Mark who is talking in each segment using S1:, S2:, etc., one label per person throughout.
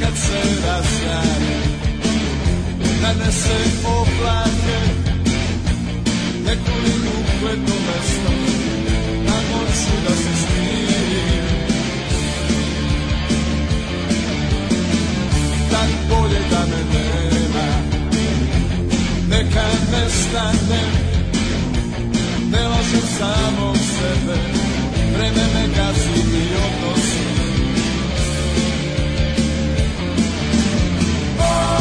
S1: kad se razjari Nanese oblake Neku linu u jedno mesto Na noću da se smiri Tak bolje da me nema Neka nestane Ne lažem samom sebe Vreme me gazi i odnosi Oh,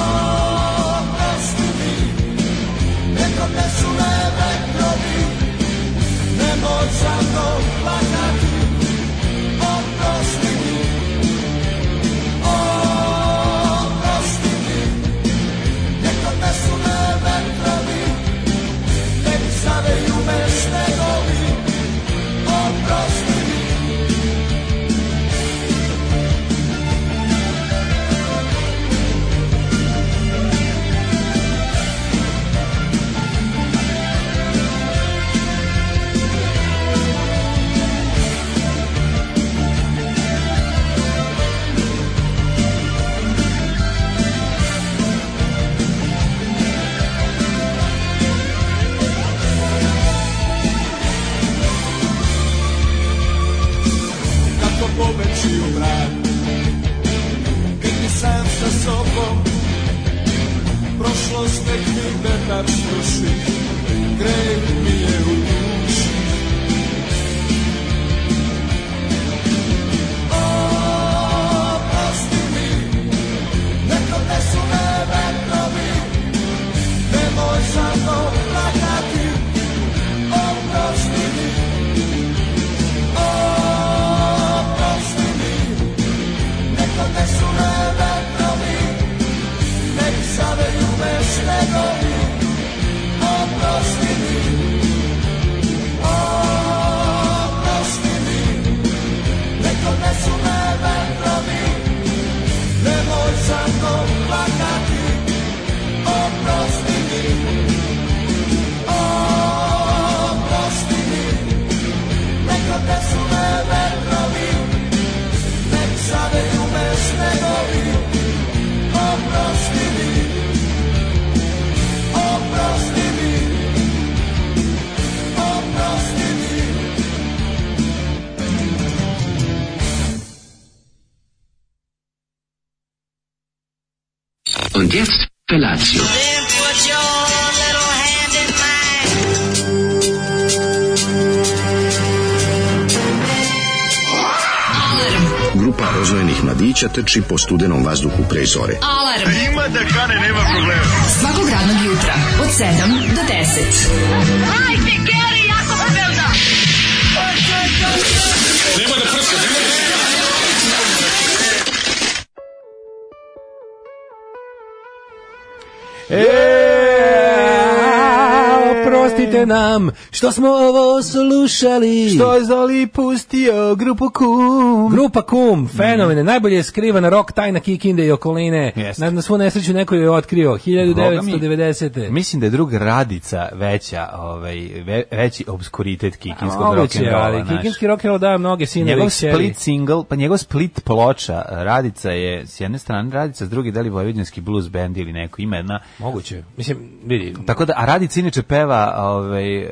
S1: kako pobeći u mrak Biti sam sa sobom Prošlost nek mi vetar sluši Grej mi je u duši Oprosti mi Neko ne su me vetrovi Nemoj za to plakati Oprosti mi Oprosti mi Neko ne su me vetrovi Nek zaveju me snegovi Oprosti mi Oprosti mi Neko ne su me vetrovi Nemoj za to plakati Oprosti mi Oprosti mi Neko te su me vetrovi Nek zaveju me snegovi Oprosti mi Oprosti mi Oprosti mi
S2: Und jetzt Felatio.
S3: Then put your little hand in mine.
S4: Grupa rozvojenih mladića trči po studenom vazduhu pre zore.
S5: Alarm. Ima da kane, nema problema. Svakog radnog jutra, od 7 do 10. Hajde, Geri, jako se velda.
S6: Prostite nam što smo ovo slušali.
S7: Što je Zoli pustio grupu Kum?
S6: Grupa Kum, fenomene, najbolje je skrivana rock tajna Kikinde i okoline.
S7: Mm. Jeste.
S6: Na, na svu nesreću neko je otkrio, 1990.
S7: Mislim da je drug Radica veća, ovaj, ve, veći obskuritet kikinskog
S6: Moguće, ali
S7: rock'n'rolla. znaš.
S6: Kikinski rock and roll daje mnoge sinove
S7: Njegov
S6: i kćeri.
S7: split single, pa njegov split ploča, Radica je s jedne strane Radica, s druge da li Vojvodinski blues band ili neko, ima jedna.
S6: Moguće. Mislim, vidi,
S7: Tako da, a Radica inače peva, ovaj, e,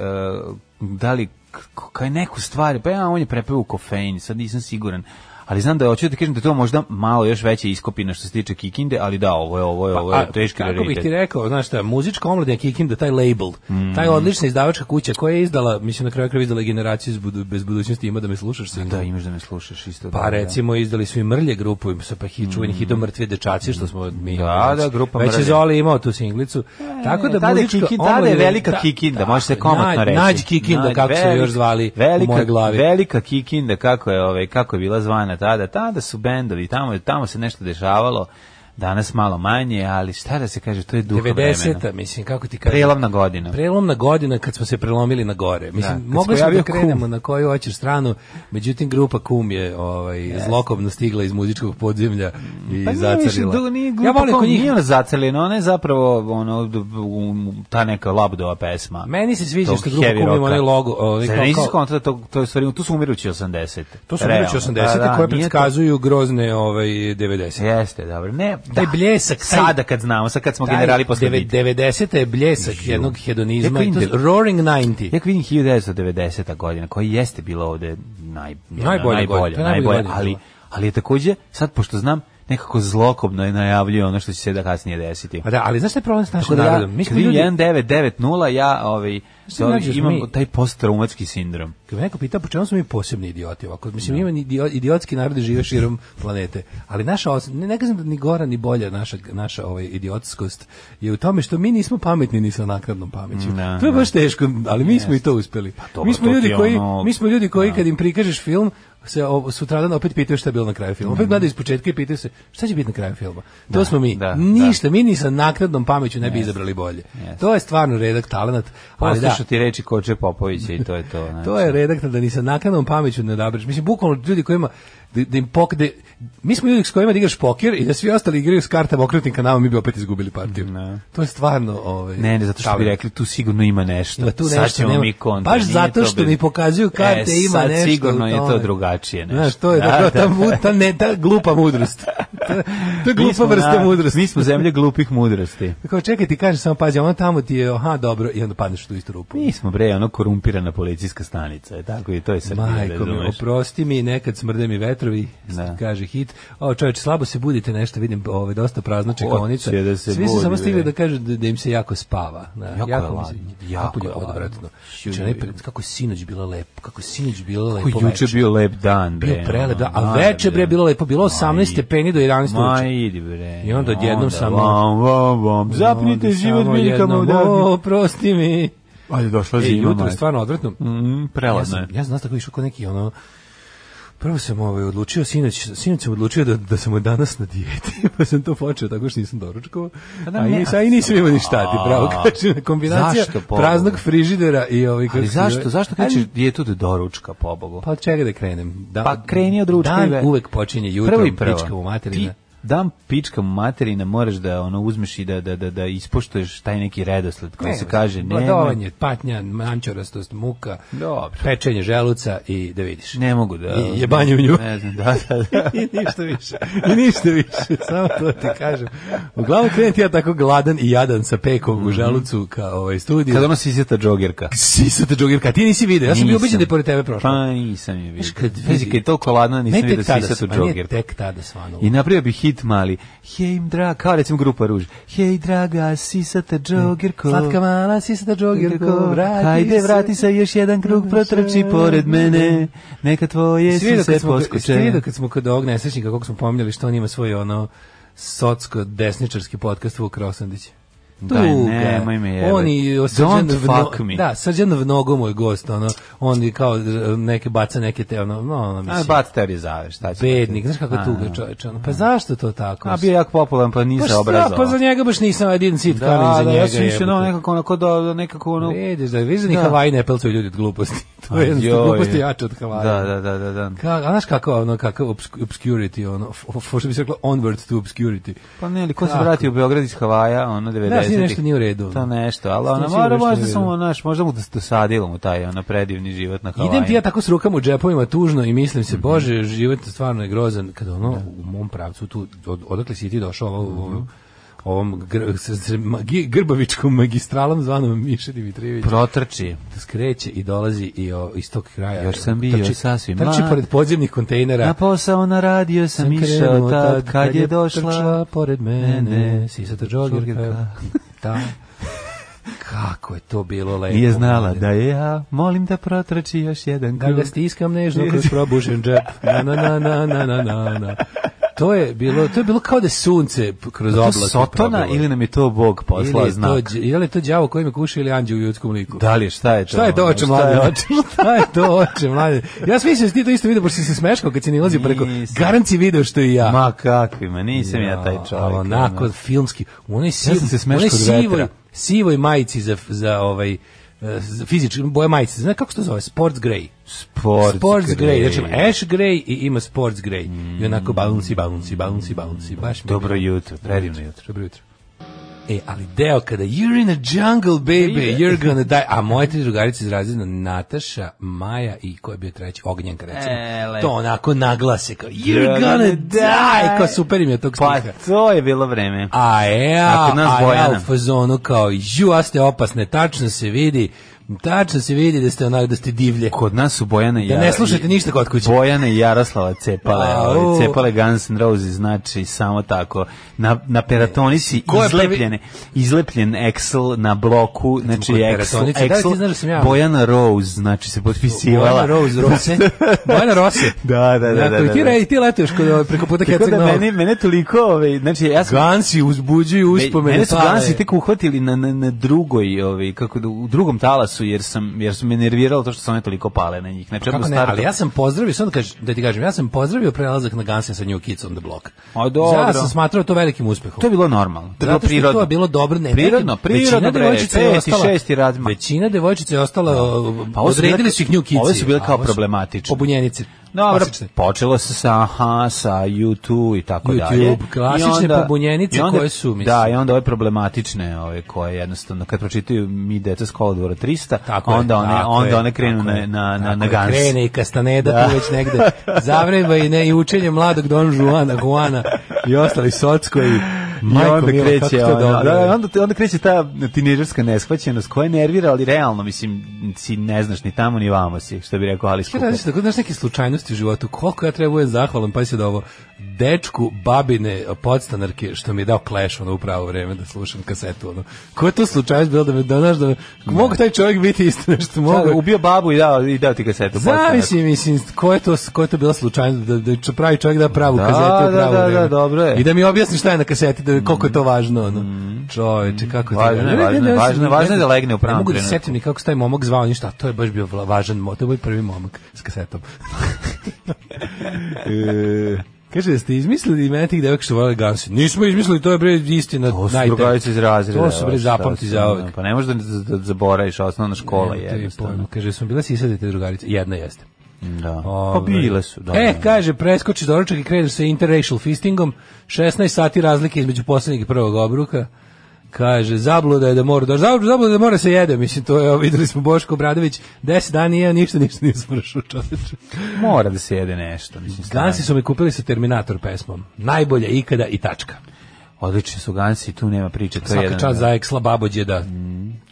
S7: da li, k- k- kaj neku stvar, pa ja, on je prepeo u kofein, sad nisam siguran. Ali znam da je, hoću da kažem da je to možda malo još veće iskopina što se tiče Kikinde, ali da, ovo je, ovo je, ovo je
S6: Pa, a,
S7: teški
S6: Kako bih
S7: raritet. Mm.
S6: ti rekao, znaš šta, muzička omladina Kikinda, taj label, taj odlična izdavačka kuća koja je izdala, mislim na kraju kraju izdala i generaciju iz budu- bez budućnosti, ima da me slušaš sigurno.
S7: Da, imaš da me slušaš isto.
S6: Pa
S7: da, Mm.
S6: recimo izdali su i mrlje grupu i sa pa hit čuveni hit mrtvi dečaci što smo mi
S7: Da, da, grupa
S6: već je
S7: Mrlje.
S6: Zoli imao tu singlicu. tako da
S7: E, tada je
S6: muzička
S7: Kikin- tada je
S6: omladina-
S7: velika Kikinda, može se komotno
S6: nađ-
S7: reći.
S6: da, Nađi Kikinda
S7: Nađi,
S6: kako su je
S7: velika-
S6: još zvali u
S7: velika,
S6: mojoj glavi.
S7: Velika Kikinda kako je, ovaj, kako je bila zvana tada. Tada su bendovi, tamo, je- tamo se nešto dešavalo. danas malo manje, ali šta da se kaže, to je dugo vremena.
S6: 90-a, mislim, kako ti kažem.
S7: Prelomna godina.
S6: Prelomna godina kad smo se prelomili na gore. Mislim,
S7: kad se
S6: mogli smo
S7: pojavio
S6: da
S7: Kum.
S6: krenemo na koju hoćeš stranu, međutim grupa Kum je ovaj, zlokobno stigla iz muzičkog podzemlja i
S7: Pa nije više
S6: zacarila.
S7: dugo, nije
S6: ja
S7: grupa
S6: volim
S7: kao
S6: kod njih.
S7: nije ona zaceljena, ona je zapravo ono, d- u- ta neka labdova pesma.
S6: Meni se sviđa
S7: Tog
S6: što grupa
S7: heavy
S6: Kum
S7: rocka.
S6: ima onaj logo. Ovaj,
S7: Zar
S6: kao-
S7: nisi
S6: kao-
S7: skontra da to, to je u stvari, tu su umirući 80.
S6: to su umirući 80 da, koje
S7: nije to-
S6: predskazuju grozne ovaj, 90
S7: Jeste, dobro. Ne, da.
S6: Taj bljesak, taj-
S7: sada kad znamo, sad kad smo
S6: Taj
S7: generali posle
S6: deve-
S7: bitke.
S6: 90. je bljesak jednog hedonizma.
S7: Jako
S6: i to su
S7: inde-
S6: Roaring 90.
S7: Ja vidim 1990. godina koja jeste bila ovde naj,
S6: Najbolja godina, to je najbolja godina
S7: ali,
S6: bila.
S7: ali je takođe, sad pošto znam, nekako zlokobno je najavljio ono što će se da kasnije desiti.
S6: A da, ali znaš šta je problem s
S7: Tako
S6: našim
S7: da ja,
S6: narodom? Mi
S7: kad
S6: smo
S7: vidim
S6: ljudi,
S7: 1990, ja ovaj,
S6: Mislim,
S7: ovaj,
S6: nađeš
S7: imam
S6: mi-
S7: taj posttraumatski sindrom.
S6: Kad me neko pita po čemu smo mi posebni idioti ovako, mislim
S7: Da.
S6: ima ni idio- idiotski narodi žive širom planete, ali naša os- ne, ne kažem da ni gora ni bolja naša naša ovaj idiotskost je u tome što mi nismo pametni ni sa naknadnom pameću.
S7: Da,
S6: to je
S7: da. Pa
S6: baš teško, ali mi smo i to uspeli.
S7: dobro,
S6: mi smo
S7: to ti
S6: ljudi
S7: je
S6: koji
S7: ono- Da.
S6: mi smo ljudi koji kad im prikažeš film se o, sutradan opet pitaju šta je bilo na kraju filma. Opet gledaju iz početka i pitaju se šta će biti na kraju filma. To smo mi.
S7: Mhm. da, da.
S6: Ništa, mi ni sa naknadnom pameću ne bi izabrali bolje. To je stvarno redak talenat, ali da,
S7: Poslušati reči Koče Popovića i to je to. znači.
S6: to je redaktor da ni sa naknadnom pameću ne odabereš. Mislim, bukvalno ljudi kojima da, da im pok, da, mi smo ljudi s kojima da igraš pokir i da svi ostali igraju s kartama okrutnim kanalom, mi bi opet izgubili partiju.
S7: Ne.
S6: To je stvarno... Ovaj,
S7: Ne, ne, zato što bi
S6: talent.
S7: rekli tu sigurno ima nešto.
S6: Ima tu
S7: Sad
S6: nešto,
S7: ćemo
S6: nema.
S7: mi kontra.
S6: Baš
S7: nije
S6: zato
S7: to
S6: što
S7: bi-
S6: mi pokazuju karte,
S7: E,
S6: ima
S7: sad
S6: nešto
S7: sigurno
S6: u
S7: je to
S6: tome.
S7: drugačije nešto.
S6: Znaš, to je
S7: Da,
S6: tako,
S7: da.
S6: ta, mu- ta, ne, ta glupa mudrost. To je- to
S7: Mi
S6: je glupa
S7: smo,
S6: vrsta
S7: da,
S6: mudrosti.
S7: Mi smo zemlje glupih mudrosti.
S6: Kao čekaj ti kažeš samo pazi, ono tamo ti je, aha, dobro, i onda padneš u tu istu rupu.
S7: Mi smo bre, ono korumpirana policijska stanica, je tako i to je Srbija,
S6: Majko mi,
S7: razumeš?
S6: oprosti mi, nekad smrde mi vetrovi,
S7: Da.
S6: kaže hit. O, čovječe, slabo se budite nešto, vidim ove, dosta prazna čekaonica.
S7: Hoće da se
S6: Svi su
S7: budi,
S6: samo stigli
S7: bre.
S6: da kažu da, da im se jako spava. Da,
S7: Jako je
S6: mi se-
S7: ladno,
S6: Jako
S7: jako
S6: je
S7: je ladno.
S6: odvratno.
S7: Šuj.
S6: Znači, onaj pred- kako je sinoć bila lepo, kako je sinoć bila lepo
S7: Kako je juče
S6: veče.
S7: bio lep dan, bre.
S6: Bio prelep, da, a
S7: ono,
S6: veče bre
S7: najbolje.
S6: bilo lepo, bilo 18 stepeni do 11
S7: Ma
S6: uveče.
S7: idi bre.
S6: I onda odjednom samo-
S7: Vam, vam, vam. Zapnite
S6: Onda
S7: život
S6: samo
S7: biljkama
S6: jednom,
S7: odavde.
S6: O, oprosti mi.
S7: Ajde, došla
S6: E,
S7: zima.
S6: jutro je
S7: majko.
S6: stvarno odvratno.
S7: Mm,
S6: Ja
S7: preladno
S6: sam,
S7: je.
S6: ja sam znaš tako išao kod neki ono Prvo sam ovaj odlučio sinoć, sinoć sam odlučio da da sam od danas na dijeti, pa sam to počeo tako što nisam doručkovao.
S7: Pa da,
S6: A
S7: ne,
S6: i sa i nisam imao ni šta, ti pravo
S7: a,
S6: kažem, kombinacija
S7: zašto pobogu?
S6: praznog frižidera i ovaj kako
S7: Ali
S6: se zove-
S7: zašto, zašto
S6: Ali,
S7: krećeš dijetu
S6: da
S7: do doručka, pobogu?
S6: Pa od čega da krenem? Da,
S7: Pa kreni od ručka i
S6: Dan
S7: ve-
S6: uvek počinje jutro,
S7: prvo i prvo.
S6: pička u materina.
S7: Ti dam pička materina, moraš da ono uzmeš i da, da, da, da ispoštuješ taj neki redosled koji se kaže. Ne,
S6: gladovanje, patnja, mančorastost, muka,
S7: Dobro.
S6: pečenje želuca i da vidiš.
S7: ne mogu da...
S6: I jebanje u nju.
S7: Ne znam, da, da, da.
S6: I ništa više. I ništa više, samo to ti kažem. Uglavnom krenem ti ja tako gladan i jadan sa pekom u želucu ka ovaj studiju.
S7: Kad ono se izjeta džogerka.
S6: sisate džogirka, ti nisi video, ja sam bio
S7: Nisam.
S6: ubeđen da je pored tebe prošlo.
S7: Pa nisam je vidio.
S6: Znaš, kad vidi-
S7: Pazi, kad je toliko ladna,
S6: ne
S7: nisam vidio
S6: tek
S7: da se
S6: tada, sva-
S7: izjeta
S6: a ne
S7: džogerka.
S6: tek tada svanulo.
S7: I napravio bi hit mali. Hej im draga, kao recimo grupa Ruž. Hej draga, sisata džogerko.
S6: Slatka mala sisata džogirko,
S7: Džogerko,
S6: vrati
S7: Hajde,
S6: se.
S7: vrati se još jedan krug, protrči pored mene. Neka tvoje
S6: Jesi vidio
S7: sise
S6: kad smo, jesi vidio
S7: poskuče.
S6: kad smo kod ovog nesrećnika, kako smo pominjali što on ima svoj ono socko-desničarski podcast Vuk Rosandić.
S7: Daj, Da, nemoj me jebati.
S6: On i o
S7: Don't
S6: Srđan Vno-
S7: fuck me.
S6: Da, Srđan Vnogo mu je gost, ono, on i kao e, neke baca neke te, ono, no, ono,
S7: A,
S6: mislim,
S7: bat tebi zaveš, šta će.
S6: bednik, znaš kako je
S7: A,
S6: tuga čoveče, ono, pa zašto to tako?
S7: A bio je jako popularan, pa
S6: Pa
S7: nije se
S6: šta,
S7: obrazovao.
S6: pa za njega baš nisam, I didn't see it coming
S7: da,
S6: za njega.
S7: ja sam više
S6: jebote.
S7: ono nekako onako do, do nekako ono...
S6: Vidiš da, vidiš da ni
S7: Da.
S6: Hawaii ne pelcuju ljudi od gluposti. To je
S7: Joj.
S6: jednostavno gluposti jače od Havaja.
S7: Da, da, da, da, da.
S6: Ka, a znaš kako ono kakav obsc- obscurity ono f- f- što bi se reklo onward to obscurity.
S7: Pa ne, ali ko se
S6: Tako.
S7: vrati u Beograd iz Havaja, ono 90-ih.
S6: Da, s njim nešto nije u redu.
S7: To nešto, ali ona
S6: njim
S7: mora
S6: nešto
S7: možda
S6: nije u
S7: samo,
S6: redu.
S7: naš, možda mu dosadilo mu taj ono predivni život na Havaju.
S6: Idem ti ja tako s rukama u džepovima tužno i mislim
S7: Mhm.
S6: se, bože, život stvarno je grozan. Kada ono
S7: Da.
S6: u mom pravcu, tu, od, odakle si ti došao ovo, ovo- ovom gr, s, s- magi- grbavičkom magistralom zvanom Miše Dimitrijević.
S7: protrči.
S6: skreće i dolazi i o, iz tog kraja.
S7: Još sam bio sasvim
S6: Trči
S7: mlad.
S6: pored podzemnih kontejnera.
S7: Na posao na radio Da. sam,
S6: sam
S7: išao
S6: krenuo
S7: tad kad je
S6: trčala
S7: došla.
S6: pored mene
S7: mene,
S6: sisata džogirka.
S7: džogirka.
S6: Da. Kako je to bilo lepo.
S7: Nije znala da je ja, molim da protrči još jedan
S6: Da
S7: krug.
S6: ga stiskam nežno kroz probušen džep. Na, na, na, na, na, na, na, na. to je bilo, to je bilo kao da je sunce p- kroz
S7: To
S6: oblake.
S7: Sotona
S6: probilo.
S7: ili nam je to Bog
S6: ili
S7: poslao
S6: je to,
S7: znak?
S6: đ- ili je to đavo koji me kuša ili anđeo u ljudskom liku?
S7: Da li, je, šta je to?
S6: Šta je to
S7: ono?
S6: oče
S7: Šta je
S6: mlade?
S7: oče?
S6: Šta je to oče mlade? Ja sam mislio da si ti to isto vidio, pošto si se smeškao kad si nilazio preko.
S7: Nisam.
S6: Garanci video što i ja.
S7: Ma kakvi, ma nisam ja, taj čovjek.
S6: Ali onako
S7: ono.
S6: filmski, u onoj, siv,
S7: sam se
S6: u onoj
S7: smeškao od
S6: sivoj,
S7: vetra.
S6: sivoj majici za, za ovaj, eh, za fizički, boja majice, znaš kako se to zove? Sports grey.
S7: Sports, e,
S6: sports grey,
S7: grey. Mm.
S6: znači ima ash grey i ima sports grey. I onako bouncy, bouncy, bouncy, bouncy, baš mi je
S7: Dobro
S6: bilo-
S7: jutro, predivno jutro.
S6: Dobro jutro. E, ali deo kada you're in a jungle, baby, you're gonna die. A moje tri drugarice iz razreda, Nataša, Maja i ko je bio treći, Ognjenka, recimo.
S7: E, lepo.
S6: to onako naglase kao you're gonna die, kao super im je tog
S7: Pa
S6: stiha.
S7: to je bilo vreme.
S6: A ja,
S7: A kod nas
S6: a ja
S7: Bojana.
S6: u fazonu kao, ju, a ste opasne, tačno se vidi, tačno se vidi da ste onak, da ste divlje.
S7: Kod nas su Bojana i
S6: Da
S7: Jara-
S6: ne slušate ništa kod kuće.
S7: Bojana i Jaroslava cepale,
S6: Au.
S7: ovaj, cepale Guns N' Roses, znači samo tako. Na, na peratonici
S6: Ko je prvi-
S7: izlepljene, izlepljen Excel na bloku, znači
S6: kod
S7: Excel,
S6: peratonice, da li ti znaš da sam ja-
S7: Bojana Rose, znači se potpisivala.
S6: Bojana Rose, Rose. Bojana Rose.
S7: Da, da, da,
S6: Dakle,
S7: da, da,
S6: ti,
S7: da.
S6: re, ti letuješ kod, ovaj, preko puta
S7: Tako
S6: Herceg
S7: da
S6: Novog.
S7: meni, mene toliko, ovaj, znači ja sam...
S6: Gansi uzbuđuju uspomene.
S7: Mene su
S6: pale.
S7: Gansi tek uhvatili na, na, na drugoj, ovaj, kako, da- u drugom talasu, jer sam, jer sam me nerviralo to što sam ne toliko pale na njih. Znači,
S6: Pa Kako
S7: odmah
S6: ne,
S7: startu-
S6: ali ja sam pozdravio, sad kaž, da ti kažem, ja sam pozdravio prelazak na Gansi sa New Kids on the Block.
S7: A, dobro.
S6: Ja sam smatrao to velikim uspehom.
S7: To je bilo normalno. To je bilo
S6: Zato što je
S7: prirodno.
S6: to bilo dobro, ne.
S7: Prirodno, prirodno,
S6: većina
S7: bre,
S6: devojčica je
S7: peti,
S6: ostala.
S7: šesti razmak.
S6: Većina devojčica je ostala, pa
S7: Pa ovo su bile-
S6: odredili su ih New Kids.
S7: ove su bile kao
S6: a ovo su
S7: problematične.
S6: Pobunjenice.
S7: Dobro,
S6: klasične.
S7: počelo se sa aha, sa YouTube i tako
S6: YouTube,
S7: dalje.
S6: klasične
S7: I
S6: pobunjenice
S7: i
S6: koje su, mislim.
S7: Da, i onda ove problematične, ove koje jednostavno kad pročitaju mi deca s kolodvora 300,
S6: Tako
S7: onda
S6: je,
S7: one
S6: tako
S7: onda
S6: je,
S7: one krenu
S6: tako
S7: na
S6: je.
S7: na na,
S6: Tako
S7: na
S6: je,
S7: gans.
S6: Krene i Kastaneda tu već negde. Zavreba i ne i učenje mladog Don Juana, Juana i ostali socko i
S7: I
S6: Majko
S7: onda
S6: Mila, kako
S7: kreće,
S6: to
S7: ona,
S6: dobro
S7: da,
S6: je.
S7: onda, te- onda kreće ta tinejdžerska neshvaćenost koja nervira, ali realno, mislim, si ne znaš ni tamo ni vamo si, što bi rekao Ali
S6: Sve
S7: Skupo.
S6: različite, kod znaš neke slučajnosti u životu, koliko ja treba budem zahvalan, pa se da ovo, dečku babine podstanarke, što mi je dao Clash ono, u pravo vreme da slušam kasetu. Ono. Ko je to slučajnost bilo da me donaš, da me, mogu taj čovjek biti isto nešto,
S7: Mogu.
S6: mogu.
S7: Ubio babu i dao, i dao ti kasetu. potpuno.
S6: Zamisli, mislim, ko je to, ko je to bila slučajnost da, da će pravi čovjek da pravu
S7: Da,
S6: kazetu
S7: da,
S6: u pravo
S7: da,
S6: vreme.
S7: da, dobro je. Mhm.
S6: I da mi objasni šta je na kaseti, da koliko je to važno. Ono. Čoveče, kako ti
S7: Važno je,
S6: Ne, ne, ne,
S7: važno je,
S6: ne, ne,
S7: važno je,
S6: ne,
S7: važno je da legne u pravom
S6: Ne mogu da se
S7: trenutku.
S6: setim ni kako se taj momak zvao, ništa, to je baš bio vla- važan, mo- to je moj prvi momak s kasetom.
S7: znači.
S6: Kaže, jeste izmislili imena tih devojka što vole Gansi? Nismo izmislili, to je bre istina.
S7: To su
S6: najte-
S7: drugarice iz razreda.
S6: To su bre
S7: evo, šta
S6: zapamti
S7: su,
S6: za
S7: ono,
S6: uvek.
S7: Pa ne možeš da, da, da zaboraviš, osnovna škola je
S6: Nemam te
S7: jednostavno.
S6: pojma. Kaže, smo bile sisate te drugarice. Jedna jeste.
S7: Da. Pa
S6: Ove.
S7: bile su, da.
S6: E,
S7: da.
S6: kaže, preskočiš doručak i kreneš sa interracial fistingom, 16 sati razlike između poslednjeg i prvog obruka. Kaže, zabluda je da mora, da, zabluda, zabluda je da mora se jede, mislim, to je, evo, videli smo Boško Obradović, 10 dana nije, jeo ništa, ništa nije smršao čoveče.
S7: mora da se jede nešto, mislim. stvarno.
S6: Gansi su me kupili sa Terminator pesmom, najbolje ikada i tačka.
S7: odlični su gansi, tu nema priče, to je
S6: Svaka
S7: jedan. Mm.
S6: čast za eksla babođe da,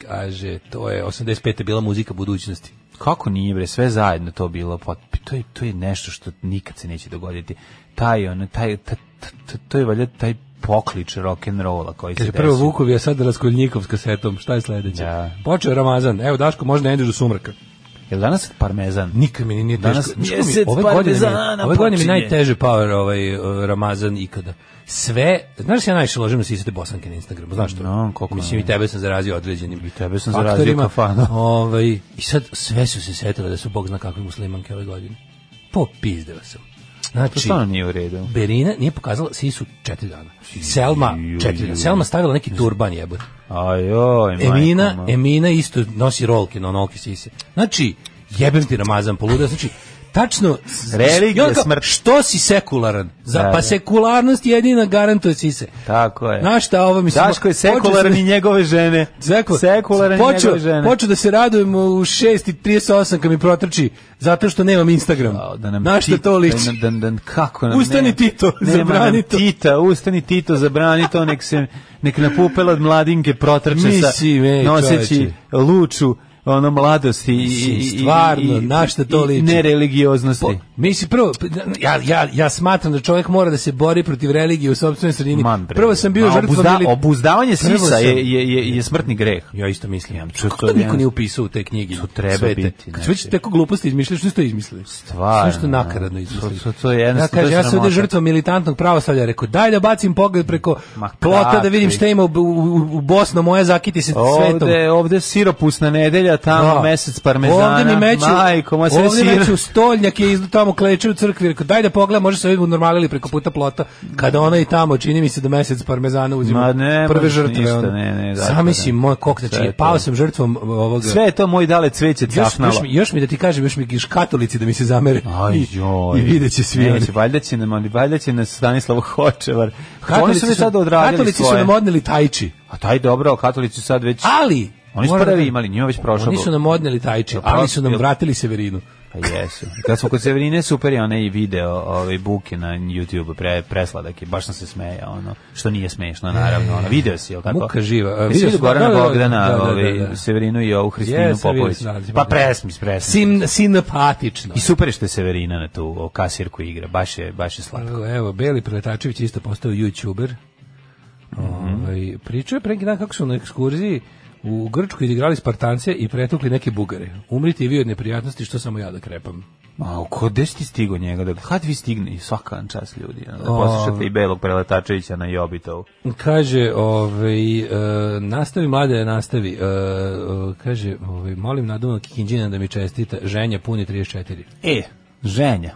S6: kaže, to je 85. bila muzika budućnosti.
S7: Kako nije bre, sve zajedno to bilo, pa to je to je nešto što nikad se neće dogoditi. Taj on, taj ta, ta- ta- to je valjda taj poklič rock and rolla koji se
S6: Kaže,
S7: desio.
S6: prvo Vukovi, a sad Raskoljnikov s kasetom, šta je sledeće?
S7: Da.
S6: Počeo je Ramazan, evo Daško, možda ne ideš do sumraka.
S7: Jel danas parmezan?
S6: Nikad mi nije- nije
S7: Danas
S6: teško. Znaš kako mi-
S7: mjesec
S6: ove godine, mi,
S7: parmezana
S6: ove godine mi
S7: počinje.
S6: najteže power ovaj, eh, Ramazan ikada. Sve, znaš ja najviše ložim na sisate bosanke na Instagramu, znaš to?
S7: No, koliko
S6: Mislim,
S7: ne.
S6: i tebe sam zarazio određenim I
S7: tebe sam zarazio kafana.
S6: Ovaj, I sad sve su se setile da su Bog zna kakve muslimanke ove godine. Popizdeo sam.
S7: To
S6: Znači,
S7: Pa stvarno nije u redu.
S6: Berina nije pokazala sisu četiri dana. Selma četiri dana. Selma stavila neki turban jebote.
S7: Ajoj, majko
S6: Emina,
S7: moja.
S6: Emina isto nosi rolke na onolke sise. Znači, jebem ti Ramazan poluda, znači, tačno... s-
S7: Religija,
S6: i on kao,
S7: smrt.
S6: Što si sekularan? Za,
S7: Da,
S6: pa
S7: da.
S6: sekularnost jedina garantuje sise.
S7: Tako je.
S6: Znaš šta ovo mislim...
S7: Daško je
S6: počeo sam
S7: sekularan
S6: da-
S7: i njegove žene.
S6: Zeku,
S7: Sekularan i njegove žene.
S6: Počeo da se radujem u 6.38 kad mi protrči, zato što nemam Instagram.
S7: Jao,
S6: Da
S7: nam
S6: Na šta
S7: Tito-
S6: to liči?
S7: Da, da, da, kako nam
S6: Ustani,
S7: ne-
S6: Tito,
S7: nema
S6: zabrani
S7: nam
S6: to.
S7: Tita, ustani Tito, zabrani to, nek se nek na pupela od mladinke protrče sa
S6: Mislim, ej,
S7: noseći
S6: čoveče.
S7: luču ono mladosti i, i, i,
S6: Stvarno,
S7: i,
S6: na šta to
S7: i
S6: liči?
S7: nereligioznosti.
S6: Po, mislim, prvo, p- da, ja, ja, ja smatram da čovjek mora da se bori protiv religije u sobstvenoj sredini.
S7: Man, bre.
S6: Prvo sam bio
S7: Ma,
S6: žrtva...
S7: obuzda-
S6: mili-
S7: Obuzdavanje
S6: Prvo
S7: sisa
S6: sam-
S7: je, je, je, je smrtni greh.
S6: Ja isto mislim.
S7: Ja,
S6: Kako
S7: to
S6: to
S7: je-
S6: niko nije upisao u te knjige?
S7: To treba
S6: Sve te.
S7: biti,
S6: Kad
S7: znači.
S6: su već tako gluposti izmišljaš, što to izmislili?
S7: Stvarno,
S6: Sve što nakaradno
S7: da.
S6: izmislili.
S7: To- to- to je jednostavno-
S6: ja,
S7: to
S6: kažem,
S7: je
S6: ja sam
S7: sramota.
S6: ovdje žrtva militantnog pravoslavlja, rekao, daj da bacim pogled preko
S7: Ma
S6: plota da
S7: kakvi.
S6: vidim šta ima u, u, u Bosno, moja zakiti se svetom.
S7: Ovde, ovde siropusna nedelja, tamo
S6: Da.
S7: mesec parmezana,
S6: Ovde mi meću,
S7: majko, moja sve
S6: ovde
S7: sir.
S6: meću stoljnjak je izdu tamo kleče u crkvi, rekao daj da pogledam, može se vidimo normalili preko puta plota. Kada ona i tamo čini mi se da mesec parmezana uzima
S7: Ma ne,
S6: prve
S7: možeš
S6: žrtve.
S7: ništa,
S6: ono.
S7: ne, ne, da, da,
S6: Zamisli
S7: da.
S6: moj kok, znači
S7: Sve je to.
S6: pao sam žrtvom ovoga.
S7: Sve je to moj dale cveće
S6: još, još,
S7: cafnalo.
S6: mi, još mi da ti kažem, još mi giš katolici da mi se zamere.
S7: Aj
S6: I-
S7: joj.
S6: I vidjet će svi. oni.
S7: Neće, pa- valjda će nam, ali valjda će nas Stanislavo Hočevar. pa Oni
S6: Katolici
S7: su mi sad odradili
S6: katolici su
S7: svoje.
S6: nam odneli tajči.
S7: A taj dobro, a katolici sad već...
S6: Ali,
S7: Oni su
S6: moram
S7: prvi
S6: da-
S7: imali, njima već prošlo.
S6: Oni su nam odneli tajči,
S7: Jel
S6: ali
S7: prošlo?
S6: su nam
S7: Jel-
S6: vratili Severinu.
S7: Pa jesu. Kad smo kod Severine, super je onaj video ovaj, buke na YouTube, pre, presladak je, baš sam se smeja, ono, što nije smešno, naravno, ono, video si, jel tako?
S6: Muka živa. E,
S7: Jesi
S6: vidio
S7: vidio
S6: sam,
S7: Gorana
S6: da, da, da,
S7: Bogdana,
S6: da, da,
S7: ovaj,
S6: da, da.
S7: Severinu i ovu Hristinu
S6: Jesam, vidio
S7: Popović.
S6: sam, da, da,
S7: pa
S6: da.
S7: presmis, presmis.
S6: Sin, sinapatično.
S7: I super je što je Severina na tu o kasirku igra, baš je, baš je slatko.
S6: Evo, Evo, Beli Preletačević isto postao youtuber.
S7: Mhm.
S6: Ovaj, pričao je pre neki dan kako su na ekskurziji u Grčkoj igrali Spartance i pretukli neke Bugare. Umrite i vi od neprijatnosti što samo ja da krepam.
S7: Ma, ko, gde si ti stigo njega? Da, kad vi stigne? I svakan čas ljudi. ono, Da
S6: O.
S7: poslušate i Belog Preletačevića na Jobitovu.
S6: Kaže, ovaj, e, nastavi mlade, nastavi. E, e, kaže, ovaj, molim nadumno Kikinđina da mi čestita. Ženja puni 34.
S7: E, ženja.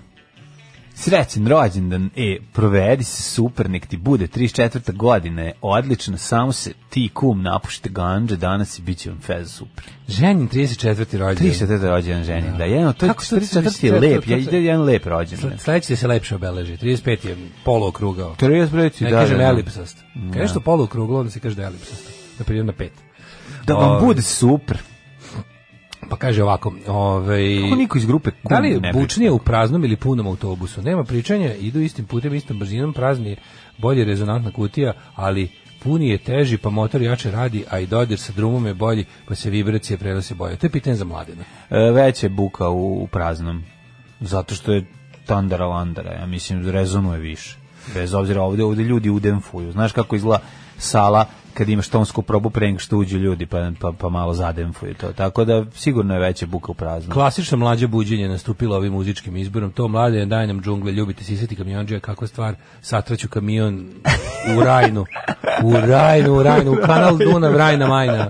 S7: Srećen rođendan, e, provedi se super, nek ti bude 34. godina, je odlično, samo se ti kum napušite ganđe danas i bit će vam fez super.
S6: Ženjin 34. rođendan.
S7: 34. rođendan ženja, da, jedno, to je
S6: Kako se to
S7: 34. je
S6: 34.
S7: lep, ja
S6: to- to-
S7: ide jedan lep rođendan.
S6: Sledeći se lepše obeleži. 35 je polookrugao.
S7: 35.
S6: Ne
S7: da,
S6: kažem
S7: da, da.
S6: elipsast. Kad nešto polookruglo, onda se kaže da je elipsast. Na primjer na pet.
S7: Da vam bude super.
S6: Pa kaže ovako, ovaj...
S7: Kako niko iz grupe kum
S6: Da li
S7: ne
S6: je
S7: priča?
S6: bučnije u praznom ili punom autobusu? Nema pričanja, idu istim putem, istom brzinom, prazni je bolje rezonantna kutija, ali puni je teži, pa motor jače radi, a i dodir sa drumom je bolji, pa se vibracije prelase bolje. To je pitanje za mladina.
S7: E, već je buka u, u praznom. Zato što je tandara landara, ja mislim, rezonuje više. Bez obzira ovde, ovde ljudi udenfuju. Znaš kako izgleda sala kad imaš tonsku probu pre nego što uđu ljudi pa, pa, pa malo zadenfuju to. Tako da sigurno je veća buka u praznom.
S6: Klasično mlađe buđenje nastupilo ovim muzičkim izborom. To mlade, daj nam džungle, ljubite sisati kamionđija, kakva stvar, satraću kamion u rajnu. U rajnu, u rajnu, u kanal Dunav, rajna majna.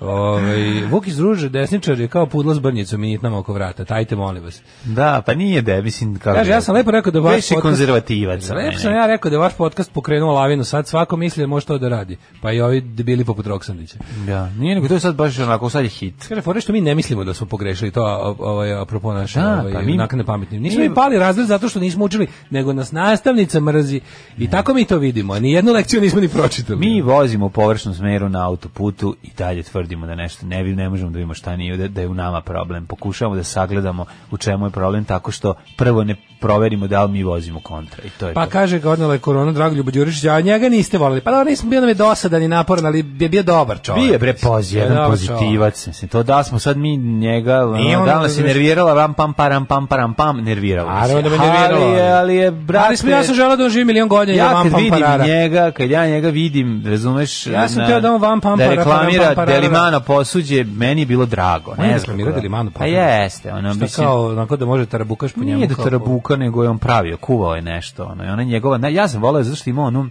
S6: Ove, Vuk iz Ruže, desničar je kao pudla s brnjicom i nitnama oko vrata. Tajte, molim vas.
S7: Da, pa nije da, mislim... Kako
S6: Kaže, ja sam lepo rekao da vaš
S7: Više konzervativac. onaj
S6: Lepo sam
S7: neki.
S6: ja rekao da je vaš podcast pokrenuo lavinu. Sad svako misli da može to da radi. Pa i ovi debili poput Roksandića.
S7: Da, nije nego, to je sad baš onako, sad je hit.
S6: Kaže, fore što mi ne mislimo da smo pogrešili to a- ovaj, apropo naše
S7: Da,
S6: ovaj,
S7: pa mi-
S6: naknadne pametni. Nismo
S7: mi-
S6: mi pali razred zato što nismo učili, nego nas nastavnica mrzi. I tako mi to vidimo. a Ni jednu lekciju nismo ni pročitali.
S7: Mi vozimo u površnom smeru na autoputu i dalje tvrdimo da nešto ne vi- ne možemo da vidimo šta nije da, da je u nama problem. Pokušavamo da sagledamo u čemu je problem tako što prvo ne proverimo da li mi vozimo kontra i to je
S6: Pa
S7: to.
S6: kaže ga odnala je korona Dragoljubo Đurišić, a njega niste volili. Pa dobro, nisam bio nam je dosadan i naporan, ali je bio dobar čovjek.
S7: Bio je bre poz,
S6: Bio je
S7: jedan
S6: dobar
S7: pozitivac. Mislim, to da smo sad mi njega,
S6: Nije
S7: ono,
S6: on-
S7: da li nas je nervirala, ram pam param pam param pam, nervirala. nas je.
S6: Naravno da me nerviralo,
S7: Ali je,
S6: ali-
S7: ali je, brate,
S6: Ali smo, ja sam želao da on živi milion godina i da
S7: ja
S6: vam
S7: kad vidim
S6: pamparara.
S7: njega, kad ja njega vidim, razumeš,
S6: Ja sam
S7: na-
S6: teo da on vam pampara,
S7: da
S6: pam,
S7: reklamira
S6: pam, parara.
S7: Delimano posuđe, meni je bilo drago.
S6: On je
S7: Ne znam.
S6: reklamirao
S7: kako.
S6: Delimano
S7: Pa
S6: posuđe?
S7: jeste, ono,
S6: Šta
S7: mislim,
S6: kao, onako da može tarabukaš po njemu.
S7: nije da
S6: kao-
S7: tarabuka, nego je on pravio, kuvao je nešto, ono, i ona njegova, ne, ja sam voleo zato što ima onu,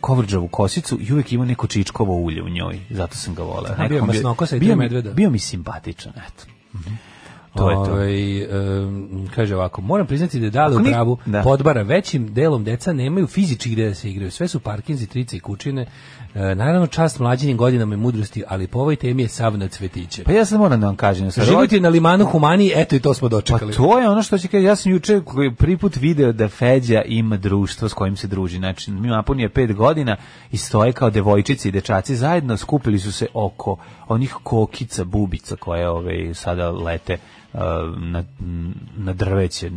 S7: kovrđavu kosicu i uvijek ima neko čičkovo ulje u njoj, zato sam ga voleo.
S6: A bio
S7: Nekako mi-
S6: masnokosa i
S7: bio
S6: tri
S7: mi-
S6: medveda.
S7: Bio mi simpatičan, eto. To je to.
S6: Ovaj, em, kaže ovako, moram priznati da je dali u
S7: ni-
S6: pravu
S7: da.
S6: podbara. Većim delom deca nemaju fizički gde da se igraju. Sve su parkinzi, trice i kućine. E, naravno, čast mlađenim godinama i mudrosti, ali po ovoj temi je sav na cvetiće.
S7: Pa ja sad moram da vam kažem. sad,
S6: Život je na limanu humaniji, eto i to smo dočekali.
S7: Pa to je ono što će kaži, ja sam juče koji prvi put video da Feđa ima društvo s kojim se druži. Znači, mi napunio je pet godina i stoje kao devojčice i dečaci zajedno, skupili su se oko onih kokica, bubica koje ove, sada lete uh, na, na drveće,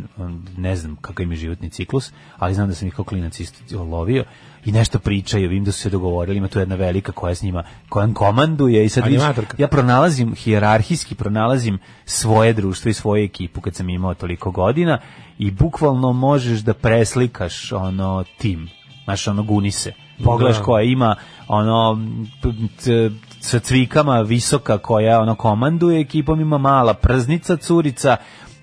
S7: ne znam kakav im je životni ciklus, ali znam da sam ih kao klinac isto lovio i nešto pričaju, vidim da su se dogovorili, ima tu jedna velika koja s njima, koja komanduje i sad vidiš,
S6: Animatorka.
S7: ja pronalazim, hijerarhijski pronalazim svoje društvo i svoju ekipu kad sam imao toliko godina i bukvalno možeš da preslikaš ono tim, znaš ono gunise, pogledaš
S6: Da.
S7: koja ima ono p- t- sa cvikama visoka koja ono komanduje ekipom ima mala prznica curica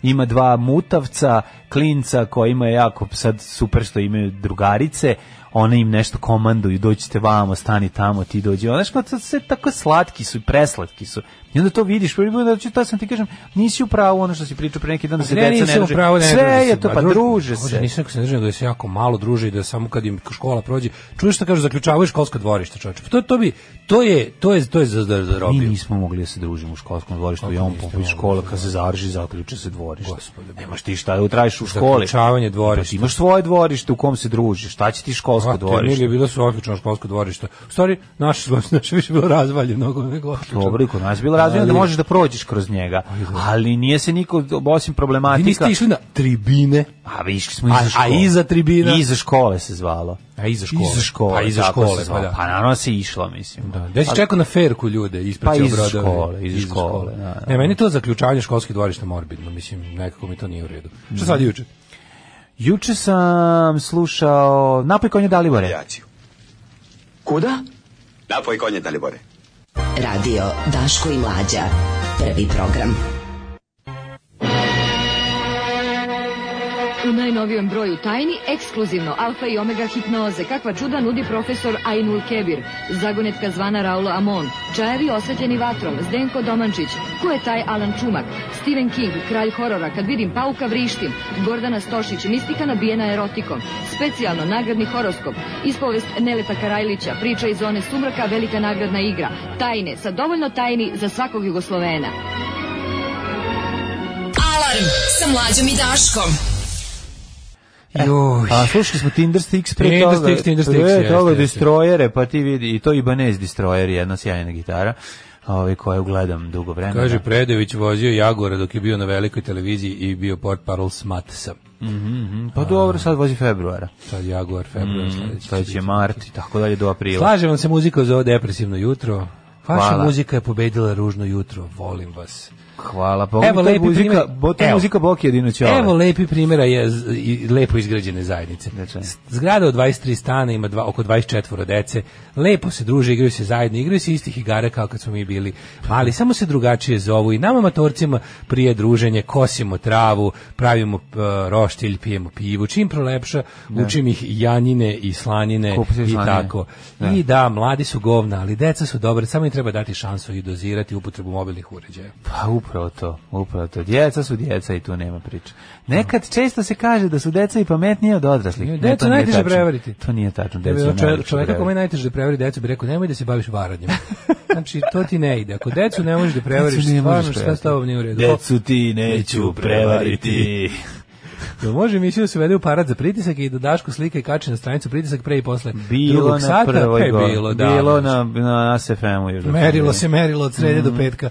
S7: ima dva mutavca klinca koji ima jako sad super što imaju drugarice one im nešto komanduju dođite vamo stani tamo ti dođi ono što sve tako slatki su i preslatki su i onda to vidiš prvi put, znači to sam ti kažem nisi u pravu ono što si pričao pre neki dan da se
S6: Ne,
S7: deca ne
S6: nisam u
S7: druže
S6: pravu, ne
S7: sve
S6: druže se.
S7: je to pa
S6: druž-
S7: druže
S6: Bože,
S7: se
S6: Nisam rekao da se ne druže, nego da se jako malo druže i da samo kad im škola prođe. Čuješ šta kažu, zaključavaju školska dvorišta, čoveče. Pa To, to, bi, to je, to je, to je za, za, za
S7: Mi
S6: robiju.
S7: nismo mogli da se družimo u školskom dvorištu, ja on
S6: niste
S7: popuš
S6: mogli?
S7: škola kad se zarži, zaključe se dvorište.
S6: Gospode,
S7: Nemaš ti šta da utražiš u školi.
S6: Zaključavanje
S7: Pa
S6: dvorišta.
S7: ti imaš svoje dvorište u kom se družiš, šta će ti školsko
S6: A,
S7: dvorište?
S6: Pa, Emilija bila su odlično školsko dvorište. U stvari, naše, naše više bilo razvalje mnogo nego odlično.
S7: Dobro, i kod nas je bilo razvijeno da
S6: Ali-
S7: možeš da prođeš kroz njega, ali nije se niko, osim
S6: Vi
S7: problematika,
S6: niste išli na tribine,
S7: a vi išli smo
S6: A-
S7: Pa, iza
S6: a
S7: škole.
S6: iza tribina?
S7: Iza škole se zvalo.
S6: a iza škole.
S7: Iza škole,
S6: A iza
S7: tako
S6: škole,
S7: se
S6: pa
S7: zvalo.
S6: da.
S7: Pa naravno se išlo, mislim.
S6: Da, ja si čekao na ferku ljude ispred
S7: Pa
S6: ceo
S7: iz
S6: Brodovi.
S7: škole, iz škole, da, da.
S6: Ne, E, meni to zaključavanje školskih dvorišta morbidno, mislim, nekako mi to nije u redu. Šta sad juče?
S7: Juče sam slušao Napoj je Dalibore.
S2: Kuda? Napoj konje, Dalibore.
S5: Radio Daško i Mlađa. Prvi program.
S8: U najnovijem broju tajni, ekskluzivno, alfa i omega hipnoze, kakva čuda nudi profesor Ainul Kebir, zagonetka zvana Raulo Amon, čajevi osvetljeni vatrom, Zdenko Domančić, ko je taj Alan Čumak, Stephen King, kralj horora, kad vidim pauka vrištim, Gordana Stošić, mistika nabijena erotikom, specijalno nagradni horoskop, ispovest Neleta Karajlića, priča iz zone sumraka, velika nagradna igra, tajne, sa dovoljno tajni za svakog Jugoslovena.
S5: Alarm sa Mlađom i Daškom.
S7: E,
S6: Joj.
S7: A slušali smo Tinder Sticks pre
S6: Tinder
S7: toga.
S6: Sticks, Tinder Sticks,
S7: Pre
S6: jeste,
S7: toga
S6: jeste.
S7: Destroyere, pa ti vidi, i to Ibanez Destroyer, jedna sjajna gitara, ovaj, koju gledam dugo vremena.
S6: Kaže, Predović vozio Jagora dok je bio na velikoj televiziji i bio port parol Smatsa.
S7: Mhm, pa dobro, sad vozi februara.
S6: Sad Jaguar, februar,
S7: Mm,
S6: sledeći.
S7: Sledeći je mart i tako dalje do aprila.
S6: Slaže vam se muzika za ovo depresivno jutro. Vaša
S7: Hvala.
S6: muzika je pobedila ružno jutro, volim vas.
S7: Hvala. Pa evo,
S6: lepi
S7: lepi muzika,
S6: primer-
S7: bo, to je
S6: evo.
S7: muzika Boki jedino će
S6: Evo lepi primjera je z- i lepo izgrađene zajednice.
S7: Znači.
S6: S- Zgrada od 23 stana ima dva, oko 24 dece. Lepo se druže, igraju se zajedno, igraju se istih igara kao kad smo mi bili. Ali samo se drugačije zovu i nama amatorcima prije druženje, kosimo travu, pravimo p- roštilj, pijemo pivu. Čim prolepša, učim ih janjine i slanine
S7: Kupite
S6: i
S7: slanine.
S6: tako. I da, mladi su govna, ali deca su dobre, samo im treba dati šansu i dozirati upotrebu mobilnih uređaja.
S7: Pa upravo to, upravo to. Djeca su djeca i tu nema priče. Nekad često se kaže da su deca i pametnije od odraslih. Ne,
S6: Decu
S7: to nije
S6: najteže
S7: tačno.
S6: prevariti.
S7: To nije tačno,
S6: Da
S7: deca
S6: bi
S7: je
S6: ono
S7: najlakše
S6: čovjek, čovjeka kome je
S7: prevariti.
S6: najteže da prevari decu bi rekao nemoj da se baviš varanjem. Znači, to ti ne ide. Ako decu ne možeš da prevariš,
S7: Decu ne možeš
S6: stvarno šta s
S7: prevariti.
S6: tobom nije u redu.
S7: Decu ti neću prevariti.
S6: Da može emisiju da se vede u parad za pritisak i da Daško slika i kače na stranicu pritisak pre i posle
S7: Bilo
S6: drugog
S7: na
S6: sata,
S7: prvoj
S6: pa je
S7: gori.
S6: bilo, da.
S7: Bilo na, na SFM-u. još dok
S6: Merilo
S7: sam
S6: se merilo od srede do petka.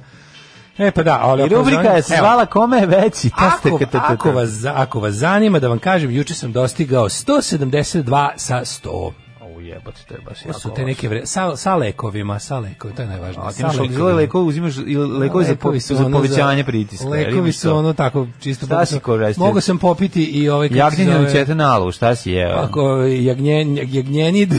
S6: E pa da, ali
S7: bio. I
S6: ako
S7: rubrika
S6: zanima-
S7: je se
S6: Evo,
S7: zvala Kome je veći? Ta ste
S6: Ako,
S7: ka- ta- ta- ta.
S6: ako, vas, za- ako vas zanima, da vam kažem, juče sam dostigao 172 sa 100.
S7: Au, jebote, to je baš
S6: To su
S7: jako
S6: te neke vre... sa, sa lekovima, sa lekovima, to je najvažnije.
S7: A ti
S6: sa
S7: imaš
S6: lekovima.
S7: lekovi, lekovi uzimaš i lekovi za, po,
S6: Lekovi su
S7: za
S6: ono
S7: povećanje pritiska. jer
S6: Lekovi
S7: imaš to.
S6: su ono tako čisto.
S7: Šta
S6: mogu
S7: si
S6: sam-
S7: koristio?
S6: Mogu sam popiti i ovaj kako se
S7: Jagnjeninu
S6: zove, Pa
S7: četanalu, šta si jeo?
S6: Ako jagnjen jag- jagnjenid.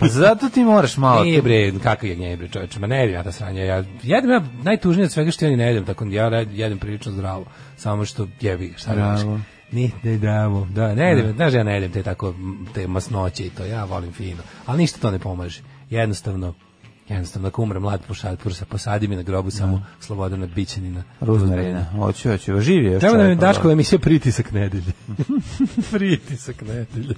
S7: Pa zato ti moraš malo...
S6: Nije bre, kakav jagnjenid bre, čoveče, ma ne jedem ja ta sranja. Ja jedem ja najtužnije od svega što ja ni ne jedem, tako ja re- jedem prilično zdravo. Samo što jebi, ga, šta radiš?
S7: Bravo.
S6: Ni, ne dravo. Da, ne jedem, znaš ja ne jedem te tako m, te masnoće i to, ja volim fino. Ali ništa to ne pomaže. Jednostavno, jednostavno ako umrem mlad pušad, pušad, posadi mi na grobu
S7: Da.
S6: samo Slobodana Bićanina.
S7: Ruzmarina, hoću, hoću, živi je još
S6: Treba da mi
S7: čovjek,
S6: Daško
S7: ali-
S6: emisija pritisak nedelje. pritisak nedelje.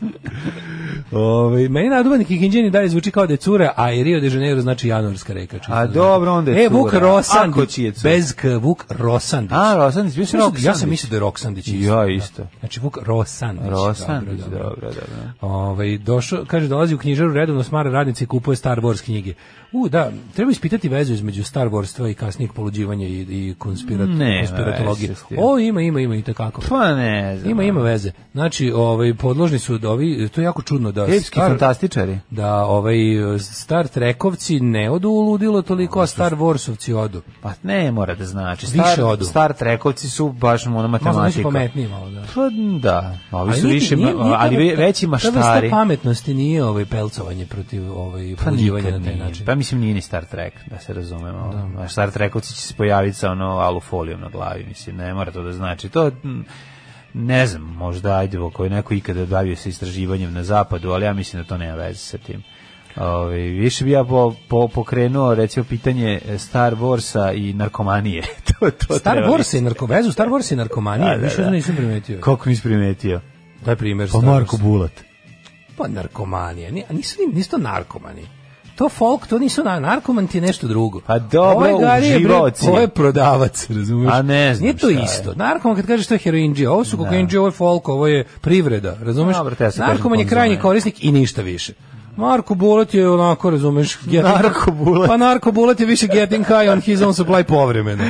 S6: Ove, Ovaj, meni naduvan Kikinđeni dalje zvuči kao da je cura, a i Rio de Janeiro znači januarska reka. čisto
S7: A
S6: da
S7: dobro, onda je
S6: E, Vuk
S7: cura. Ako
S6: Rosandić,
S7: čiji je cura?
S6: bez K, Vuk Rosandić.
S7: A, Rosandić, bio sam
S6: Mislim da- Ja sam
S7: Roksandić.
S6: mislio da je Roksandić.
S7: Ja
S6: da.
S7: isto.
S6: Znači, Vuk Rosandić.
S7: Rosandić,
S6: Dobro, dobro.
S7: dobro, dobro.
S6: Ovaj došao, kaže dolazi u knjižaru redovno smara radnici i kupuje Star Wars knjige. U da, treba ispitati vezu između Star Warstva i kasnijeg poluđivanja i, i konspirat,
S7: Nema
S6: konspiratologije.
S7: veze s tim.
S6: O, ima, ima, ima i takako.
S7: Pa ne znam.
S6: Ima ima veze. Znači, ovaj podložni su da ovi to je jako čudno da
S7: Epski fantastičari.
S6: da ovaj Star Trekovci ne odu u ludilo toliko, a Star Warsovci odu.
S7: Pa ne mora da znači.
S6: Više
S7: Star,
S6: odu.
S7: Star Trekovci su baš ono
S6: Možda nešto
S7: matematika.
S6: pametnije malo, da.
S7: Pa da, ovi su
S6: nije-
S7: više,
S6: nije-
S7: ma-
S6: nije ta
S7: ali ve-
S6: vrsta-
S7: veći
S6: Ta vrsta
S7: maštari.
S6: pametnosti nije ovaj pelcovanje protiv ovaj
S7: Pa
S6: poluđivanja
S7: nikad
S6: na taj
S7: nije.
S6: način.
S7: Pa mislim nije ni Star Trek, da se razumemo. Da. Star Trekovci će se pojaviti sa ono alufolijom na glavi, mislim, ne mora to da znači. To, mm, ne znam, možda ajde, ako je neko ikada bavio se istraživanjem na zapadu, ali ja mislim da to nema veze sa tim. Ove, više bi ja po, po, pokrenuo recimo pitanje Star Warsa i narkomanije. to, to
S6: Star
S7: treba
S6: Wars i narkovezu, Star Wars i narkomanija,
S7: Da, da,
S6: više
S7: da.
S6: nisam primetio.
S7: Kako nisi primetio?
S6: Taj primer
S7: Pa
S6: Star
S7: Marko
S6: Warsa.
S7: Bulat.
S6: Pa narkomanija, ni, a nisu, ni- nisu to narkomani. To folk, to nisu na, narkoman ti je nešto drugo.
S7: Pa dobro,
S6: Ovaj gari je, bre,
S7: uživaoci.
S6: Ovo je prodavac, razumiješ?
S7: A ne znam
S6: Nije to
S7: šta je. Da.
S6: isto. Narkoman kad kažeš to je heroinđija, ovo su kokainđija, ovo je folk, ovo je privreda, razumiješ?
S7: Dobro, te ja sad
S6: narkoman
S7: kažem pa
S6: je krajnji
S7: konzument.
S6: korisnik i ništa više. Marko Bulat je onako, razumeš, getting-
S7: Narko Bulat.
S6: Pa Narko Bulat je više getting high on his own supply povremeno.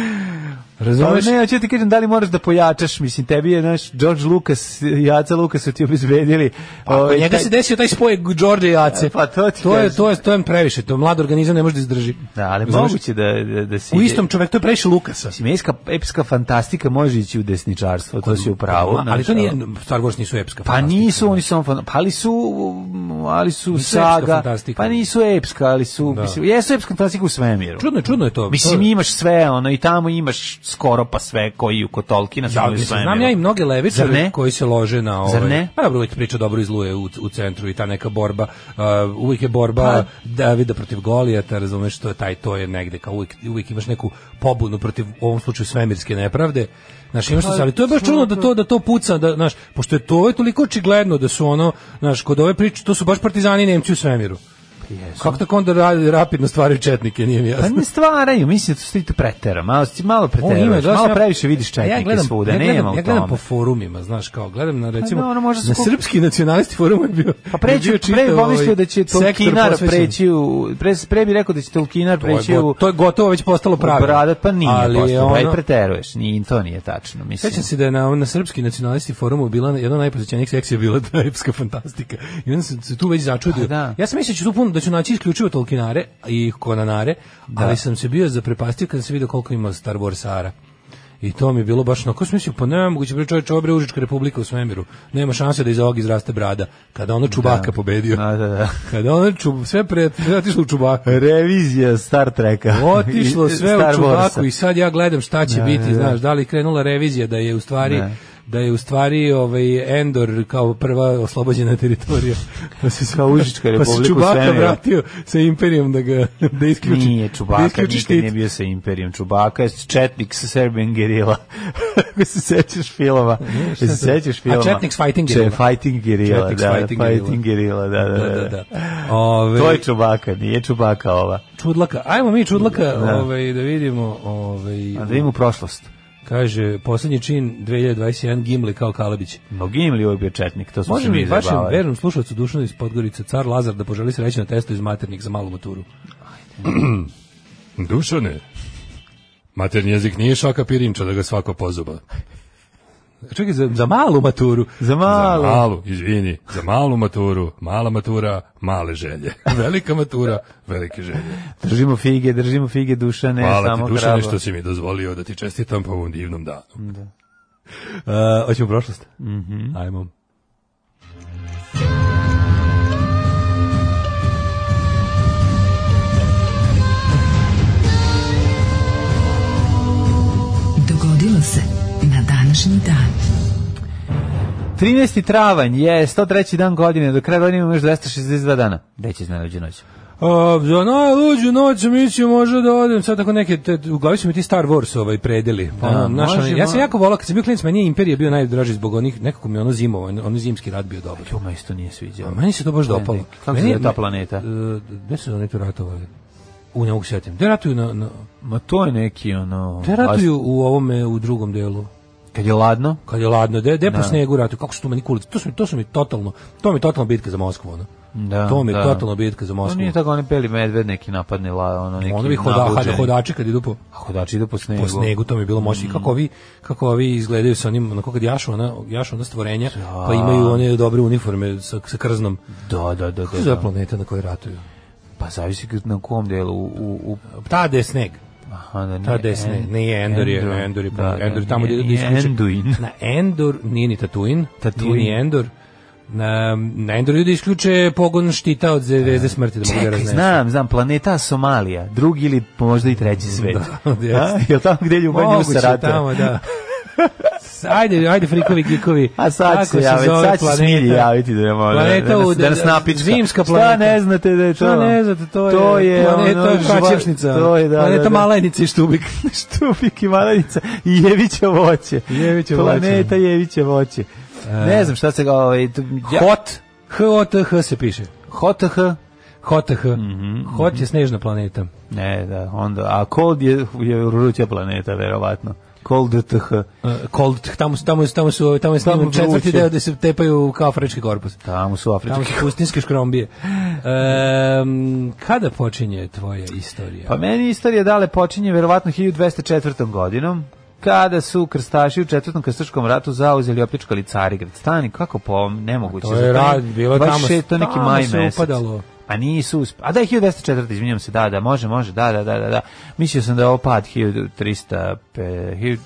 S6: Razumeš?
S7: Pa ne, hoću ti kažem da li moraš da pojačaš, mislim, tebi je naš George Lucas, Jaca Lucas su ti obezbedili.
S6: Pa
S7: ovaj,
S6: njega
S7: taj-
S6: se desio taj spoj Đorđe i Ace.
S7: E, pa to ti
S6: to je
S7: kažem.
S6: to je to je previše, to mlad organizam ne može da izdrži.
S7: Da, ali
S6: Razumeš?
S7: moguće da, da, da si...
S6: U istom čoveku to je previše Lukasa.
S7: Mislim, epska, epska fantastika može ići u desničarstvo, to si u pravu.
S6: Ma, ali
S7: znaš,
S6: to nije
S7: ali-
S6: Star Wars nisu epska.
S7: Pa
S6: fantastika.
S7: nisu, oni su samo fan- pa ali su, um, ali su
S6: Nisu epska
S7: saga,
S6: fantastika.
S7: pa nisu epska, ali su,
S6: Da.
S7: mislim, jesu epska fantastika u svemiru.
S6: Čudno je, čudno je to.
S7: Mislim,
S6: To je-
S7: imaš sve, ono, i tamo imaš skoro pa sve koji u Kotolkina
S6: Ja,
S7: samo u
S6: mislim,
S7: svemiru.
S6: znam ja i mnoge
S7: Zar
S6: levičare
S7: ne?
S6: koji se lože na ovaj.
S7: Zar ne?
S6: Pa dobro, uvijek priča dobro izluje u, u centru i ta neka borba, uh, uvijek je borba
S7: Pa-
S6: Davida protiv Golijata, razumeš što je taj to je negde kao uvijek, uvijek imaš neku pobunu protiv u ovom slučaju svemirske nepravde. Znaš,
S7: Pa,
S6: imaš to, sve, ali to je baš čudno da to da to puca, da znaš, pošto je to je toliko očigledno da su ono, znaš, kod ove priče to su baš partizani i Nemci u svemiru. Kako tako onda ra- rapidno stvaraju četnike, nije mi jasno.
S7: Pa ne stvaraju, mislim da su ti to pretera, malo, si- malo
S6: On ima,
S7: preteraš,
S6: da,
S7: malo
S6: ja-
S7: previše vidiš
S6: A
S7: četnike
S6: ja gledam,
S7: svuda,
S6: ja gledam,
S7: nema
S6: ja
S7: u
S6: gledam
S7: tome. Pa
S6: po forumima, znaš, kao gledam na recimo
S7: ono možda
S6: na
S7: skup-
S6: srpski nacionalisti forum je bio.
S7: Pa preći,
S6: je bio čitav
S7: pre bi
S6: ovaj
S7: pomislio da će
S6: sektor
S7: Tolkienar
S6: posvećen.
S7: preći u, pre, pre bi rekao da će Tolkienar
S6: To je,
S7: preći
S6: go-
S7: u,
S6: to je gotovo već postalo pravilo.
S7: Bradat, pa nije
S6: Ali je
S7: postao, ono...
S6: ono-
S7: preteruješ, ni, to nije tačno, mislim.
S6: Sećam se da je na, na srpski nacionalisti forumu bila jedna od najposećenijih sekcija bila ta epska fantastika. I onda sam se tu već začudio.
S7: Pa da.
S6: Ja sam mislio da ću tu puno da ću naći isključivo tolkinare i konanare,
S7: Da.
S6: ali sam se bio zaprepastio kada sam vidio koliko ima Star Warsara. I to mi je bilo baš na ko sam mislio, pa nema moguće bre čovječe, ovo bre Užička republika u svemiru. Nema šanse da iz ovog izraste brada. Kada ono Čubaka pobedio.
S7: Da, da, da.
S6: Kada ono čub, sve pre, sve otišlo u Čubaka.
S7: Revizija Star Treka.
S6: Otišlo
S7: I-
S6: sve
S7: Star
S6: u čubaku
S7: Warsa.
S6: i sad ja gledam šta će biti, znaš, da li je krenula revizija da je u stvari
S7: Ne.
S6: da je u stvari ovaj Endor kao prva oslobođena teritorija. Da se
S7: Kao Užička
S6: Pa
S7: republika u
S6: se Čubaka
S7: svemiru.
S6: vratio sa imperijom da ga da isključi.
S7: Nije Čubaka,
S6: da
S7: nikad
S6: isključi štit.
S7: nije bio sa Imperijom. Čubaka je Četnik sa Serbian Gerila. Ako se sećaš filma. Ako se sećaš filma.
S6: A Četnik s Fighting Gerilla.
S7: Če- Fighting Gerila,
S6: Četnik s
S7: da.
S6: Fighting
S7: Fighting,
S6: Gerilla.
S7: Gerila, da, da, da. da.
S6: Ove,
S7: To je Čubaka, nije Čubaka ova.
S6: čudlaka. Ajmo mi čudlaka, da.
S7: Da.
S6: ovaj da vidimo, ovaj
S7: A da im u prošlost.
S6: kaže poslednji čin 2021 Gimli kao Kalabić.
S7: No Gimli uvijek bio Četnik, to smo
S6: Može
S7: se mi
S6: mi vašem
S7: zabavali.
S6: vernom slušalcu Dušanu iz Podgorice, car Lazar, da poželi sreću na testu iz maternik za malu maturu. Dušane, materni jezik nije šaka pirinča da ga svako pozuba. Čekaj, za, za malu maturu.
S7: Za malu.
S6: Za malu, izvini. Za malu maturu, mala matura, male želje. Velika matura, velike želje.
S7: Držimo fige, držimo fige Dušane,
S6: Hvala
S7: E, samo
S6: ti Dušane
S7: hrabro.
S6: što si mi dozvolio da ti čestitam po ovom divnom danu. Da. hoćemo prošlost? Mm
S7: Mhm.
S6: Ajmo.
S5: Dogodilo se na današnji dan.
S7: 13. travanj je 103. dan godine, do kraja godine ima još 262 dana. Gde će iznaleđu noć?
S6: A, Pa, za najluđu noć mi će možda da odem, sad tako neke, te, u glavi su mi ti Star Wars ovaj predeli.
S7: Da,
S6: Ono, znaš,
S7: može,
S6: ono, ja sam
S7: ma-
S6: jako volao, kad sam bio klinic, meni je Imperija bio najdraži zbog onih, nekako mi je ono zimo, ono zimski rad bio dobar.
S7: Čuma isto nije sviđao.
S6: A meni se to baš dopalo.
S7: Ne, Kako se
S6: Meni-
S7: zove ta planeta?
S6: E, Gde su oni tu ratovali? U ne mogu se setim. Gde ratuju na, na
S7: Ma to je neki ono...
S6: gde ratuju u ovome u drugom delu?
S7: Kad je ladno?
S6: Kad je ladno, gde
S7: Da.
S6: gde po snegu ratuju? Kako su tu meni kulice? To su mi to su mi totalno, to mi je totalna bitka za Moskvu, ono.
S7: Da,
S6: to mi je
S7: da.
S6: totalno bitka za
S7: On
S6: Moskvu.
S7: nije tako, oni beli medved neki napadne, la, ono neki
S6: Ono bi hoda,
S7: nabuđeni.
S6: hodači kad idu po,
S7: A hodači ide po snegu. Mm.
S6: po snegu, to mi je bilo moćno. I Kako ovi, kako ovi izgledaju sa onim, onako kad jašu ona, jašu ona stvorenja, pa imaju one dobre uniforme sa, sa krznom.
S7: Da, da, da.
S6: Kako
S7: da,
S6: je
S7: da.
S6: planeta na kojoj ratuju?
S7: Pa zavisi kad- na kom delu. U, u, u,
S6: Ta gde je sneg.
S7: aha, da,
S6: Ta desne,
S7: En-
S6: nije Endor, je,
S7: Endor.
S6: na Endor je,
S7: Da,
S6: Endor je
S7: da,
S6: tamo gdje
S7: nije-
S6: da
S7: nije
S6: isključe-
S7: Enduin.
S6: Na Endor, nije ni Tatuin,
S7: Tatooine.
S6: nije ni Endor. Na, na Endor ljudi isključe pogon štita od zvezde smrti da mogu da
S7: Čekaj,
S6: raznesu.
S7: znam, znam, planeta Somalija, drugi ili možda i treći svet.
S6: Da,
S7: A,
S6: jeste.
S7: jel tamo gde ljubav nju
S6: Moguće je
S7: sarate?
S6: tamo, da. S- Ajde, ajde frikovi, gikovi.
S7: A sad
S6: Kako
S7: ću se javiti,
S6: zove
S7: sad ću se smilji
S6: planeta?
S7: javiti da, nema, da,
S6: Planeta
S7: da, nas-
S6: u-
S7: da nas napička.
S6: zimska
S7: Šta
S6: planeta.
S7: ne znate da je to?
S6: Šta ne znate, to je,
S7: to je,
S6: planeta
S7: ono, žva-
S6: Kačevšnica,
S7: To je, da, da,
S6: planeta
S7: da.
S6: Malajnica i Štubik.
S7: Štupik i Malanica i Jevića voće.
S6: Jeviće voće.
S7: Planeta Jevića voće. Ne znam šta se ga... Ovaj, tu- ja,
S6: Hot, H-O-T-H se piše.
S7: HOTH?
S6: Hot-H.
S7: Mhm,
S6: Hot je snežna planeta.
S7: Ne, da, onda. A Cold je, je vruća planeta, verovatno. Cold TH.
S6: Uh, cold, tamo su, tamo su, tamo su, tamo je
S7: Tamo
S6: sniman
S7: vruće.
S6: četvrti deo gde se tepaju kao afrički korpus.
S7: Tamo su
S6: Tamo
S7: afrički
S6: su pustinske škrombije. Ehm, kada počinje tvoja istorija?
S7: Pa meni istorija dale počinje verovatno 1204. godinom, kada su krstaši u četvrtom krstaškom ratu zauzeli i opljačkali Carigrad. Stani, kako po nemoguće.
S6: A to je
S7: Za taj
S6: rad, bilo je tamo-
S7: 26, to je neki
S6: tamo
S7: maj
S6: se
S7: mesec.
S6: upadalo.
S7: A nisu usp... A da je 1204. izvinjam se, da, da, može, može, da, da, da, da. da. Mislio sam da je ovo pad 1300... pe- 1000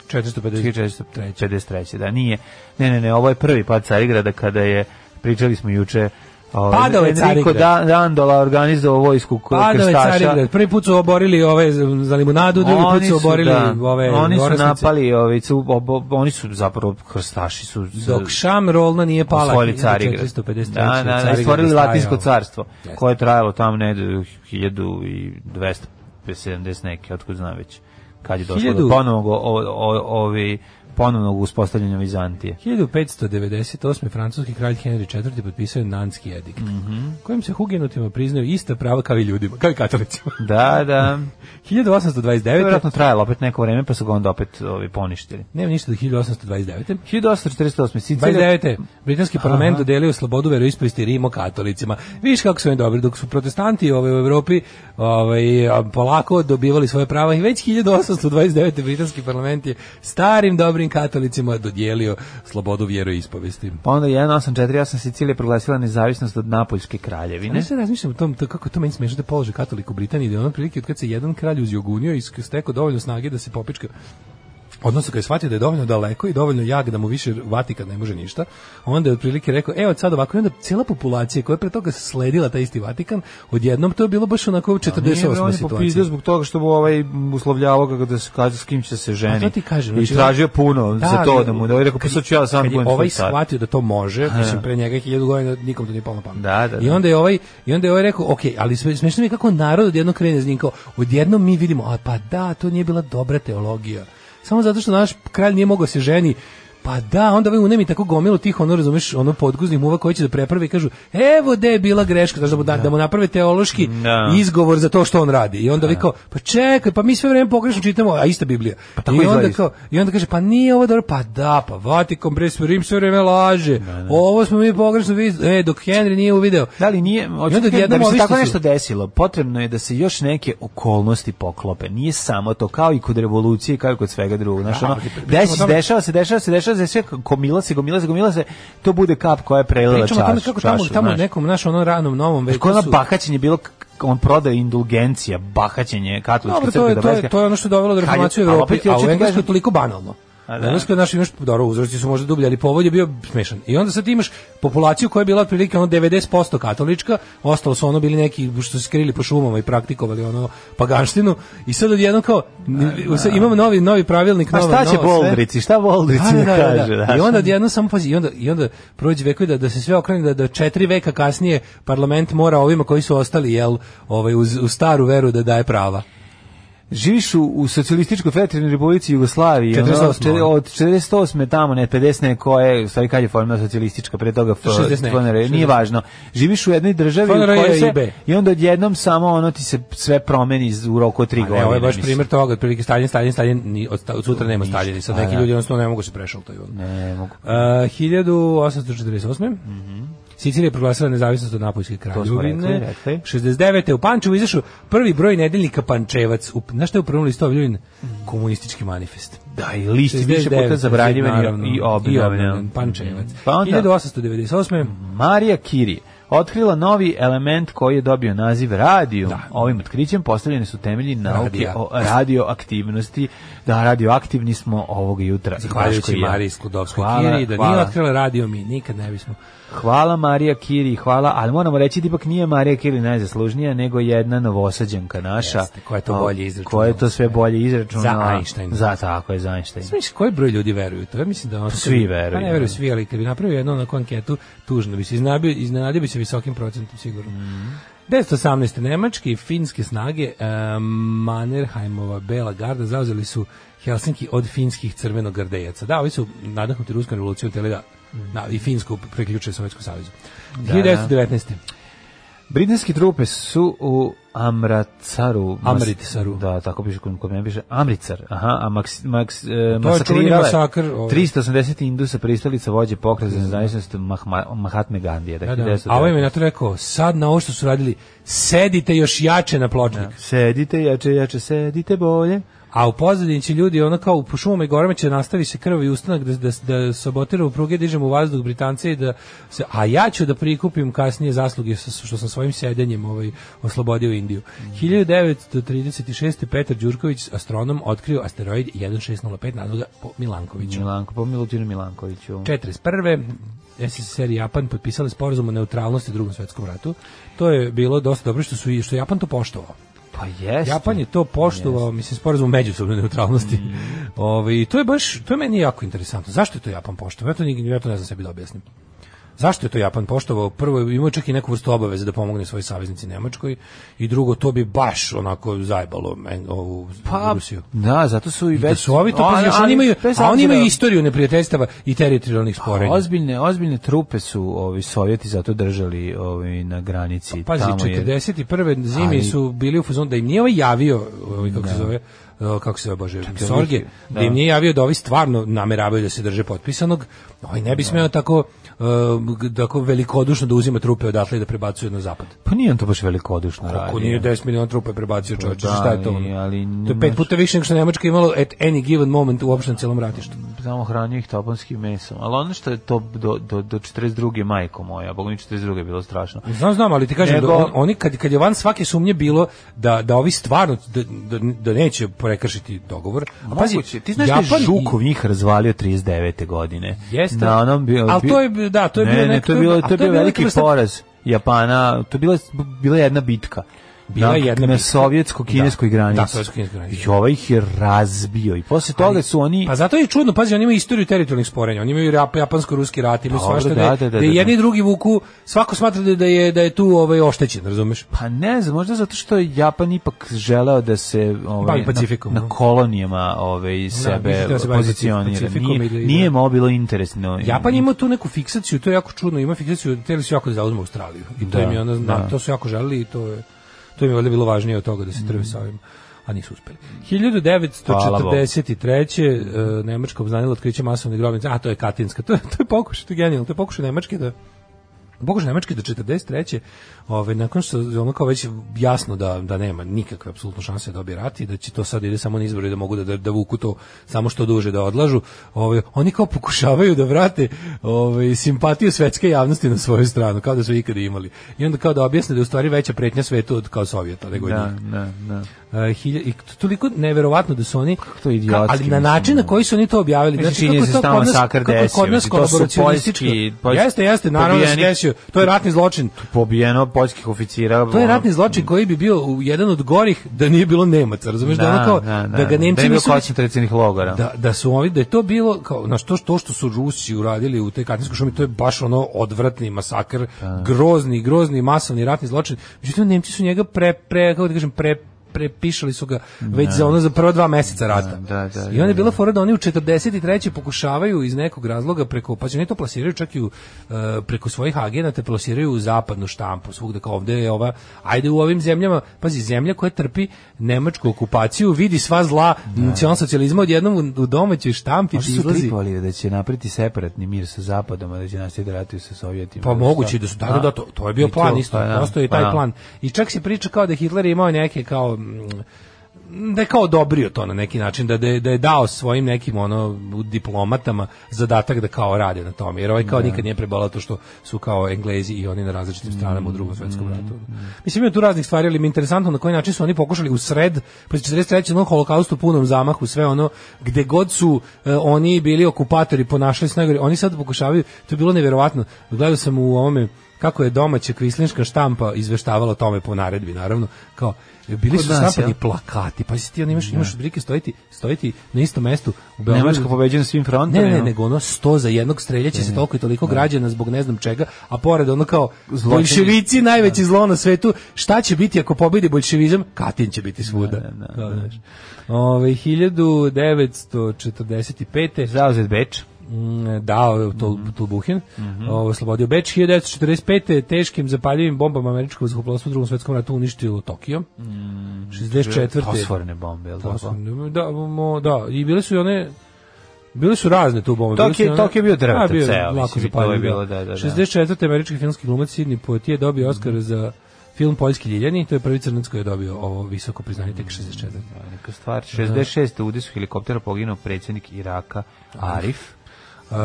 S7: 1453. Da, nije. Ne, ne, ne, ovo je prvi pad Carigrada kada je, pričali smo juče, ovaj,
S6: Padao je
S7: Enrico
S6: Carigrad.
S7: Dan- Dandola organizovao vojsku ko-
S6: Padao je
S7: krstaša.
S6: Carigrad. Prvi put su oborili ove za za limunadu, drugi put su oborili
S7: da,
S6: ove
S7: oni su
S6: orasnice.
S7: napali ovi su obo- oni su zapravo krstaši su s-
S6: Dok Šam rolna nije pala.
S7: osvojili Carigrad.
S6: 1453.
S7: Da, da, da,
S6: Carigrad je
S7: stvorili
S6: stajao.
S7: Latinsko carstvo,
S6: Jeste.
S7: koje je trajalo tamo ne 1270 neke, otkud znam već. Kad je došlo do
S6: Hiljadu-
S7: ponovnog o- o- o- ovi ponovnog uspostavljanja Vizantije.
S6: 1598. francuski kralj Henry IV. potpisao je Nanski edikt,
S7: Mhm.
S6: kojim se hugenotima priznaju ista prava kao i ljudima, kao i katolicima.
S7: Da, da. To je
S6: 1829.
S7: Vjerojatno trajalo opet neko vreme, pa su ga onda opet ovi poništili.
S6: Nema ništa do 1829.
S7: 1848. Sicilija
S6: 29. Britanski parlament dodelio slobodu veroispovesti Rimo katolicima. Viš kako su oni dobri, dok su protestanti ovaj, u Evropi ovaj, a, polako dobivali svoje prava i već 1829. Britanski parlament je starim dobrim katolicima dodijelio slobodu vjeroispovesti.
S7: Pa onda 1848 Sicilija proglasila nezavisnost od Napoljske kraljevine.
S6: Ne se razmišljam o tom to, kako to meni smešno da je položaj katolika u Britaniji, da je ono prilike od kad se jedan kralj uzjogunio i stekao dovoljno snage da se popička odnosno kad je shvatio da je dovoljno daleko i dovoljno jak da mu više Vatikan ne može ništa, onda je otprilike rekao, evo sad ovako, i onda cijela populacija koja je pre toga sledila taj isti Vatikan, odjednom to je bilo baš onako
S7: Pa Nije bre, on
S6: 48.
S7: je popizdio
S6: situacija.
S7: zbog toga što mu ovaj uslovljavao ga da se kaže s kim će se ženi.
S6: A to ti kažem,
S7: I
S6: znači,
S7: tražio puno
S6: Da,
S7: za to
S6: ali-
S7: da mu da ovaj rekao, pa sad ću ja sam
S6: Kad je
S7: budem
S6: ovaj
S7: svoj car.
S6: shvatio da to može, mislim pre njega je hiljadu godina nikom to nije palo na pamet.
S7: Da, da, da.
S6: I onda je ovaj i onda je ovaj rekao, ok, ali sme- smešno mi je kako narod odjednom krene s njim kao, odjednom mi vidimo, a pa da, to nije bila dobra teologija. Samo zato što naš kralj nije mogao da se ženi. Pa da, onda ovaj unemi tako gomilu tih, ono, razumeš, ono podguznih muva koji će da preprave i kažu, evo gde je bila greška, znaš, da mu, da, da mu naprave teološki
S7: Da.
S6: izgovor za to što on radi. I onda vi kao, pa čekaj, pa mi sve vreme pogrešno čitamo, a ista Biblija.
S7: Pa tako
S6: I onda
S7: izgleda isto.
S6: kao, i onda kaže, pa nije ovo dobro, pa da, pa Vatikan, bre, sve Rim sve vreme laže, ovo smo mi pogrešno vidjeli, e, dok Henry nije uvideo.
S7: Da li nije, hoću da, kažem, da
S6: odjednom
S7: bi se
S6: ovi
S7: tako
S6: što su-
S7: nešto desilo, potrebno je da se još neke okolnosti poklope. Nije samo to, kao i kod revolucije, kao i kod svega drugog. Znaš,
S6: Da,
S7: ono, desi,
S6: o tome-
S7: dešava se, dešava se, dešava se, sve gomila se, gomila se, gomila se, to bude kap koja je prelila
S6: Pričamo o tome
S7: čaš,
S6: kako tamo,
S7: čašu.
S6: tamo
S7: znaš.
S6: nekom, naš ono ranom, novom veku
S7: Kako ono
S6: su-
S7: bahaćenje bilo, k- k- on prodaje indulgencija, bahaćenje katoličke
S6: Dobro,
S7: crkve. da
S6: to je, to, je,
S7: Dobrajska.
S6: to je ono što je dovelo do reformacije u
S7: Kad je- ali
S6: Evropi,
S7: opet ja
S6: a u
S7: hoću ti
S6: Engleskoj
S7: kažem-
S6: je toliko banalno.
S7: A da.
S6: Danas kod naš imaš dobro uzroci su možda dublji, ali povod je bio smešan. I onda sad imaš populaciju koja je bila otprilike ono 90% katolička, ostalo su ono bili neki što su skrili po šumama i praktikovali ono paganštinu i sad odjednom kao sad imamo novi novi pravilnik,
S7: Pa
S6: nova
S7: da. šta će
S6: novo sve.
S7: Boldrici, šta Boldrici
S6: Da, da, da, da.
S7: kaže? Da,
S6: I onda odjednom samo pazi, i onda, i onda prođe vekovi da, da se sve okrene, da, da četiri veka kasnije parlament mora ovima koji su ostali, jel, ovaj, uz, uz staru veru da daje prava.
S7: Živiš u, u socijalističkoj federativnoj republici Jugoslaviji,
S6: 48..
S7: ono, od 48. tamo, ne 50. ne koje, u stvari kad je formila socijalistička, pre toga F-
S6: 60 neke,
S7: FNR, nije
S6: 60.
S7: važno. Živiš u jednoj državi u
S6: FNR je
S7: kojoj se,
S6: IB.
S7: i onda odjednom samo ono ti se sve promeni iz- u roku od 3 godine.
S6: Pa Ne, ovo je baš
S7: mislim.
S6: primjer toga, otprilike Stalin, Stalin, Stalin, ni, od, sta- od sutra nema Stalin, i sad neki ljudi jednostavno ne mogu se prešaltaju.
S7: da, Ne, mogu.
S6: Uh, 1848. Sicilija je proglasila nezavisnost od Napoljske
S7: Mhm. To smo rekli,
S6: kraljevine.
S7: rekli.
S6: 69. u Pančevu izašao prvi broj nedeljnika Pančevac. U, znaš šta je u prvom listu objavljen? Komunistički manifest.
S7: Da, i listi Mhm. više
S6: 69,
S7: puta zabranjivan
S6: naravno,
S7: i
S6: i
S7: obnavljan.
S6: obnovljen, Pančevac.
S7: Pa onda- Mhm.
S6: 1898.
S7: Marija Kiri otkrila novi element koji je dobio naziv radio.
S6: Da.
S7: Ovim otkrićem postavljeni su temelji nauke
S6: Radija.
S7: o radioaktivnosti. Da, radioaktivni smo ovog jutra. Daško
S6: Zahvaljujući
S7: i ja.
S6: Mariji Sklodovskoj
S7: Hvala,
S6: Kiri, da
S7: hvala.
S6: nije otkrila radio mi, nikad ne bismo.
S7: Hvala Marija Kiri, hvala, ali moramo reći da ipak nije Marija Kiri najzaslužnija, nego jedna novosađanka naša.
S6: Jeste, koja je to
S7: O,
S6: bolje izračunala.
S7: Koja je to sve bolje izračunala.
S6: Za Einsteina.
S7: Za, tako je, za Einsteina.
S6: Znaš koji broj ljudi veruju to? Ja mislim da ono,
S7: Svi veruju.
S6: Pa ne veruju svi, ali kad bi napravio jednu onakvu anketu, tužno bi se iznadio, iznenadio bi se visokim procentom sigurno. 1918. Nemačke i finske snage e, Mannerheimova Bela garda zauzeli su Helsinki od finskih crvenogardejaca. Da, ovi su nadahnuti ruskom revolucijom teli da, da, i Finsku preključuje Sovjetsku savezu. 1919.
S7: Britanske trupe su u Amracaru. mas-
S6: Amritsaru.
S7: Da, tako piše kod, kod mene piše. Amritsar. Aha, a maks, maks, e,
S6: To je čuveni
S7: masakrirale
S6: masakr, ovaj.
S7: 380 indusa pristalica vođe pokreta za nezavisnost Mahma, Mahatme Gandija.
S6: Da,
S7: Dakle,
S6: da.
S7: 1919.
S6: A ovaj mi je na to rekao, sad na ovo što su radili, sedite još jače na pločnik.
S7: Sedite jače, jače, sedite bolje.
S6: A u pozadini će ljudi ono kao po šumama i gorama će nastavi se krvavi ustanak da, da, da sabotiramo pruge, dižemo u vazduh Britance i da se, a ja ću da prikupim kasnije zasluge sa- što sam svojim sedenjem ovaj, oslobodio Indiju. 1936. Petar Đurković, astronom, otkrio asteroid 1605 nazvao ga po Milankoviću.
S7: Milanko, po Milutinu Milankoviću.
S6: 41. SSSR i Japan potpisali sporazum o neutralnosti u drugom svetskom ratu. To je bilo dosta dobro što su i što je Japan to poštovao.
S7: Pa jeste.
S6: Japan je to poštovao, mislim, sporazum međusobne neutralnosti.
S7: Mm.
S6: Ove, i to je baš, to je meni jako interesantno. Zašto je to Japan poštovao? Ja to, ni- ja to ne znam sebi da objasnim. Zašto je to Japan poštovao? Prvo, imao je čak i neku vrstu obaveze da pomogne svojoj saveznici Nemačkoj i drugo, to bi baš onako zajbalo men, ovu Rusiju.
S7: Da, zato su i
S6: I da
S7: već...
S6: su ovi to,
S7: A-
S6: pazi, još oni
S7: ali
S6: imaju,
S7: bez
S6: a oni
S7: obzira-
S6: imaju istoriju neprijateljstava i teritorijalnih sporenja.
S7: Ozbiljne, ozbiljne trupe su ovi Sovjeti zato držali ovi na granici.
S6: Pa Pazi,
S7: tamo jer-
S6: 41. zimi
S7: Ali- Da.
S6: su bili u fazonu da im nije ovaj javio, ovaj, kako se zove, o, kako se zove, bože, Sorge,
S7: njih-
S6: da. im nije javio da ovi stvarno nameravaju da se drže potpisanog, ovaj ne bi
S7: Da.
S6: smeo tako, uh, g- tako velikodušno da uzima trupe odatle i da prebacuje na zapad.
S7: Pa nije on to baš velikodušno radio.
S6: Ako nije da- 10 miliona trupa je prebacio čovječe,
S7: Da,
S6: šta je to?
S7: ali-
S6: ono?
S7: ali
S6: to je
S7: nemaš-
S6: pet puta više nego što je Nemačka imalo at any given moment u opštenom celom ratištu.
S7: samo hranio ih topovskim mesom. Ali ono što je to do, do, do 42. majko moja, boga mi 42. je bilo strašno.
S6: Znam, znam, ali ti kažem,
S7: Nego-
S6: da on- oni kad, kad je van svake sumnje bilo da, da ovi stvarno, da, da, da neće prekršiti dogovor. A pazi,
S7: Moguće, ti znaš da je
S6: Japan i-
S7: Žukov njih razvalio 39. godine.
S6: Jeste.
S7: Na onom bio,
S6: Ali to je- da, to je
S7: ne,
S6: bio
S7: ne,
S6: nek-
S7: to je bilo,
S6: a
S7: to je bio
S6: neka
S7: veliki
S6: vrsta-
S7: poraz Japana, to je bila, bila jedna bitka.
S6: Bila
S7: na,
S6: je jedna
S7: na
S6: bitka.
S7: sovjetsko-kineskoj
S6: Da,
S7: granici.
S6: da, sovjetsko-kineskoj granici.
S7: I ovaj ih je razbio. I posle toga su oni...
S6: Pa zato je čudno, pazi, oni imaju istoriju teritorijalnih sporenja, oni imaju rap- japansko-ruski rat, imaju
S7: Dobro,
S6: svašta
S7: da,
S6: da, je-
S7: da, da,
S6: da
S7: da,
S6: je
S7: da.
S6: jedni i drugi vuku, svako smatra da je- da je, da je tu ovaj, oštećen, razumeš?
S7: Pa ne znam, možda zato što je Japan ipak želeo da se ovaj,
S6: Bavi
S7: na-
S6: Pacifikom,
S7: na,
S6: no.
S7: kolonijama ovaj, sebe
S6: misli da se bavi
S7: pozicionira.
S6: Pacifikom
S7: Nije,
S6: i da-
S7: nije mu ovo bilo interesno.
S6: Japan ima tu neku fiksaciju, to je jako čudno, ima fiksaciju, hteli su jako da zauzmu Australiju. I to
S7: Da,
S6: im je ono,
S7: da. Mm.
S6: to su jako želeli i to je to im je valjda bilo važnije od toga da se trve sa ovim a nisu uspeli. 1943. e, Nemačka obznanila otkriće masovne grobnice. A, to je Katinska. To, je- to je pokušaj, to je genijalno. To je pokušaj Nemačke da Bogož Nemački do 43. Ove, nakon što je ono kao već jasno da, da nema nikakve apsolutno šanse da dobije rat i da će to sad ide samo na izbore i da mogu da, da, da vuku to samo što duže da odlažu. Ove, oni kao pokušavaju da vrate ove, simpatiju svetske javnosti na svoju stranu, kao da su ikada imali. I onda kao da objasne da je u stvari veća pretnja svetu od kao Sovjeta, nego od
S7: Da,
S6: njih.
S7: da, da.
S6: Uh, hilja- i t- toliko neverovatno da su oni
S7: to je idiotski,
S6: ali na
S7: mislim,
S6: način
S7: da.
S6: na koji su oni to objavili
S7: Mislim,
S6: znači
S7: čini
S6: kako je
S7: se
S6: to
S7: stalno
S6: kod nas
S7: masakr
S6: kako je
S7: desio,
S6: kod nas
S7: mislim, to su
S6: kolaboracionističko
S7: poljski- poljski-
S6: jeste jeste naravno da se
S7: pobijeni-
S6: desio to je ratni zločin
S7: Pobijeno poljskih oficira.
S6: to je
S7: ono,
S6: ratni zločin koji bi bio u- jedan od gorih da nije bilo Nemaca razumeš da, ono kao da ga Nemci
S7: da
S6: nisu
S7: koncentracionih logora.
S6: da, da su ovi da je to bilo kao na što što što su Rusi uradili u toj Katinskoj šumi to je baš ono odvratni masakr
S7: Da.
S6: grozni grozni masovni ratni zločin međutim Nemci su njega pre pre kako da kažem pre prepišali su ga već za ono za prva dva meseca rata.
S7: Da, da, da,
S6: I onda je bila fora da oni u 43. pokušavaju iz nekog razloga preko pa će oni to plasiraju čak i u, e, preko svojih agenata plasiraju u zapadnu štampu svugde kao ovde je ova ajde u ovim zemljama pazi zemlja koja trpi nemačku okupaciju vidi sva zla nacional socijalizma odjednom u- u domaćoj štampi
S7: Možda
S6: ti
S7: Da. su
S6: izlazi
S7: tripovali da će napriti separatni mir sa zapadom, a da će nastaviti da ratuju sa sovjetima.
S6: Pa moguće da su da, da, da, to, to je bio
S7: I
S6: plan
S7: to,
S6: isto,
S7: pa da,
S6: postoji
S7: pa
S6: taj
S7: da.
S6: plan. I čak se priča kao da je Hitler imao neke kao mm, da je kao odobrio to na neki način, da, da, je, da je dao svojim nekim ono diplomatama zadatak da kao rade na tome, jer ovaj kao
S7: Da.
S6: nikad nije prebolao to što su kao Englezi i oni na različitim
S7: Mm,
S6: stranama u drugom svetskom ratu. Mislim, ima tu raznih stvari, ali mi je interesantno na koji način su oni pokušali u sred, pa 43. ono holokaust u punom zamahu, sve ono, gde god su e, oni bili okupatori, ponašali se najgore, oni sad pokušavaju, to je bilo nevjerovatno, gledao sam u ovome, kako je domaća kvislinška štampa izveštavala o tome po naredbi, naravno, kao bili
S7: Kod
S6: su
S7: nas,
S6: štampani
S7: jel?
S6: plakati, pa si ti on imaš, imaš prilike stojiti, stojiti na istom mestu u Beogradu.
S7: Nemačka pobeđena svim frontom.
S6: Ne, ne, nego ono sto za jednog streljaće se toliko i toliko građana zbog ne znam čega, a pored ono kao
S7: Zločini.
S6: bolševici najveće zlo na svetu, šta će biti ako pobedi bolševizam? Katin će biti svuda. Da, znaš. Ove, 1945.
S7: Zauzet Beč.
S6: Mm, dao to mm Tulbuhin, ovo, oslobodio Beč 1945. teškim zapaljivim bombama američkog zrakoplovstva u drugom svetskom ratu uništilo Tokio. 64.
S7: Fosforne bombe, jel da?
S6: Fosforne, Da, mo- da, i bile su i one Bile su razne tu bombe. bile su
S7: Tokio-
S6: i one-
S7: Tokio je bio drveta
S6: A, bio je
S7: ceo,
S6: lako
S7: mislim, i to je
S6: zapaljiv,
S7: bilo, da, Mhm. da, da.
S6: 64. američki filmski glumac Sidney Poitier dobio Oscar za film Poljski ljiljani, to je prvi crnac koji je dobio ovo visoko priznanje tek 64.
S7: Neka stvar. 66. u udesu helikoptera poginuo predsjednik Iraka Arif.
S6: Uh,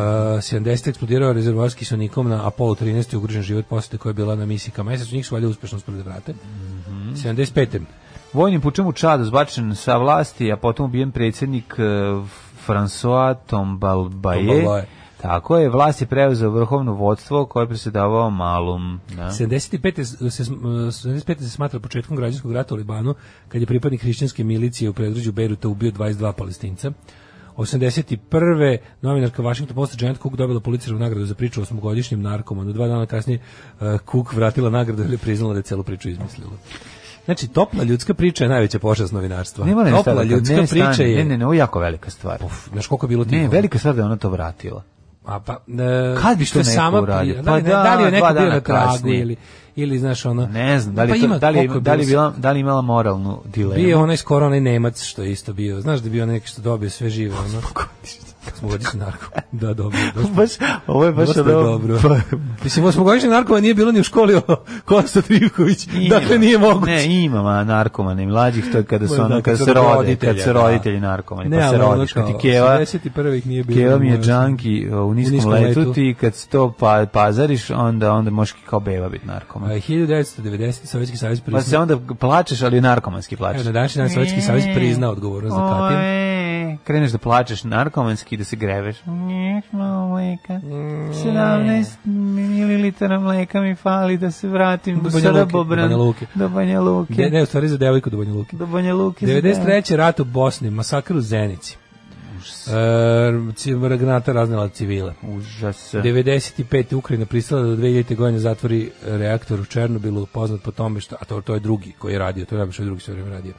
S6: 70. eksplodirao rezervoarski s onikom na Apollo 13. ugrožen život posete koja je bila na misiji ka mesecu. Njih su valjda uspešno uspeli da vrate.
S7: Mhm.
S6: 75.
S7: Vojnim pučem u Čadu zbačen sa vlasti, a potom ubijen predsjednik e, François
S6: Tombalbaye.
S7: Tombalbaye. Tako je, vlast je preuzeo vrhovno vodstvo koje je presedavao malum. Da.
S6: 75. se, sm- 75. se smatra početkom građanskog rata u Libanu, kad je pripadnik hrišćanske milicije u predgrađu Beiruta ubio 22 palestinca. 81. novinarka Washington Post Janet Cook dobila policijsku nagradu za priču o osmogodišnjem narkomanu. Dva dana kasnije uh, Cook vratila nagradu jer je priznala da je celu priču izmislila. Znači, topla ljudska priča je najveća pošast novinarstva.
S7: Ne moram
S6: topla
S7: stati,
S6: ljudska
S7: ne, stani,
S6: priča je...
S7: Ne, ne, ne, ovo je jako velika stvar.
S6: Znaš koliko je bilo tih?
S7: ne, velika stvar da je ona to vratila.
S6: A pa, e,
S7: Kad bi
S6: što je
S7: to neko
S6: sama
S7: uradio?
S6: pri-
S7: Pa
S6: Da li, ne-
S7: da,
S6: da li je neko
S7: dva
S6: bio
S7: dana
S6: na tragu
S7: kasnije.
S6: ili, ili znaš ono...
S7: Ne znam, da li,
S6: pa
S7: to-
S6: ima,
S7: da, li,
S6: koliko je
S7: da, li
S6: bilo
S7: bila, da li imala moralnu dilemu?
S6: Bio onaj skoro onaj Nemac što je isto bio. Znaš da je bio neki što dobio sve živo, ono. Osmogodišnji narko. Da, dobro. dobro.
S7: baš, ovo je baš
S6: Dosta
S7: ono-
S6: dobro. Mislim, osmogodišnji narko nije bilo ni u školi o Kosta Trivković.
S7: Ima.
S6: Dakle, nije moguće.
S7: Ne, ima ma, narkomane mlađih, to je kada
S6: Ma,
S7: su
S6: da,
S7: ono,
S6: kad
S7: kada
S6: su
S7: se rode,
S6: roditelja,
S7: kad se
S6: da.
S7: roditelji narkomani,
S6: Ne,
S7: pa se
S6: ali ono
S7: rodiš, kad ti
S6: kao,
S7: keva,
S6: 81. ih nije bilo.
S7: Keva mi je
S6: Moja-
S7: džanki u niskom,
S6: niskom
S7: letu,
S6: letu.
S7: ti kad se to pa, pazariš, onda, onda možeš kao beba biti
S6: A,
S7: narkoman.
S6: 1990. Sovjetski savez
S7: Pa se
S6: priznao.
S7: onda plačeš, ali narkomanski plačeš.
S6: Evo, na današnji dan Sovjetski savez priznao odgovornost za Katin.
S7: Oe, Kreneš da plačeš narkomanski, da se greveš. Njeh, malo mleka.
S6: Mm.
S7: 17 mililitara mleka mi fali da se vratim do
S6: Do Banja Luke,
S7: Srbobran.
S6: do Banja Luke.
S7: Do Banja Luke.
S6: Ne, ne, u stvari za devojku do Banja Luke.
S7: Do Banja Luke.
S6: 93. rat u Bosni, masakr u Zenici. E, granata raznala civile.
S7: Užas.
S6: 95. Ukrajina pristala da do 2000. godine zatvori reaktor u Černobilu, poznat po tome što, a to, to je drugi koji je radio, to je najbolje drugi sve vreme radio.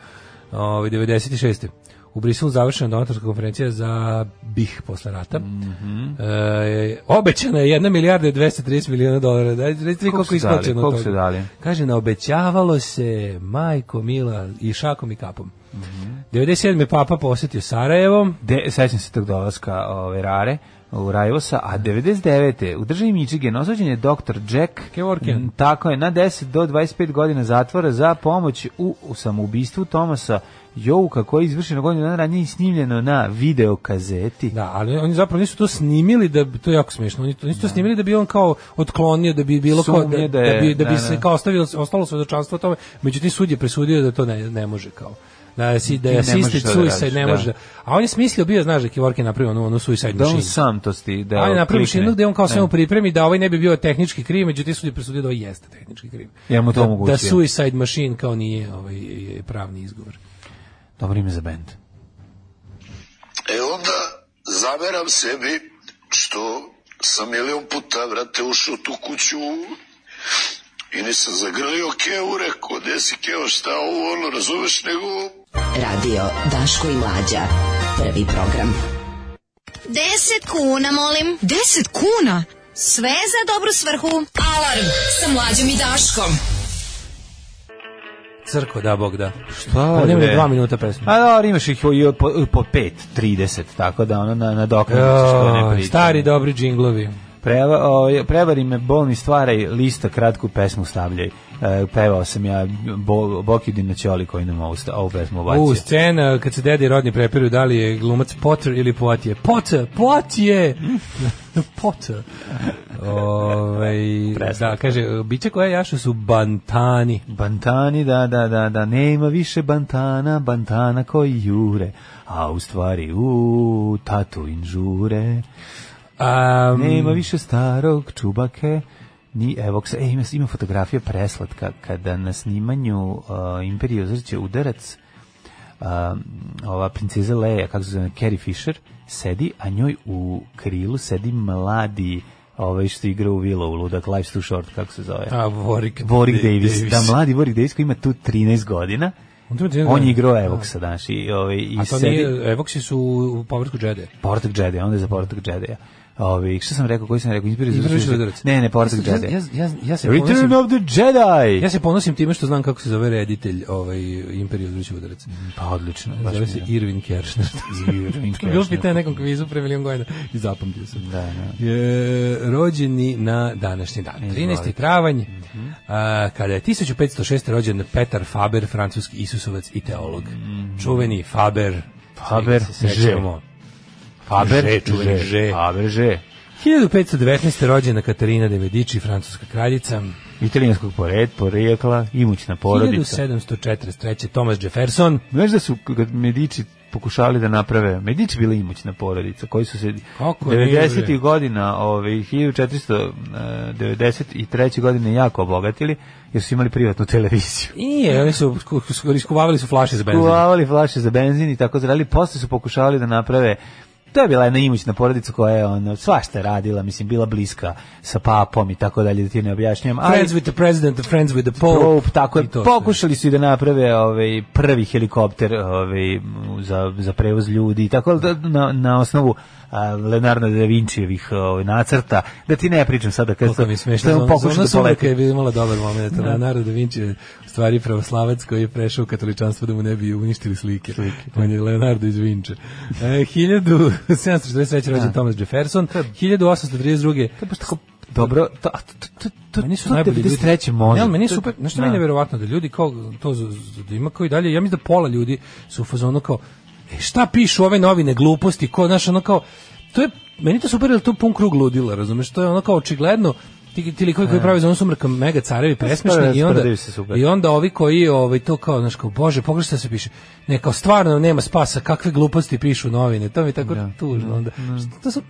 S6: Ove, 96. U Briselu završena donatorska konferencija za BiH posle rata.
S7: Mhm.
S6: e, obećana je 1 milijarda i 230 miliona dolara. Da, recite mi
S7: Koliko
S6: koliko
S7: su
S6: je
S7: dali,
S6: isplaćeno
S7: koliko
S6: toga.
S7: su dali?
S6: Kaže, naobećavalo se majko mila i šakom i kapom.
S7: Mhm.
S6: 97. je papa posetio Sarajevo.
S7: De, sećam se tog dolaska ove rare u Rajvosa, a 99. u državi Michigan osuđen je doktor Jack
S6: Kevorkian.
S7: m, Tako je, na 10 do 25 godina zatvora za pomoć u, u samoubistvu Tomasa Jouka koji je izvršeno godinu dana ranije i snimljeno na videokazeti.
S6: Da, ali oni zapravo nisu to snimili da bi- to je jako smiješno. Oni to nisu to snimili da bi on kao otklonio da bi bilo kao da,
S7: Sumnje da
S6: da,
S7: je,
S6: bi da bi
S7: da,
S6: se
S7: da.
S6: kao ostavilo ostalo svedočanstvo o tome. Međutim sud je presudio da to ne, ne može kao da si
S7: Ti
S6: da je
S7: ne možeš
S6: assisted
S7: to da
S6: suicide
S7: radiš,
S6: ne
S7: da.
S6: može. Da. A on je smislio bio znaš da je Kevorkian napravio onu, onu suicide
S7: Da on
S6: machine.
S7: sam to sti, da
S6: Da, on je napravio
S7: klikne.
S6: mašinu gde on kao sve
S7: Ne.
S6: mu pripremi da ovaj ne bi bio tehnički kriv, međutim sud je presudio da ovaj jeste tehnički kriv.
S7: Ja mu to
S6: da,
S7: omogućio.
S6: Da suicide machine kao nije ovaj, je pravni izgovor.
S7: Dobro ime za bend.
S9: E onda zameram sebi što sam milion puta vrate ušao u tu kuću i nisam zagrlio Keu, rekao, gde si Keo, šta ovo, ono, razumeš, nego
S5: Radio Daško i Mlađa. Prvi program.
S3: 10 kuna, molim.
S5: 10 kuna?
S3: Sve za dobru svrhu.
S5: Alarm sa Mlađom i Daškom.
S6: Crko, da, Bog, da.
S7: Šta
S6: Pa nema
S7: bre?
S6: ni dva minuta pesme.
S7: A da, imaš ih i od po, i po 5, 30, tako da ono na, na što ne
S6: Joj,
S7: pričam.
S6: stari dobri džinglovi.
S7: Preva, o, prevari me, bolni stvaraj, lista, kratku pesmu stavljaj. E, pevao sam ja bo, Bokidin na Ćoli koji nam ovu, sta- ovu pesmu obacio.
S6: U, scena eh, kad se dede i rodni prepiru da li je glumac Potter ili Poatije. Potter, Poatije! Potter. Ove, da, kaže, biće koje jašu su bantani.
S7: Bantani, da, da, da, da, nema više bantana, bantana koji jure, a u stvari, u, tatu inžure.
S6: Um,
S7: Nema više starog čubake, ni evoksa. E, ima, ima fotografija preslatka kada na snimanju uh, Imperije uzrće udarac uh, ova princeza Leia, kako se zove, Carrie Fisher, sedi, a njoj u krilu sedi mladi ovaj što igra u Willow, ludak, Life's Too Short, kako se zove.
S6: a, Warwick,
S7: Warwick
S6: Da-
S7: Davis. Da, mladi Warwick Davis koji ima tu 13 godina.
S6: On tu ima
S7: On
S6: 13
S7: je
S6: godina. Da.
S7: igrao Evoksa, danas i, ovaj, i
S6: A to
S7: sedi...
S6: nije, Evoksi su u povratku Jedi.
S7: Portak Jedi, onda je za Portak Jedi. Ovi, šta sam rekao, koji sam rekao? Izbiri
S6: Izbori za udarac.
S7: Ne, ne, Portak
S6: Ja-
S7: Jedi.
S6: ja- ja- ja se
S7: Return
S6: ponosim-
S7: of the Jedi!
S6: Ja se ponosim time što znam kako se zove reditelj ovaj, Imperiju Zrući udarac.
S7: Pa odlično, baš
S6: Zove se
S7: mi je.
S6: Irvin Kershner.
S7: Irvin
S6: To je bilo
S7: Kershner.
S6: pitanje na nekom kvizu pre milion godina i zapamtio sam.
S7: Da, da.
S6: Je, rođeni na današnji dan. 13. travanj,
S7: Mhm.
S6: a, kada je 1506. rođen Petar Faber, francuski isusovac i teolog. Čuveni Faber.
S7: Mhm. Faber,
S6: svega se sećamo.
S7: Faber,
S6: Že, čuveni Že.
S7: Faber, Že.
S6: 1519. rođena Katarina de Medici, francuska kraljica.
S7: Italijanskog pored, porijekla, imućna porodica.
S6: 1743. Thomas Jefferson.
S7: Znaš da su kad Medici pokušali da naprave, Medici bila imućna porodica, koji su se
S6: Kako nije,
S7: 90.
S6: bre?
S7: godina, ovaj, e, 1493. godine jako obogatili, jer su imali privatnu televiziju.
S6: Nije, oni su sku- sku- iskovavali su flaše za benzin.
S7: Kuvavali flaše za benzin i tako zreli. Posle su pokušavali da naprave To je bila jedna imućna porodica koja je ono, svašta radila, mislim, bila bliska sa papom i tako dalje, da ti ne objašnjam. Ali,
S6: Friends with the president, friends with the pope.
S7: Pope, tako je,
S6: I to sve.
S7: pokušali su i da naprave ovaj, prvi helikopter ovaj, za, za prevoz ljudi i tako da, na, na osnovu a, Leonardo da Vinčijevih ovaj, nacrta, da ti ne pričam sada kad
S6: Koliko mi je smešno.
S7: on
S6: Zona,
S7: pokušao
S6: zona
S7: da
S6: sumraka
S7: poleti.
S6: je imala dobar moment. Da. Leonardo da Vinci je u stvari pravoslavac koji je prešao u katoličanstvo da mu ne bi uništili slike.
S7: da.
S6: On je Leonardo iz Vinče. E, 1743.
S7: Da.
S6: rođen Thomas Jefferson. 1832.
S7: To je baš tako dobro, to, a to, to, to,
S6: Meni su
S7: to
S6: najbolji ljudi.
S7: 93. može.
S6: Ne, ali meni je
S7: To-
S6: super, znaš što
S7: Da.
S6: meni je nevjerovatno da ljudi kao to z- z- da ima kao i dalje, ja mislim da pola ljudi su u fazonu kao e, šta pišu ove novine gluposti, ko znaš ono kao to je meni to super, jer to je pun krug ludila, razumeš? To je ono kao očigledno ti, ti likovi koji prave zonu sumraka mega carevi presmešni i onda
S7: Rasporedio se super.
S6: i onda ovi koji ovaj to kao znaš kao bože pogledaj šta se piše ne kao stvarno nema spasa kakve gluposti pišu novine to mi je tako tužno onda Što- to su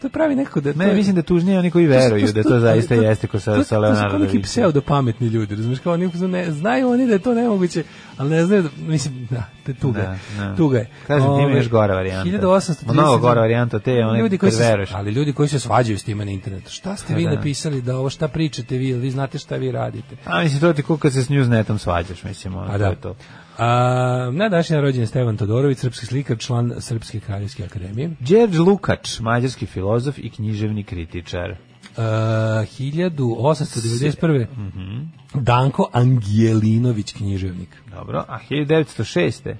S6: to je pravi nekako da to
S7: Ne,
S6: je-
S7: mislim da tužnije oni koji veruju da to zaista jeste ko
S6: to-
S7: sa sa
S6: To
S7: Leonardo
S6: su
S7: da
S6: kao neki
S7: Vinci.
S6: pseudo pametni ljudi, razumiješ, kao oni ne, znaju oni da je to nemoguće, ali ne znaju, da, mislim, da, te tuga, je,
S7: Da, da.
S6: tuga je. Ovaj,
S7: Kažem ti ima
S6: Ove,
S7: još gora varijanta.
S6: 1830.
S7: Mnogo gora varijanta te, one
S6: ljudi koji
S7: kad
S6: se,
S7: veruješ.
S6: Ali ljudi koji se svađaju s time na internetu, šta ste vi
S7: da.
S6: napisali da ovo šta pričate vi, jel vi znate šta vi radite?
S7: A mislim, to ti ko kad se s Newsnetom svađaš, mislim, ono,
S6: A
S7: to
S6: da.
S7: je to.
S6: A, na današnji dan rođen je Stevan Todorović, srpski slikar, član Srpske kraljevske akademije.
S7: Đerđ Lukač, mađarski filozof i književni kritičar.
S6: Uh, 1891.
S7: Mhm.
S6: Danko Angelinović, književnik.
S7: Dobro, a 1906.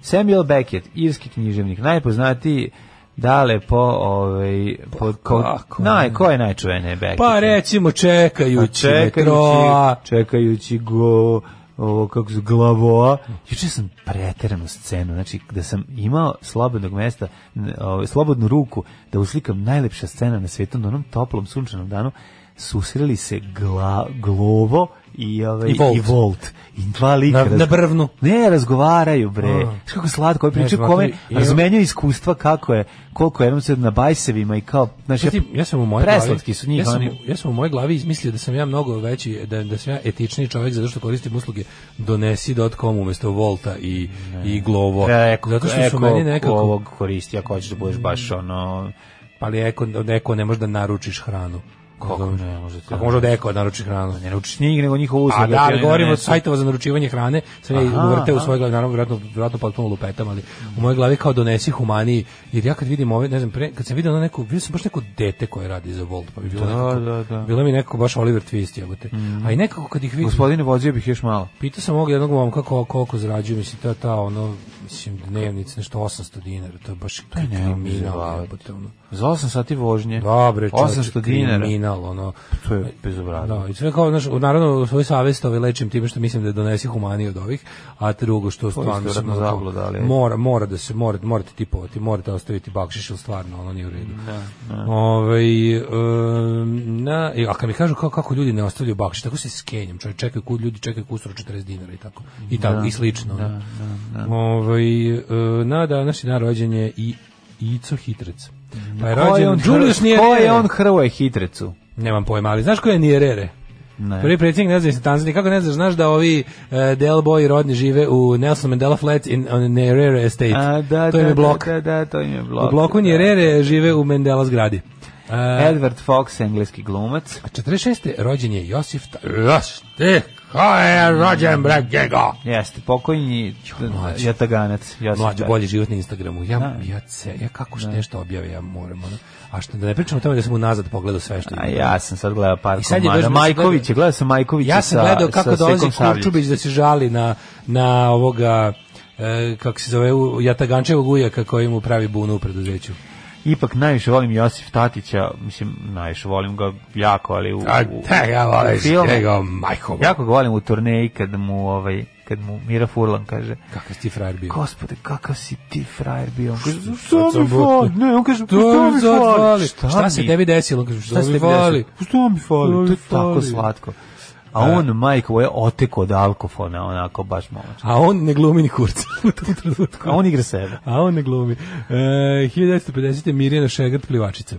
S7: Samuel Beckett, irski književnik, najpoznatiji Dale po ovaj po ko,
S6: Pa kako
S7: naj ko je najčuvenije Bekić?
S6: Pa recimo Pa čekajući, metroa.
S7: čekajući go ovo kako se glavoa. Juče sam preteranu scenu, znači da sam imao slobodnog mesta, n- ovaj, slobodnu ruku da uslikam najlepša scena na svijetu na onom toplom sunčanom danu susreli se gla, glovo i ovaj
S6: I Volt.
S7: i volt. I dva lika
S6: Na-
S7: razgo-
S6: na brvnu.
S7: Ne, razgovaraju bre.
S6: A.
S7: Znaš kako slatko, ovaj priča
S6: Ne,
S7: kome
S6: razmatraju-
S7: razmenjuju iskustva kako je, koliko je jednom se na bajsevima i kao, znaš,
S6: Ja, Pa ja sam u mojoj
S7: preslatki
S6: glavi,
S7: su njih
S6: ja, sam,
S7: oni.
S6: u- ja sam u mojoj glavi izmislio da sam ja mnogo veći, da, da sam ja etični čovjek zato što koristim usluge donesi.com umjesto Volta i, i Glovo.
S7: E, Eko,
S6: zato što su
S7: eko
S6: meni nekako... Mm.
S7: ovog koristi ako hoćeš da budeš baš ono
S6: Pa ali eko, od eko ne možeš da naručiš hranu. Kako
S7: ne može ti
S6: Kako može od eko da naruči hranu?
S7: ne naučiš njih nego njihov usluga
S6: A da, ali govorimo
S7: govorimo
S6: od sajtova za naručivanje hrane, sam ja
S7: Aha,
S6: uvrte u
S7: aha.
S6: svojoj glavi, naravno, vjerojatno, vjerojatno potpuno lupetam, ali u mojoj glavi kao donesi humaniji, jer ja kad vidim ove, ne znam, pre, kad sam vidio ono neku, vidio sam baš neko dete koje radi za Volt, pa bi bilo
S7: Da,
S6: nekako,
S7: da, da. Mhm.
S6: bilo mi nekako baš Oliver Twist, jebote. A i nekako kad ih vidim,
S7: gospodine vozio bih još malo
S6: pitao sam ovog jednog momka kako, koliko zarađuju, mislim, to je ta, ono, mislim, dnevnica, nešto 800 dinara, to je baš
S7: Pa
S6: kriminal,
S7: neobziravajuće.
S6: jebote, ono.
S7: za 8 sati vožnje
S6: Dobre, Da, čovječe,
S7: 800 dinara
S6: kriminal, ono.
S7: To je bezobrazno.
S6: Da, i sve kao, znaš, naravno, u svoju savest ovaj lečim time što mislim da je donesi humanije od ovih, a drugo što stvarno...
S7: ste
S6: sam,
S7: vjerojatno
S6: ono, kao,
S7: zabluda, ali-
S6: Mora, mora da se, mora, morate tipovati, morate ostaviti bakšiš, ili stvarno, ono nije u redu.
S7: Da,
S6: Ovaj, em, na, i- a kad mi kažu kako, kako ljudi ne ostavljaju bakšiš, tako se skenjam, čovjek čekaju kud ljudi čekaju kusur 40 dinara i tako. I tako
S7: Da,
S6: i slično. ono. Ovaj, e, na današnji dan rođen je i Ico Hitrec. Pa je
S7: Mm, Ko je on
S6: rođen Julius
S7: Hrvoje- ko je
S6: Nyerere.
S7: on Hrvoje Hitrecu
S6: Nemam pojma, ali znaš ko je Nierere?
S7: Ne.
S6: Prvi predsjednik nezavisne Tanzanije, kako ne znaš, znaš da ovi uh, Del Boy rodni žive u Nelson Mandela Flats in on Nierere Estate.
S7: A, da,
S6: to im
S7: da,
S6: je blok.
S7: da, da, to im je blok
S6: u
S7: da.
S6: bloku
S7: E.
S6: Nierere žive u Mandela zgradi. Uh,
S7: Edward Fox engleski glumac
S6: 46. rođen je Josif Ta... Josif, ti, ko je rođen bre Gego?
S7: jeste pokojni
S6: mlađi.
S7: Jataganac Josip
S6: Mlađo
S7: Jataganac.
S6: bolji život na Instagramu. Ja,
S7: Da.
S6: ja, se, ja kako što nešto objave, ja moram. Ono. A što, da ne pričam o tome da sam unazad pogledao sve što
S7: A
S6: ima.
S7: ja sam sad gledao par
S6: I sad je došlo
S7: komada.
S6: da se
S7: Majković,
S6: gleda-
S7: je, gledao sam Majkovića
S6: Ja sam
S7: sa,
S6: gledao
S7: sa
S6: kako dolazi
S7: Sekom Sabljić.
S6: Kurčubić da se žali na, na ovoga e, kako se zove u- Jatagančevog ujaka koji mu pravi bunu u preduzeću.
S7: Ipak najviše volim Josif Tatića, mislim, najviše volim ga jako, ali u, u, u filmu.
S6: majko.
S7: Jako ga volim u turneji kad mu, ovaj, kad mu Mira Furlan kaže
S6: Kakav si ti frajer bio?
S7: Gospode, kakav si ti frajer bio? On kaže,
S6: Kad
S7: što
S6: sam
S7: mi
S6: bio-
S7: fali? Ne, on kaže, što
S6: To
S7: mi
S6: mi sad
S7: fali?
S6: fali. Šta se
S7: mi-
S6: tebi desilo? Kaže,
S7: Šta
S6: što
S7: se
S6: mi
S7: tebi
S6: fali?
S7: desilo? Što mi fali? To je tako
S6: fali?
S7: slatko. A
S6: Da.
S7: on, majko, je oteko od alkofona, onako, baš momač.
S6: A on ne glumi ni kurca u tom trenutku.
S7: A on igra sebe.
S6: A on ne glumi. E, 1950. Mirjana Šegrt plivačica.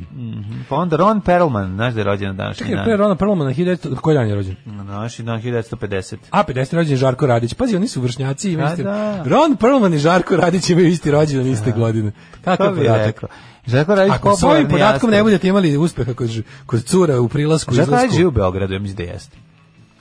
S7: Pa onda Ron Perlman, znaš da je rođen na današnji
S6: Čekaj,
S7: dan?
S6: pre Rona Perlmana, 1900 koji dan je rođen?
S7: Na današnji dan 1950.
S6: A 50 rođen je Žarko Radić. Pazi, oni su vršnjaci i
S7: A,
S6: isti.
S7: da.
S6: Ron Perlman i Žarko Radić imaju isti rođendan iste godine.
S7: Kako
S6: Kako je
S7: bi
S6: podatak?
S7: rekao? Žarko Radić
S6: Ako s ovim podatkom ne budete imali uspeha kod, ž- kod cura u prilasku i
S7: Žarko Radić živi u
S6: izlasku,
S7: Beogradu, ja mislim da jeste.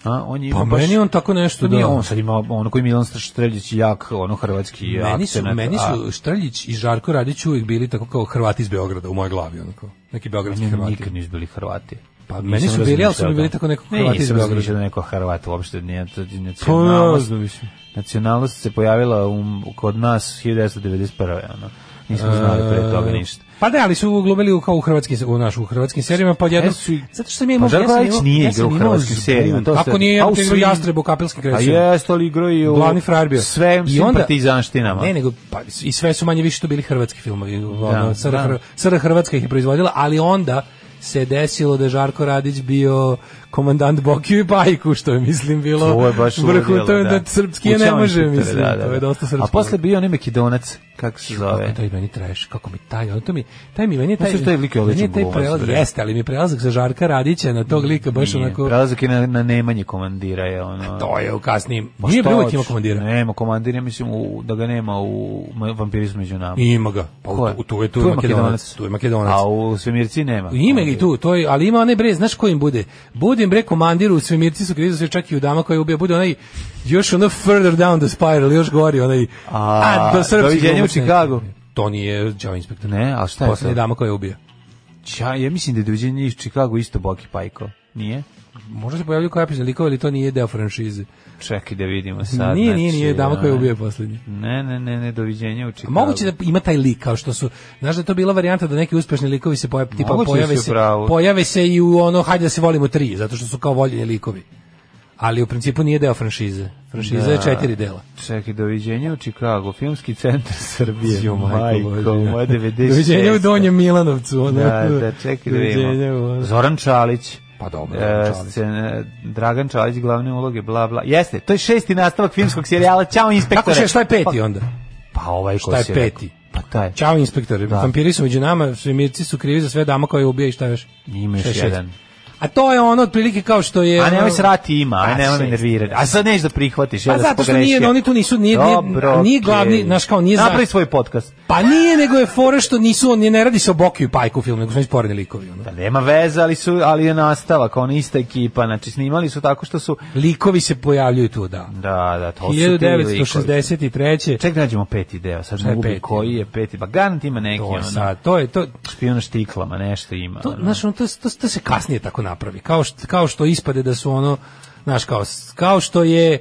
S7: A, on je
S6: pa
S7: ima baš...
S6: meni on tako nešto
S7: To nije
S6: da...
S7: on sad ima ono koji Milan Streljić jak, ono hrvatski
S6: Meni su,
S7: akcenat,
S6: meni
S7: a-
S6: su Štrljić i Žarko Radić uvijek bili tako kao Hrvati iz Beograda u mojoj glavi, onako. Neki beogradski
S7: Ne,
S6: Hrvati.
S7: nikad nisu bili Hrvati.
S6: Pa meni su bili, ali su mi bili tako neko Hrvati iz
S7: Nisam
S6: Beograda.
S7: razmišljao da neko Hrvat uopšte nije to je
S6: Pa,
S7: nacionalnost.
S6: ne mislim.
S7: Nacionalnost se pojavila u, kod nas 1991. Ono. Nismo znali pre toga ništa.
S6: Pa da, ali su glumili u, kao u hrvatskim, u našu, u hrvatskim serijama, pa jedno,
S7: E, su i-
S6: zato što sam ja imao,
S7: Pa Žarko
S6: ja sam
S7: Radić
S6: imao,
S7: nije
S6: ja
S7: igrao
S6: sam
S7: u
S6: imao
S7: hrvatskim
S6: zbun.
S7: serijama, to
S6: Kako
S7: se-
S6: nije,
S7: a
S6: ja
S7: u
S6: sam igrao
S7: svim-
S6: Jastreb u Kapelskim
S7: A
S6: krećima.
S7: jeste li igrao i u
S6: glavni frajer bio.
S7: sve
S6: I
S7: svim
S6: onda-
S7: partizanštinama.
S6: Ne, nego pa, i sve su manje više to bili hrvatski filmovi. ono, SR,
S7: da.
S6: SR Hrvatska ih je proizvodila, ali onda se desilo da je Žarko Radić bio komandant Bokiju i Bajku, što je, mislim, bilo
S7: To je baš
S6: vrhu,
S7: ludilo,
S6: to je
S7: da.
S6: da, srpski je ne
S7: Kućavan
S6: može,
S7: šuter,
S6: mislim,
S7: da, da,
S6: to je
S7: da.
S6: dosta
S7: A
S6: srpski.
S7: posle bio onaj Makedonac, kako se
S6: Kako
S7: zove?
S6: to je meni trash, kako mi taj, ono to mi, taj mi, meni je taj,
S7: Misliš da je lik je odličan
S6: meni je taj
S7: glumac,
S6: prelaz,
S7: bre?
S6: jeste, ali mi je prelazak za Žarka Radića na tog lika baš
S7: Nije.
S6: onako, Pa
S7: Prelazak je na, na nemanje komandira je ono.
S6: to je u kasnijim,
S7: Ma
S6: nije
S7: šta
S6: bilo
S7: hoćeš?
S6: ima komandira.
S7: Nema komandira, mislim u, da ga nema u ma- vampirizmu među nama.
S6: Ima ga, pa u,
S7: Ko je?
S6: tu, tu je, tu je Makedonac, tu je Makedonac.
S7: A u Svemirci nema.
S6: Ima ga i tu, to je, ali ima onaj bre, znaš ko im bude? Bude im bre komandir u svemirci su krizu sve čak i u dama koja je ubija, bude onaj još ono further down the spiral, još gori onaj.
S7: doviđenja u
S6: glumac neki.
S7: Chicagu.
S6: To nije Joe Inspector.
S7: Ne, a šta je
S6: Poslednja
S7: to?
S6: dama koja je ubija.
S7: Ja, ja mislim da je dođenje iz Chicago isto Boki Pajko. Nije?
S6: možda se pojavljaju kao epizod likova, ali to nije deo franšize.
S7: Čekaj da vidimo sad.
S6: nije, nije, nije,
S7: znači,
S6: dama koja je
S7: ovaj,
S6: ubija poslednji.
S7: Ne, ne, ne, ne, doviđenja u
S6: A
S7: Čikagu.
S6: Moguće da ima taj lik kao što su, znaš da je to bila varijanta da neki uspešni likovi se pojave, tipa
S7: Moguće da
S6: pojave
S7: si u
S6: se,
S7: pravu.
S6: pojave se i u ono hajde da se volimo tri, zato što su kao voljeni likovi. Ali u principu nije deo franšize. Franšiza
S7: Da.
S6: je četiri dela.
S7: Čekaj, doviđenja u Čikagu, filmski centar Srbije.
S6: Jo, majko
S7: Majko,
S6: Božja.
S7: moja 96.
S6: Doviđenja u Donjem Milanovcu. Ono,
S7: Da, da, čekaj da
S6: Doviđenja u
S7: vidimo.
S6: ono.
S7: Zoran Čalić.
S6: Pa dobro,
S7: E,
S6: Zoran Čalić.
S7: scena- Dragan Čalić, glavne uloge, bla, bla. Jeste, to je šesti nastavak filmskog serijala. Ćao,
S6: Kako
S7: inspektore.
S6: še, šta je peti onda?
S7: Pa ovaj ko
S6: Šta je
S7: si rekao.
S6: peti?
S7: Pa taj.
S6: Ćao inspektore,
S7: Da.
S6: vampiri su među nama, svemirci su krivi za sve dama koje ubija i šta još?
S7: Ima još
S6: Šta je šest?
S7: jedan.
S6: A to je ono otprilike kao što je...
S7: A nemoj
S6: ono-
S7: srati ima, a
S6: A,
S7: nemoj me
S6: šest.
S7: nervirati. A sad neš da prihvatiš, ja
S6: Pa
S7: da sam
S6: zato što nije,
S7: pogrešio.
S6: oni tu nisu, nije, nije,
S7: Dobro,
S6: nije glavni,
S7: okej.
S6: znaš kao, nije za-
S7: Napravi svoj podcast.
S6: Pa nije, nego je fora što nisu, oni ne radi se o Bokiju i Pajku u filmu, nego su oni sporedni likovi. Ono.
S7: Pa nema veze, ali, su, ali je nastavak, ona ista ekipa, znači snimali su tako što su...
S6: Likovi se pojavljuju tu, da.
S7: Da, da, to su ti likovi.
S6: 1963.
S7: Ček, nađemo peti deo, sad
S6: Šta je
S7: ne gubi
S6: peti?
S7: koji je peti, pa garant ima neki,
S6: To,
S7: ono,
S6: je sad, to je, to,
S7: špijuna štiklama, nešto ima.
S6: to,
S7: ono.
S6: znaš, ono, to, to, to se kasnije tako napravi. Kao što, kao što ispade da su ono, znaš, kao, s- kao što je,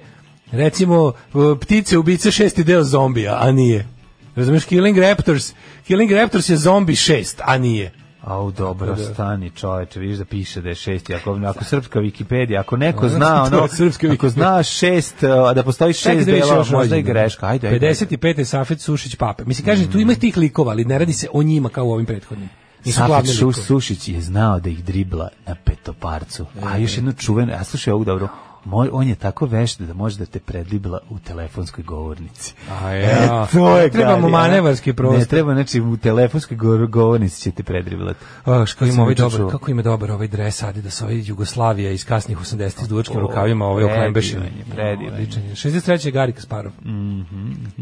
S6: recimo, e, ptice ubice šesti deo zombija, a nije. Razumeš, Killing Raptors, Killing Raptors je zombi šest, a nije.
S7: Au, dobro,
S6: da.
S7: stani čoveče, vidiš da piše da je šesti, ako, ako srpska Wikipedija, ako neko
S6: A,
S7: zna,
S6: Da, to je
S7: ono,
S6: srpska
S7: ako zna šest, uh, a da postoji
S6: Čekaj
S7: šest
S6: da vidiš
S7: delova,
S6: još
S7: možda je
S6: rođendan.
S7: greška, ajde, ajde.
S6: 55. je Safet Sušić Pape. Mislim, kaže, tu ima tih likova, ali ne radi se o njima kao u ovim prethodnim. Nisu glavni
S7: Safet Šu-
S6: likovi.
S7: Sušić je znao da ih dribla na petoparcu. A
S6: E.
S7: još jedno čuveno, a slušaj ovu dobro, moj, on je tako vešt da može da te predribla u telefonskoj govornici.
S6: A
S7: E,
S6: ja.
S7: to je
S6: Treba mu
S7: gari, a?
S6: manevarski
S7: Ne,
S6: prostor.
S7: treba, znači, u telefonskoj go- govornici će te predriblati.
S6: A, što
S7: Sam
S6: ima ovaj
S7: juče
S6: dobar,
S7: čuo.
S6: kako ima dobar ovaj dres Adidas, ovaj Jugoslavija iz kasnih 80-ih s duvačkim rukavima, ovaj
S7: predivan
S6: oklembešen.
S7: je, Mhm, predivan
S6: Odličan je. 63. je Gari Kasparov.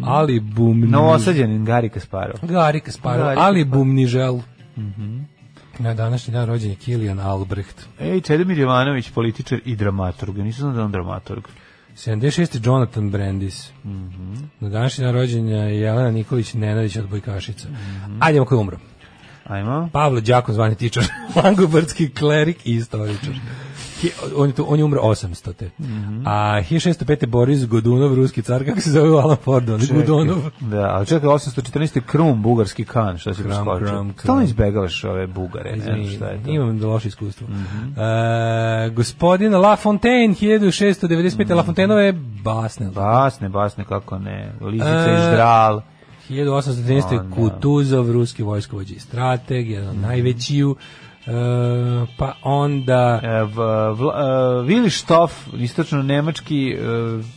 S6: Ali bumni. mm.
S7: Novosađen Gari Kasparov.
S6: Gari Kasparov,
S7: Gari
S6: ali
S7: Kasparov. Mhm.
S6: bumni žel. Na današnji dan rođen je Kilian Albrecht.
S7: Ej, Čedomir Jovanović, političar i dramaturg. Ja nisam znao da je on dramaturg.
S6: 76. Jonathan Brandis.
S7: Mhm.
S6: Na današnji dan rođenja je Jelena Nikolić Nenadić od Bojkašica.
S7: Mhm.
S6: Ajdemo koji je umro.
S7: Ajmo.
S6: Pavle Đakon, zvani tičar, langobardski klerik i istoričar. Hi- On je, tu, on je umro 800. te
S7: Mhm.
S6: A 1605. je Boris Godunov, ruski car, kako se zove Alan Ford, on je Godunov.
S7: Da, ali čekaj, 814. je Krum, bugarski kan, šta si
S6: Krum,
S7: preskočio?
S6: Krum, Krum.
S7: Stalno izbegavaš ove bugare, ne znam
S6: Izvini,
S7: šta je to. Mhm.
S6: Imam da loše iskustvo. E, gospodin La Fontaine, 1695. La Fontaineove basne.
S7: Basne, basne, kako ne. Lizica
S6: E,
S7: i ždral.
S6: 1813.
S7: Onda.
S6: Kutuzov, ruski vojskovođi i strateg, jedan
S7: Mhm.
S6: od najvećiju. E, pa onda...
S7: E, v, vla, e, Vili Štof, istočno-nemački e,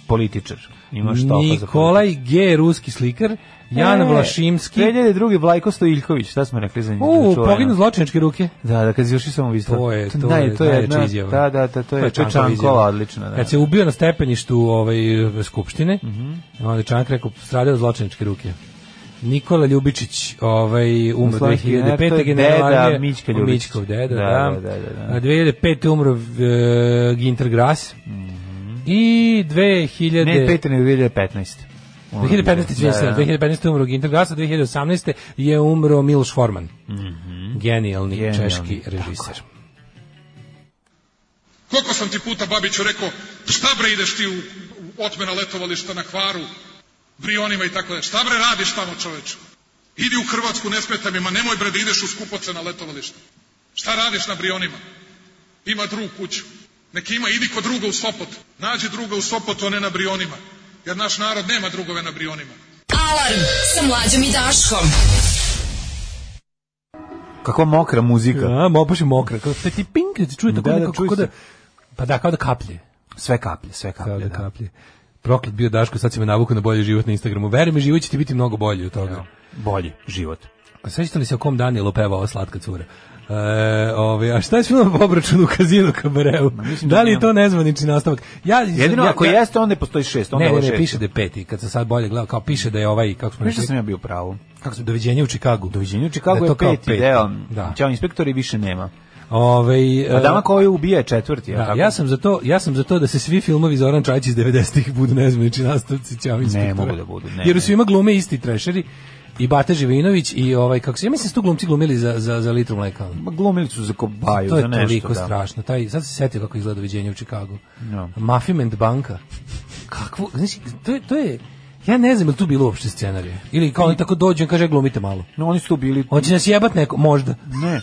S7: političar. Ima Štofa za političar.
S6: Nikolaj G. ruski slikar, Jan
S7: E,
S6: Vlašimski.
S7: 2002. Vlajko Stojiljković, šta smo rekli za njih?
S6: U,
S7: čuveno?
S6: poginu zločinačke ruke.
S7: Da, da, kad izvrši samoubistvo.
S6: To je, to,
S7: da,
S6: je,
S7: to je
S6: najjača
S7: jedna-
S6: izjava.
S7: Da, da, da, to je, to je
S6: Čankova
S7: Čankova,
S6: izjava.
S7: odlično. Da. Mhm.
S6: Kad se ubio na stepeništu ovaj, skupštine, onda je Čank rekao, stradao od zločinačke ruke. Nikola Ljubičić, ovaj, umro
S7: Slavski general, to
S6: 2005.
S7: je
S6: general
S7: deda
S6: armije,
S7: Mićka Ljubičić.
S6: Mićkov
S7: Da,
S6: deda,
S7: da, da,
S6: da.
S7: da, da.
S6: A 2005. umro e, Ginter Gras. I 2000...
S7: Mhm. Ne, 5. nego 2015. Ono
S6: 2015.
S7: bilo. Da, da.
S6: 2015. je umro Ginter Gasa, 2018. je umro Miloš Forman. Genijalni,
S7: Mhm. Genijalni,
S6: češki režiser.
S1: Koliko sam ti puta Babiću rekao, šta bre ideš ti u, u otmena letovališta na Hvaru, Brionima i tako dalje, šta bre radiš tamo čoveče? Idi u Hrvatsku, ne smeta mi, ma nemoj bre da ideš u skupocena letovališta. Šta radiš na Brionima? Ima drug kuću. Neki ima, idi kod druga u Sopot. Nađi druga u Sopotu, a ne na Brionima. Jer naš narod nema drugove na Brionima.
S5: Alarm sa mlađom i Daškom.
S7: Kako mokra muzika.
S6: A, mo, baš je mokra. Kao, te ti pink, ti čuje tako
S7: Da, da,
S6: nekako
S7: čuje
S6: kao da...
S7: se.
S6: Pa da, kao da kaplje.
S7: Sve kaplje, sve kaplje.
S6: Kao da
S7: da.
S6: kaplje. Proklet bio Daško, sad si me navukao na bolji život na Instagramu. Veruj mi, život će ti biti mnogo bolji od toga.
S7: Bolji život.
S6: A Sećate li se o kom Danielu peva ova slatka cura? E, ovaj, a šta je s filmom po obračunu u kazinu kabareu?
S7: mislim da
S6: Da li je
S7: nemam.
S6: to nezvanični nastavak? Ja,
S7: Jedino
S6: ja,
S7: ako
S6: ja-
S7: jeste, onda postoji šest. Onda
S6: Ne,
S7: ovo
S6: ne, ne,
S7: šest.
S6: piše da je peti, kad sam sad bolje gledao, kao piše da je ovaj, kako smo
S7: Nešto
S6: rekli,
S7: sam ja bio pravo.
S6: kako se doviđenje u Čikagu.
S7: Doviđenje u Čikagu
S6: Da
S7: je
S6: to kao
S7: peti
S6: peti,
S7: deo.
S6: da.
S7: Ćao inspektori više nema.
S6: Ovaj
S7: A dama koju ubija je četvrti,
S6: Da, ja sam za to, ja sam za to da se svi filmovi Zoran Čajić iz 90-ih budu nezmenični nastavci Ćavi inspektora.
S7: mogu da budu, ne,
S6: Jer
S7: ne.
S6: su ima glume isti trešeri i Bate Živinović i ovaj kako se ja mislim da su tu glumci glumili za za za litru mleka. ono.
S7: Ma glumili su za kobaju,
S6: to
S7: za
S6: je
S7: nešto.
S6: toliko
S7: da.
S6: strašno. Taj sad se setio kako izgleda viđenje u Čikagu.
S7: No.
S6: Mafiment banka. Kakvo, znači to je to je Ja ne znam, je li tu bilo uopšte scenarije? Ili kao on tako dođe, on kaže, "E, glumite malo.
S7: No, oni su tu bili...
S6: On će nas jebat neko, možda.
S7: Ne.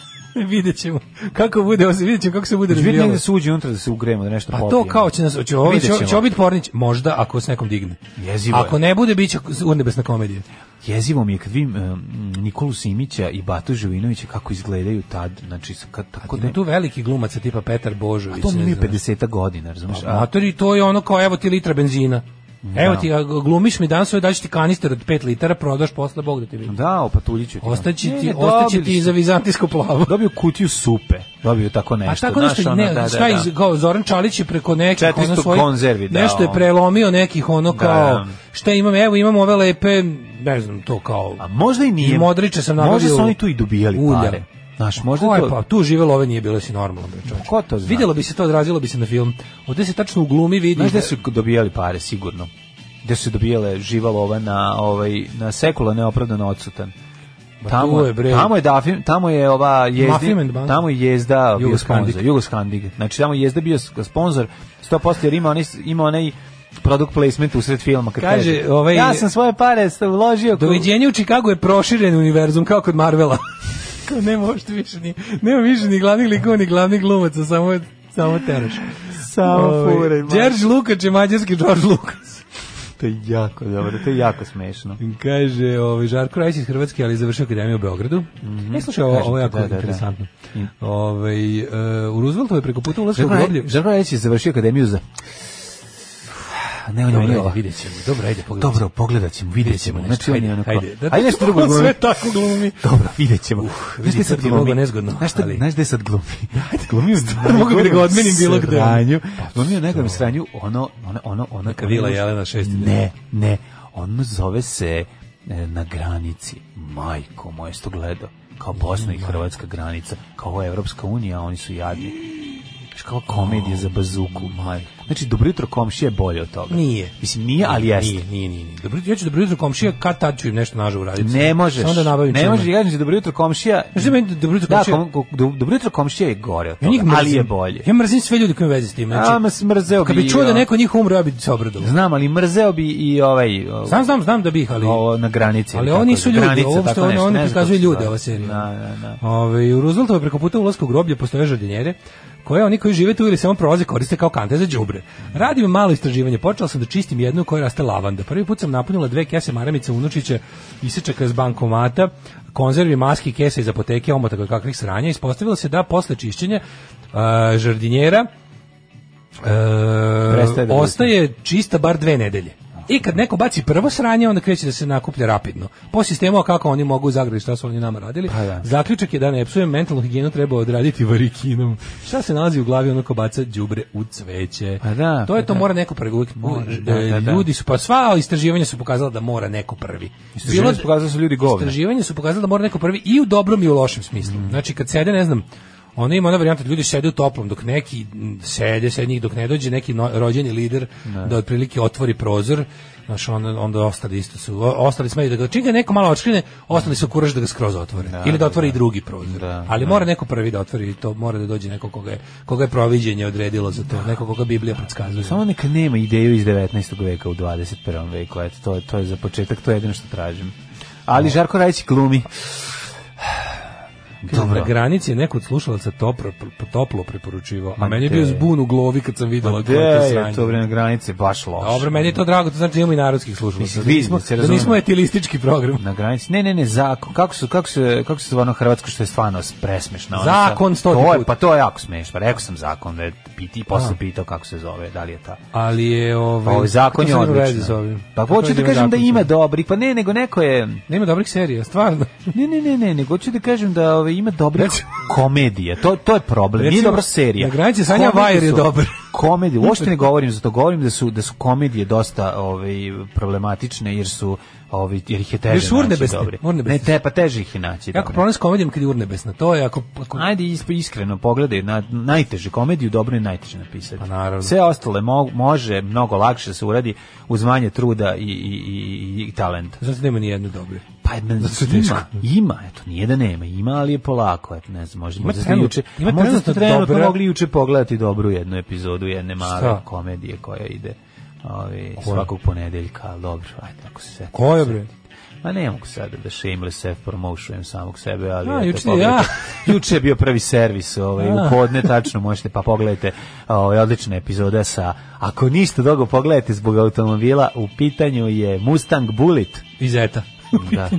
S6: vidjet ćemo kako bude, ovo se- vidjet ćemo kako se bude
S7: Znači, Vidite
S6: razvijalo.
S7: negde se uđe unutra da se ugrejemo, da nešto
S6: Pa
S7: popijemo.
S6: to kao će nas će ovo
S7: Vidjet
S6: će,
S7: ćemo.
S6: će ovo biti pornić, možda ako s nekom digne.
S7: Jezivo je.
S6: Ako ne bude biće urnebesna komedija.
S7: Jezivo mi je kad vidim em, Nikolu Simića i Batu Živinovića kako izgledaju tad, znači sa- kad tako
S6: Ima da.
S7: da...
S6: tu velikih glumaca tipa Petar Božović.
S7: To mi
S6: ne
S7: je
S6: znam.
S7: 50 godina, razumiješ?
S6: A matori, to je ono kao evo ti litra benzina.
S7: Da.
S6: Evo ti a, glumiš mi danas ovaj daću ti kanister od 5 litara, prodaš posle Bog da ti vidi.
S7: Da, opatuljiću ti.
S6: Ostaće
S7: Ne,
S6: ti,
S7: ne,
S6: ostaće
S7: dobili
S6: ti
S7: su.
S6: za vizantijsko plavo.
S7: Dobio kutiju supe. Dobio tako
S6: A
S7: nešto.
S6: tako
S7: znaš,
S6: nešto,
S7: ono,
S6: ne,
S7: da, da,
S6: šta
S7: da.
S6: iz, kao Zoran Čalić je preko nekih
S7: 400
S6: svojih-
S7: konzervi dao.
S6: nešto je prelomio nekih ono
S7: Da.
S6: kao, šta imam, evo imamo ove lepe, ne znam, to kao,
S7: A možda i nije.
S6: Iz Modrića sam nabavio
S7: Možda su oni tu i dobijali
S6: ulja.
S7: pare. Znaš, možda
S6: Ko je
S7: to...
S6: pa, tu živelo ove nije bilo si normalno. Bre, čoveče.
S7: Ko to zna?
S6: Videlo bi se to, odrazilo bi se na film. Ovde se tačno u glumi vidi.
S7: Znaš
S6: da-
S7: gde su dobijali pare, sigurno? Gde su dobijale živa lova na, ovaj, na sekula neopravdano odsutan.
S6: Ma
S7: Tamo
S6: tu je, bre.
S7: tamo je Dafim, tamo je ova jezda,
S6: Mafiment Bank.
S7: tamo je jezda bio
S6: Jugoskandik.
S7: sponzor, Jugoskandig. Znači tamo je jezda bio sk- sponzor 100% jer ima onaj ima onaj product placement usred filma kad
S6: Kaže,
S7: kaže,
S6: ovaj-
S7: ja sam svoje pare sta- uložio ko-
S6: Doviđenje u Čikagu je proširen univerzum kao kod Marvela. Kao nema uopšte više ni, nema više ni glavnih likova, ni glavnih glumaca, samo je- samo teraš.
S7: samo
S6: Ovaj,
S7: fure.
S6: Đerđ Lukač je mađarski George Lukas.
S7: To je jako dobro, to je jako smešno.
S6: Kaže, ovaj Žarko Rajić iz Hrvatske, ali je završio akademiju u Beogradu. E, slušaj, ovo, ovo je jako
S7: Da, da, da.
S6: interesantno. Ovaj, e, u Rooseveltu je preko puta ulazka u groblje.
S7: Žarko Rajić da je završio akademiju za Ne, on je
S6: Dobro,
S7: meni
S6: ajde,
S7: ova.
S6: vidjet ćemo. Dobro, ajde, pogledat
S7: Dobro, pogledat ćemo, vidjet ćemo. Znači, on
S6: ajde,
S7: je onako...
S6: ajde, da,
S7: Ajde nešto drugo glumi.
S6: Sve tako glumi.
S7: Dobro, vidjet ćemo. Znaš
S6: vidi,
S7: gde
S6: sad
S7: sad
S6: je mnogo
S7: glumi?
S6: nezgodno,
S7: Znaš šta-
S6: ali-
S7: Znaš gde sad glumi? Glumi u
S6: mogu bi da ga odmenim bilo gde.
S7: sranju. Glumi u nekom sranju, ono, ono, ono, ono...
S6: Neka vila
S7: ono-
S6: Jelena šesti.
S7: Ne, ne. Ono zove se e, na granici. Majko moje, sto gledao. Kao Bosna i Hrvatska granica. Kao ovo je Evropska unija, a oni su jadni. Znaš, kao komedija za bazuku. Majko. Znači, dobro jutro komšija je bolje od toga.
S6: Nije.
S7: Mislim, nije, ali jeste.
S6: Nije, nije, nije. nije. Dobro, ja ću dobro jutro komšija, kad tad ću im nešto nažao uraditi.
S7: Ne možeš.
S6: Samo da nabavim
S7: ne
S6: čume.
S7: možeš, ja kažem ti dobro jutro komšija.
S6: Znaš da meni dobro jutro komšija-
S7: Da, kom, kom, do- dobro jutro komšija je gore od
S6: Ja
S7: toga,
S6: njih mrzim.
S7: ali je bolje.
S6: Ja mrzim sve ljude koji imaju veze s tim. Znači,
S7: A, ma smrzeo
S6: kad
S7: bi
S6: bi čuo
S7: i,
S6: da
S7: a-
S6: neko njih umre, ja bi se obradovao.
S7: Znam, ali mrzeo bi i ovaj... o-
S6: Znam, znam, znam da bih, ali...
S7: Ovo na granici.
S6: Ali
S7: ili
S6: oni
S7: tako,
S6: su ljudi,
S7: granica,
S6: ovo što
S7: tako
S6: oni-
S7: nešto,
S6: oni
S7: ne znam kako
S6: prikazuju
S7: se
S6: ljude,
S7: zove.
S6: ova serija.
S7: Da, da, da.
S6: Ove, u Rooseveltove preko puta ulaska u groblje postoje žardinjere koje oni koji žive tu ili samo prolaze koriste kao kante za đubre. Radim malo istraživanje. Počela sam da čistim jednu u kojoj raste lavanda. Prvi put sam napunila dve kese maramice unučića, isečaka iz bankomata, konzervi, maski, kese iz apoteke, omotaka od kakvih sranja. Ispostavilo se da posle čišćenja a, žardinjera E,
S7: Prestaje da
S6: ostaje čista bar dve nedelje. I kad neko baci prvo sranje, onda kreće da se nakuplja rapidno. Po sistemu kako oni mogu zagrati šta su oni nama radili,
S7: Pa da.
S6: zaključak je da ne psujem mentalnu higijenu treba odraditi varikinom. Šta se nalazi u glavi onako baca đubre u cveće?
S7: Pa da,
S6: to je
S7: pa
S6: to
S7: da.
S6: mora neko prvi. uvijek-
S7: Mora,
S6: e,
S7: da, da, da.
S6: Ljudi su pa sva istraživanja su pokazala da mora neko prvi.
S7: Istraživanja
S6: Bilo-
S7: su pokazala da su ljudi govna.
S6: Istraživanja su pokazala da mora neko prvi i u dobrom i u lošem smislu. Znači kad sede, ne znam, ona ima ona varijanta da ljudi sede u toplom dok neki m, sede, sede njih dok ne dođe neki no- rođeni lider da otprilike otvori prozor, znaš, onda, onda ostali isto su, o- ostali smeju da ga, čim ga neko malo očkrine, ostali su kuraž da ga skroz otvore. Ili da otvori i drugi prozor.
S7: Da,
S6: Ali mora neko prvi da otvori i to mora da dođe neko koga je, koga je proviđenje odredilo za to, neko koga Biblija predskazuje.
S7: Samo neka nema ideju iz 19. veka u 21. veku, eto, to, to je za početak, to je jedino što tražim. Ali Žarko Rajić glumi.
S6: Kaže,
S7: Dobro.
S6: Na granici je neko od slušalaca toplo, toplo preporučivao, a
S7: Ma
S6: meni je
S7: te.
S6: bio zbun u glovi kad sam videla
S7: Gde
S6: koje je to
S7: je to
S6: sranje.
S7: vreme granice, baš loše.
S6: Dobro, meni je to drago, to znači da imamo i narodskih slušalaca.
S7: Mislim,
S6: Da nismo,
S7: vidi se,
S6: da
S7: razumem.
S6: nismo etilistički program.
S7: na granici. Ne, ne, ne, zakon. Kako su kako se kako se zove ono hrvatsko što je stvarno presmešno. ono
S6: Zakon
S7: sa-
S6: stoti
S7: To je
S6: put.
S7: pa to je jako smešno. Rekao sam zakon da je piti i posle pitao kako se zove, da li je ta.
S6: Ali je
S7: Pa
S6: ovaj...
S7: ovaj zakon
S6: kako
S7: je
S6: se ima veze s
S7: odličan.
S6: ovim?
S7: Pa
S6: Kako
S7: hoću
S6: veze
S7: da
S6: ima
S7: kažem da
S6: zakon
S7: ima
S6: sa-
S7: dobri, pa ne, nego neko je
S6: Nema Da dobrih serija, stvarno.
S7: Ne, ne, ne, ne, nego hoću da kažem da ove, ima dobre komedije. To, to je problem. Nije
S6: Znači- Recimo,
S7: dobra serija.
S6: na granici Sanja
S7: Komedije
S6: Vajer je
S7: su-
S6: dobar.
S7: komedije, uopšte ne govorim za to, govorim da su da su komedije dosta ovaj problematične jer su ovaj jer ih je
S6: Jer
S7: teže.
S6: su
S7: naći
S6: urnebesne,
S7: dobre.
S6: urnebesne.
S7: Ne, te pa teže ih je naći.
S6: Jako
S7: dobre.
S6: problem s komedijom kad je urnebesna. To je ako... ako
S7: Ajde isp- iskreno pogledaj na najteže komediju dobro je najteže napisati.
S6: Pa naravno.
S7: Sve ostale mo- može mnogo lakše se uradi uz manje truda i i i, i talenta.
S6: Znači nema ni jednu dobru.
S7: Pa men,
S6: Zato je teško.
S7: ima, ima, eto, nije da nema, ima, ali je polako, eto, ne znam, možda,
S6: Ima
S7: možda ste
S6: trenut-
S7: juče,
S6: ima
S7: možda ste
S6: trenutno
S7: trenutno
S6: dobra-
S7: mogli juče pogledati dobru jednu epizodu jedne male
S6: Šta?
S7: komedije koja ide ovi, svakog ponedeljka, ali dobro, ajde, ako se setim.
S6: Koja, bre?
S7: Ma ne mogu sada da shameless self promotionujem samog sebe, ali
S6: A,
S7: eto,
S6: juče ti
S7: pogledajte.
S6: ja.
S7: juče je bio prvi servis, ovaj u
S6: A.
S7: podne tačno možete pa pogledajte ovaj odlična epizoda sa ako niste dugo pogledajte zbog automobila, u pitanju je Mustang Bullet.
S6: I Zeta.
S7: Da.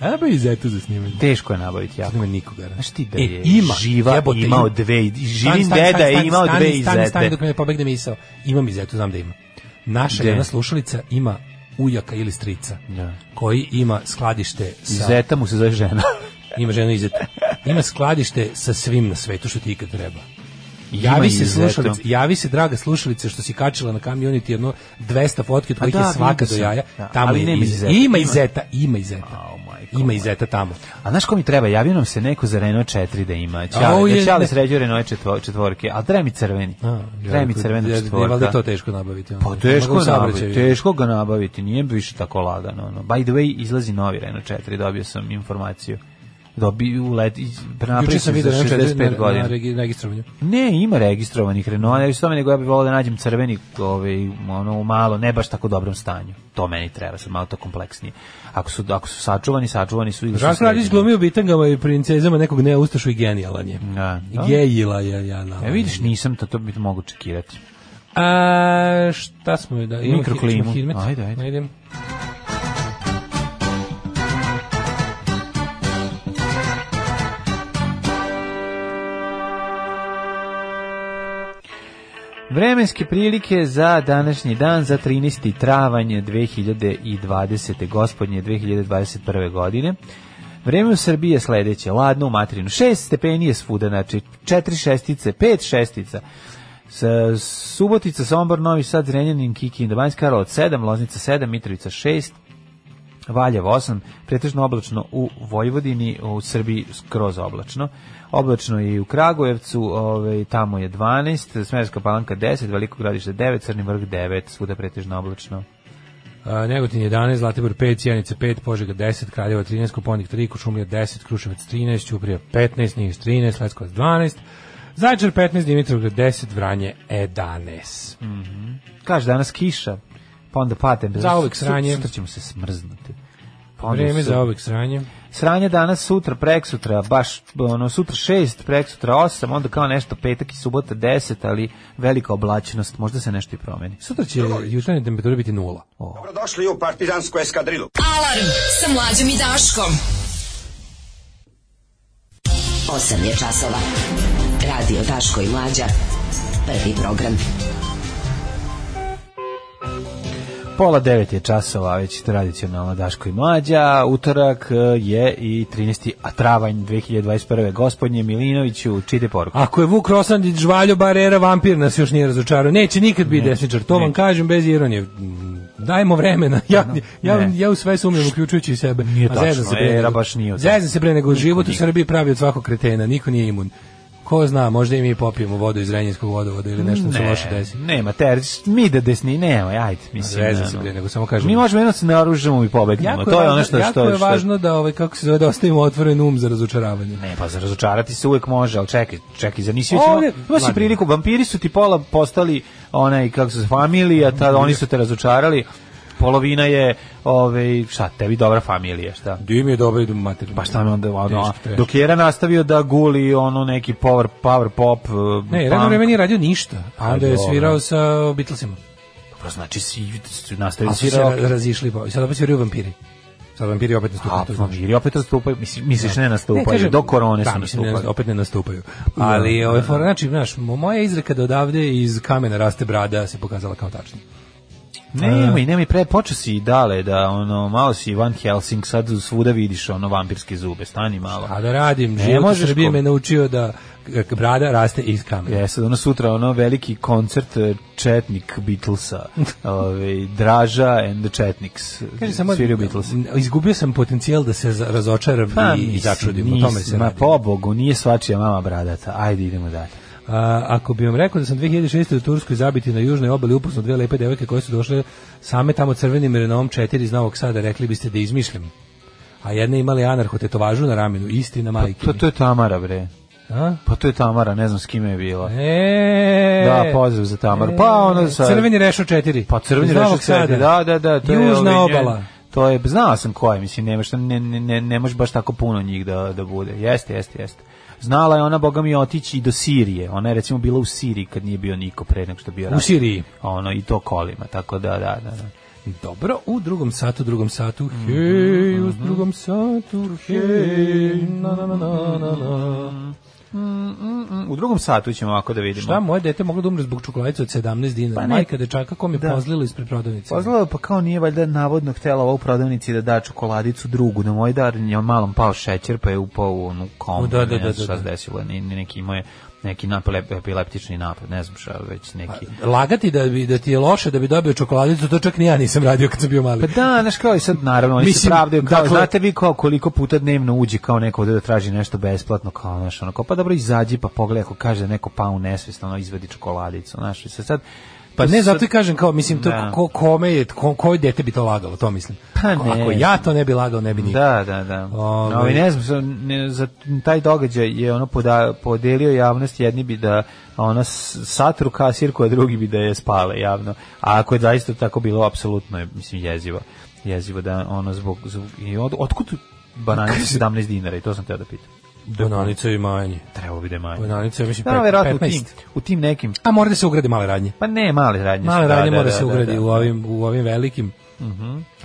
S6: Ajde i Zetu za snimanje.
S7: Teško je nabaviti jako.
S6: Nema nikoga.
S7: Znaš ti da
S6: E,
S7: je
S6: ima,
S7: živa
S6: jebote,
S7: imao
S6: ima.
S7: dve,
S6: Stani,
S7: živim
S6: stani,
S7: deda
S6: stani,
S7: je
S6: stani,
S7: imao
S6: stani,
S7: dve iz
S6: Stani, stani
S7: zete.
S6: dok mi ne pobegne misao. Imam izetu, znam da ima. Naša
S7: Gde?
S6: jedna slušalica ima ujaka ili strica
S7: Da.
S6: koji ima skladište sa...
S7: Zeta mu se zove žena.
S6: Ima ženu izetu. Ima skladište sa svim na svetu što ti ikad treba.
S7: Ima
S6: Javi
S7: i
S6: se
S7: Zetu.
S6: slušalice, javi se draga slušalice što si kačila na community jedno 200 fotki od
S7: A
S6: kojih
S7: da,
S6: je svaka
S7: vidio
S6: do
S7: sam.
S6: jaja.
S7: Da,
S6: Tamo
S7: ali
S6: je
S7: nema
S6: iz-
S7: Izeta.
S6: Ima
S7: Ima-
S6: izeta, ima izeta.
S7: Oh my
S6: Ima
S7: God.
S6: izeta tamo.
S7: A znaš ko mi treba? Javio nam se neko za Renault 4 da ima.
S6: Au,
S7: Ćale,
S6: je-
S7: da Ćale sređuje Renault četvo- četvorke, a treba mi crveni.
S6: A,
S7: Treba mi
S6: ja,
S7: crvena
S6: ja, Valjda je to
S7: četvorka.
S6: teško nabaviti. ono.
S7: Pa teško,
S6: Mogu u
S7: je
S6: saobraćaju.
S7: nabaviti, teško ga nabaviti, nije više tako lagano. Ono. By the way, izlazi novi Renault 4, dobio sam informaciju. Dobi, ulet,
S6: Juče
S7: napravio sam
S6: sam
S7: za
S6: vidio Renault
S7: 65
S6: 4 na,
S7: godina.
S6: na regi- registrovanju.
S7: Ne, ima registrovanih Renault, ali što nego ja bih volao da nađem crveni, ovaj, ono, u malo, ne baš tako dobrom stanju. To meni treba, sad malo to kompleksnije. Ako su, ako su sačuvani, sačuvani su ili su
S6: Žarko Radić
S7: sređeni.
S6: glumio u bitangama i princezama nekog neustašu i genijalan je.
S7: Da, da.
S6: Gejila je ja na.
S7: E, vidiš, nisam to, to bi mogu čekirati.
S6: A šta smo da imamo
S7: Mikroklimu.
S6: hi- ćemo hidmet?
S7: Ajde, ajde.
S6: Ajde.
S7: Vremenske prilike za današnji dan, za 13. travanj 2020. gospodnje 2021. godine. Vreme u Srbiji je sledeće, ladno u materinu, 6 stepeni je svuda, znači 4 šestice, 5 šestica, Sa- Subotica, Sombor, Novi Sad, Zrenjanin, Kikinda, Banjska Karlovac 7, Loznica 7, Mitrovica 6, Valjevo 8, pretežno oblačno u Vojvodini, u Srbiji skroz oblačno. Oblačno je i u Kragujevcu, ovaj, tamo je 12, Smerska palanka 10, Veliko gradište 9, Crni vrh 9, svuda pretežno oblačno.
S6: A, Negotin 11, Zlatibor 5, Cijanica 5, Požega 10, Kraljevo 13, Koponik 3, Kušumlija 10, Kruševac 13, Ćuprija 15, Niš 13, Leskovac 12, Zaječar 15, Dimitrovgrad 10, Vranje 11.
S7: Kaže danas kiša, pa onda patem.
S6: Zauvek sranje.
S7: Sutra ćemo se smrznuti. Pa onda
S6: Vreme
S7: su-
S6: za ovek sranje.
S7: Sranje danas, sutra, preksutra, baš ono, sutra 6, preksutra 8, onda kao nešto petak i subota 10, ali velika oblačenost, možda se nešto i promeni.
S6: Sutra će jutarnje temperature biti nula.
S2: Dobrodošli u partizansku eskadrilu.
S5: Alarm sa mlađom i Daškom.
S10: 8 je časova. Radio Daško i Mlađa. Prvi program.
S7: Pola devet je časova, već tradicionalno Daško i Mlađa, utorak e, je i 13. a travanj 2021. Gospodnje Milinoviću, čite poruku.
S6: Ako je Vuk Rosandić žvaljo barera, vampir nas još nije razočarao. Neće nikad biti desničar, to vam kažem bez ironije. Mm, Dajmo vremena. Ja, ja, ja,
S7: Ne.
S6: u sve sumnjam, uključujući i sebe.
S7: Nije
S6: A
S7: tačno,
S6: zezam se bre
S7: era
S6: nego-
S7: baš nije od-
S6: Zezam se bre nego život u
S7: nikad.
S6: Srbiji pravi od svakog kretena, niko nije imun. Ko zna, možda i mi popijemo vodu iz Renjinskog vodovoda ili da nešto se loše desi.
S7: nema, ter, mi da desni, nema, ajde, mislim.
S6: Zezam se
S7: ono.
S6: bre, nego samo kažem.
S7: Mi možemo jedno se naoružamo i pobegnemo, to je
S6: važno-
S7: ono što,
S6: jako
S7: što,
S6: je
S7: što-
S6: važno da, ovaj, kako se zove, da ostavimo otvoren um za razočaravanje.
S7: Ne, pa za razočarati se uvek može, ali čekaj, čekaj, za nisi već
S6: Ovdje-
S7: imao- imao si
S6: Ladno.
S7: priliku, vampiri su ti pola postali onaj, kako se zove, familija, tad oni su te razočarali, polovina je, ovaj, šta, tebi dobra familija, šta?
S6: Dim je dobro, idu mater.
S7: Pa šta mi onda ono,
S6: Teško, teško.
S7: dok je Era nastavio da guli ono neki power, power pop, uh,
S6: Ne,
S7: punk,
S6: radno vreme nije radio ništa, a
S7: Pa
S6: onda je
S7: dobro.
S6: svirao sa Beatlesima.
S7: pa znači si, si nastavio
S6: Ali
S7: da
S6: su se
S7: svira
S6: ra- razišli, pa i sad opet sviraju vampiri. Sad vampiri opet
S7: A,
S6: nastupaju, to znaš.
S7: vampiri opet nastupaju, misliš, misliš ne nastupaju,
S6: kažem-
S7: do korone
S6: da,
S7: su
S6: mislim, ne,
S7: nastupali. da.
S6: opet ne nastupaju. Ali, ovaj, ove, da fora, znači, znaš, mo- moja izreka da odavde iz kamena raste brada se pokazala kao tačna.
S7: Nemoj, nemoj, pre, počeo si i dale da, ono, malo si Van Helsing, sad svuda vidiš, ono, vampirske zube, stani malo.
S6: A da radim,
S7: Ne
S6: život u
S7: možeš
S6: Srbiji
S7: ko-
S6: me naučio da k- brada raste iz kamena.
S7: Jeste, E, ono sutra ono veliki koncert eh, Četnik Beatlesa, ovaj Draža and the Četniks.
S6: Kaže samo da-
S7: sviraju Beatles. Pa,
S6: Izgubio sam potencijal da se za- razočaram i, i začudim. o tome se
S7: Ma
S6: radi.
S7: pobogu, nije svačija mama bradata. Ajde, idemo dalje.
S6: A, ako bi vam rekao da sam 2006. u Turskoj zabiti na južnoj obali upoznao dve lepe devojke koje su došle same tamo crvenim Renaultom 4 iz Novog Sada, rekli biste da izmišljam. A jedna je imala anarho tetovažu na ramenu, istina majke.
S7: Pa To, to je Tamara, bre.
S6: A?
S7: Pa to je Tamara, ne znam s kime je bila.
S6: E,
S7: Da, pozdrav za Tamaru. Pa, ono sa-
S6: Crveni rešo 4.
S7: Pa crveni
S6: Iz
S7: rešak
S6: Novog
S7: sada.
S6: Sada.
S7: Da, da, da. To je,
S6: Južna
S7: ovaj, njen-
S6: obala.
S7: To je, znao sam ko je, mislim, nema šta, ne, ne, ne, ne može baš tako puno njih da, da bude. Jeste, jeste, jeste. Znala je ona, boga mi, otići i do Sirije. Ona je, recimo, bila u Siriji kad nije bio niko pre nego što je bio
S6: U
S7: rat.
S6: Siriji.
S7: Ono, i to kolima, tako da, da, da. da.
S6: Dobro, u drugom satu, drugom satu,
S7: Mhm.
S6: hej, u drugom satu, hej, na, na, na, na, na, na.
S7: Mm, U drugom satu ćemo ovako da vidimo.
S6: Šta, moje dete moglo da umre zbog čokoladice od 17 dinara.
S7: Pa ne.
S6: Majka dečaka kom je
S7: Da.
S6: pozlilo ispred prodavnice.
S7: Pozlao je, pa kao nije valjda navodno htjela ovo u prodavnici da da čokoladicu drugu, na moj dar je malom pao šećer pa je upao u onu komu,
S6: O, da, da,
S7: ne
S6: da,
S7: znam
S6: da,
S7: šta se
S6: da.
S7: desilo, ni, ni neki imao je neki napad, ep- epileptični napad, ne znam šta, već neki...
S6: Lagati da, bi, da ti je loše da bi dobio čokoladicu, to čak ni ja nisam radio kad sam bio mali.
S7: Pa da, znaš kao i sad, naravno, oni se
S6: Mislim,
S7: pravdaju, kao,
S6: dakle-
S7: znate vi kao koliko puta dnevno uđe kao neko ovde da traži nešto besplatno, kao, znaš, ono, kao, pa dobro, izađi pa pogledaj ako kaže da je neko pao u nesvest, ono, izvadi čokoladicu, znaš, i sad, sad
S6: Pa
S7: to
S6: ne,
S7: su
S6: zato
S7: sad-
S6: i kažem kao, mislim, to
S7: Da.
S6: ko, kome je, ko, koje dete bi to lagalo, to mislim.
S7: Pa
S6: Ako-
S7: ne.
S6: Ako ja to ne bi lagao, ne bi niko.
S7: Da, da, da.
S6: Ovaj.
S7: Ovaj ne znam, za- ne, za taj događaj je ono poda, podelio javnost, jedni bi da ona s- satru kasirku, a drugi bi da je spale javno. A ako je zaista tako bilo, apsolutno je, mislim, jezivo. Jezivo da ono zbog... zbog i od, otkud bananice 17 dinara i to sam teo da pitam.
S6: Bananica i manje.
S7: Trebalo bi da je manje.
S6: Bananica je, mislim,
S7: Da,
S6: pe-
S7: verovatno u tim,
S6: 15.
S7: u tim nekim...
S6: A mora da se ugrade male radnje.
S7: Pa ne, male radnje. su,
S6: Male
S7: da,
S6: radnje
S7: da,
S6: mora
S7: da,
S6: se
S7: da,
S6: ugradi
S7: da. Mhm.
S6: u ovim u ovim velikim.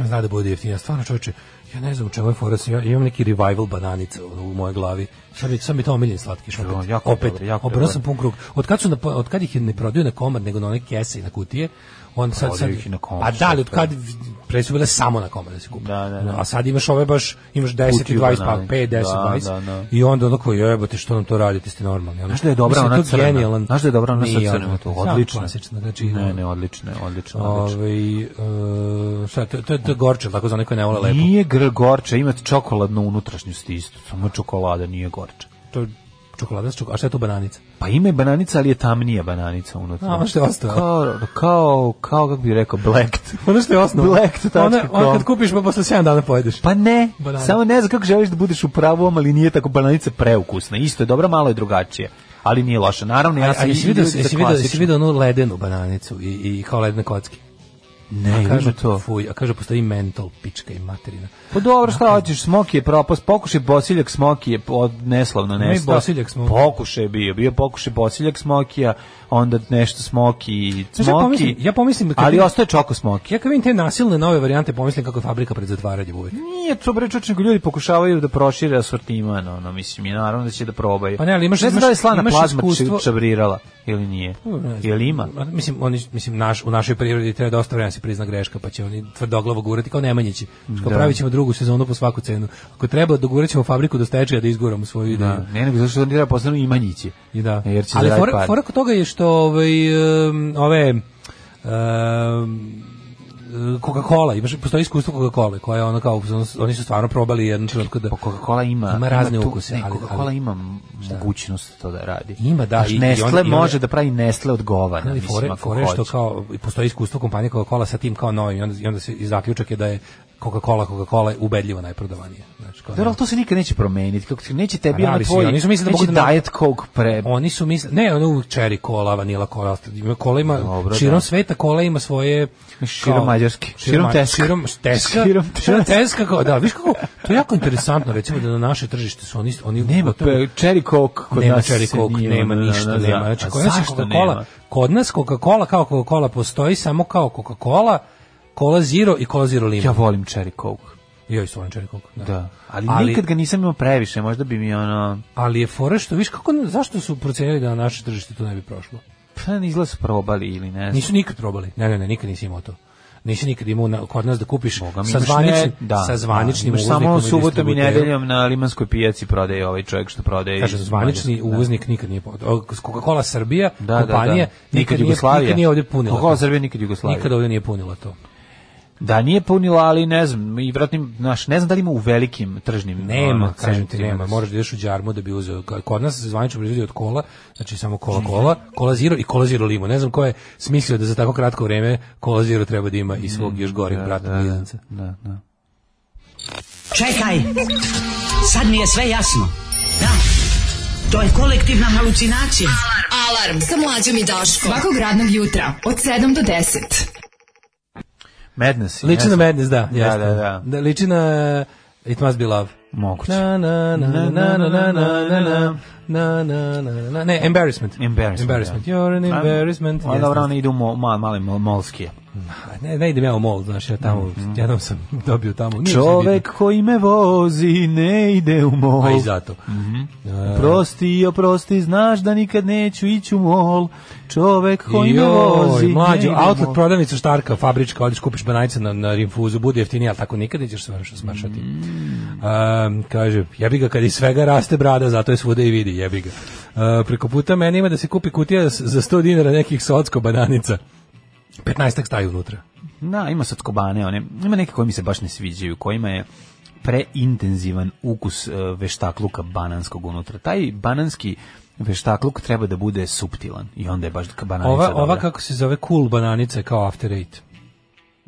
S6: Zna da bude jeftinija. Stvarno čoveče, ja ne znam u čemu je fora, ja imam neki revival bananica ono, u mojoj glavi. Sad mi sad mi to omiljen slatkiš opet.
S7: Jo, jako je
S6: opet,
S7: dobro, jako je
S6: obrao
S7: dobro.
S6: sam pun krug. Od kad su na, od kad ih je ne prodaju na komad nego na one kese i na kutije, on sad sad
S7: Prodaju ih i na komad,
S6: Pa da, ali od
S7: sad,
S6: kad pre su bile samo na komad da se kupe.
S7: Da, da, da.
S6: A sad imaš ove baš imaš 10 i
S7: Kutiju
S6: 20 pa
S7: banana.
S6: 5 10
S7: Da,
S6: 20.
S7: da, da.
S6: I onda onako jebote što nam to radite ste normalni. Ono,
S7: Znaš da je dobra
S6: mislim,
S7: ona
S6: to genijalan-
S7: crna? Znaš da je dobra ona sa
S6: Nije,
S7: crnom?
S6: samo
S7: Odlično.
S6: klasična, znači,
S7: Ne, ne, odlično, je, odlično, odlično.
S6: Ovaj e, šta, to, to, to je gorče, tako za neko ne vole lepo.
S7: Nije gr gorče, ima čokoladnu unutrašnjost isto, samo je čokolada nije gorče.
S6: To je čokolada, s čoko- a šta je to bananica?
S7: Pa ima je bananica, ali je tamnija bananica unutra.
S6: A, ono što je ostalo.
S7: Kao, kao, kao, kako bih rekao, blacked.
S6: Ono Pa što je osnovno.
S7: Black.com.
S6: Ona, ona kad kupiš pa posle 7 dana pojedeš.
S7: Pa ne,
S6: Banana.
S7: samo ne znam kako želiš da budeš u pravom, ali nije tako bananica preukusna. Isto je dobra, malo je drugačije, ali nije loša. Naravno, ja
S6: a
S7: sam
S6: Pa, jesi
S7: mislim
S6: vidio,
S7: ljudi za
S6: jesi vidio, jesi
S7: klasičnu.
S6: vidio onu ledenu bananicu i, i kao ledne kocke?
S7: Ne,
S6: Kažu
S7: ima to.
S6: Fuj, a kaže postoji mentol, pička i materina.
S7: Pa dobro, šta hoćeš, Smoki je propast, pokušaj bosiljak Smoki je od neslavno
S6: Ima i
S7: nestao.
S6: bosiljak Smoki.
S7: Pokušaj je bio, bio pokušaj bosiljak Smokija, onda nešto Smoki i
S6: Znaš, ja pomislim-
S7: Smoki.
S6: ja pomislim kad
S7: ali
S6: vidim-
S7: ostaje čoko Smoki.
S6: Ja kad vidim te nasilne nove varijante, pomislim kako je fabrika pred zatvaranjem uvek.
S7: Nije to bre čoveče, nego ljudi pokušavaju da prošire asortiman, ono mislim i naravno da će da probaju.
S6: Pa ne, ali imaš-
S7: ne znam da li je
S6: imaš-
S7: slana
S6: imaš
S7: plazma
S6: iskustvo-
S7: čab- čabrirala ili nije.
S6: Ne znam.
S7: Jel ima?
S6: Ma, Mislim, oni, mislim naš, u našoj prirodi treba dosta vremena da se prizna greška, pa će oni tvrdoglavo gurati kao Nemanjići. Kao
S7: Da.
S6: pravit ćemo drugu sezonu po svaku cenu. Ako treba, dogurat ćemo fabriku do stečaja da izguramo svoju ideju.
S7: Da. Ne, nego zašto ne treba posebno imanjići.
S6: I da.
S7: Jer će
S6: Ali
S7: zaraditi
S6: fora,
S7: pare.
S6: fora kod toga je što ovaj, um, ove um, Coca-Cola, imaš, postoji iskustvo Coca-Cola, koja je ono kao, oni su stvarno probali jednu trenutku da...
S7: Pa Coca-Cola ima,
S6: Ima razne
S7: tu-
S6: ukuse,
S7: Ne,
S6: ali-
S7: Coca-Cola
S6: ali-
S7: ima mogućnost to da radi.
S6: Ima, da,
S7: Znaš,
S6: i- i
S7: Nestle
S6: on- i on-
S7: može da pravi Nestle od govana,
S6: Ali
S7: da, mislim,
S6: fore,
S7: ako
S6: fore što
S7: hoće.
S6: kao postoji iskustvo kompanije Coca-Cola sa tim kao novim i onda, i onda se i zaključak je da je Coca-Cola Coca-Cola je ubedljivo najprodavanije. Znači, kao,
S7: Dobro, ali to se nikad neće promeniti. Kako ti- neće tebi
S6: A da,
S7: ono
S6: ali svi-
S7: tvoj.
S6: oni su mislili da
S7: neće
S6: mogu da na-
S7: diet coke pre.
S6: Oni su misle, ne, ono uvijek cherry cola, vanila cola, ima kola ima
S7: Dobro,
S6: širom
S7: da.
S6: sveta kola ima svoje
S7: Širom Mađarske. Širom
S6: ma-
S7: Teska.
S6: širom teska,
S7: Širom
S6: širom
S7: Teska.
S6: teska, kao, da, viš kako, to je jako interesantno, recimo da na naše tržište su oni oni
S7: Nema
S6: gotovo-
S7: pe, cherry coke kod
S6: nema
S7: nas.
S6: cherry
S7: se
S6: coke,
S7: nije,
S6: nema
S7: da, da,
S6: ništa,
S7: da, da.
S6: nema. Znači,
S7: A
S6: kod nas je
S7: zašto
S6: Coca-Cola,
S7: nema?
S6: kod nas Coca-Cola kao Coca-Cola postoji samo kao Coca-Cola, Cola Zero i Cola Zero
S7: Ja
S6: Lima.
S7: volim cherry coke.
S6: Joj, su oni cherry coke,
S7: Da. Ali,
S6: Ali-
S7: nikad ga nisam imao previše, možda bi mi ono...
S6: Ali je fora što, viš kako, zašto su procenili da na naše tržište to ne bi prošlo?
S7: Pa ne izgleda da su probali ili ne znam.
S6: Nisu nikad probali. Ne, ne, ne, nikad nisi imao to. nisi nikad imao na, kod nas da kupiš
S7: Boga mi,
S6: sa
S7: imaš
S6: zvaničnim,
S7: ne- da,
S6: sa zvaničnim
S7: da, imaš samo
S6: uvoznikom i
S7: subotom i
S6: distributerom.
S7: nedeljom na Limanskoj pijaci prodaje ovaj čovjek što prodaje.
S6: Kažem,
S7: iz
S6: zvanični
S7: Mađarske, da.
S6: uvoznik nikad nije... pod- o, Coca-Cola Srbija,
S7: Da, da,
S6: kompanija,
S7: da.
S6: nikad,
S7: Nikad
S6: nije,
S7: Jugoslavija.
S6: nikad nije ovdje punila.
S7: Coca-Cola
S6: to.
S7: Srbija, nikad Jugoslavija.
S6: Nikad ovdje nije punila to.
S7: Da, nije punila, ali ne znam, i vratno, naš, ne znam da li ima u velikim tržnim
S6: Nema,
S7: ono,
S6: kažem ti,
S7: centrima
S6: nema.
S7: da se-
S6: Moraš da ideš u Đarmu da bi uzeo. Ka- Kod nas se zvanično proizvodi od kola, znači samo kola kola,
S7: Mhm.
S6: kola zero i kola zero limo. Ne znam ko je smislio da za tako kratko vreme kola zero treba da ima i svog još goreg brata blizanca.
S7: Mhm. Da, da.
S5: Čekaj, sad mi je sve jasno. Da, to je kolektivna halucinacija.
S11: Alarm sa mlađom i Daškom. Svakog radnog jutra od 7 do 10.
S7: Madness.
S6: Liči
S7: ne
S6: na
S7: znam.
S6: Madness, da.
S7: Da,
S6: jeste.
S7: da, da.
S6: Liči na It Must Be Love.
S7: Moguće.
S6: Na, na, na, na, na, na, na, na, na, na, na, na, na, ne, embarrassment.
S7: Embarrassment.
S6: Embarrassment.
S7: da.
S6: You're an
S7: A,
S6: embarrassment.
S7: A
S6: Jeste.
S7: dobro, one idu u mo, ma, male mo- molskije.
S6: Ne, ne idem ja u mol, znaš, ja tamo, jednom sam dobio tamo. nije mi se
S7: Mhm. Čovek koji me vozi ne ide u mol.
S6: bitno. A Pa i zato.
S7: Prosti, oprosti, znaš da nikad neću ići u mol. Čovek koji me vozi
S6: Joj, mlađo,
S7: ne ide u
S6: outlet
S7: mol.
S6: prodavnica štarka, fabrička, odeš kupiš banajce na, na rinfuzu, bude jeftinije, ali tako nikad nećeš sve što smršati.
S7: Mm.
S6: Um, kaže, jebi ga kad iz svega raste brada, zato je svuda i vidi, jebi ga. Uh, preko puta meni ima da se kupi kutija s- za 100 dinara nekih socko bananica. 15 staju unutra.
S7: Na, Da, ima sotkobane, one. Ima neke koje mi se baš ne sviđaju, kojima je preintenzivan ukus e, veštakluka bananskog unutra. Taj bananski veštakluk treba da bude suptilan i onda je baš ka- bananica
S6: Ova,
S7: dobra.
S6: ova kako se zove cool bananica je kao after eight.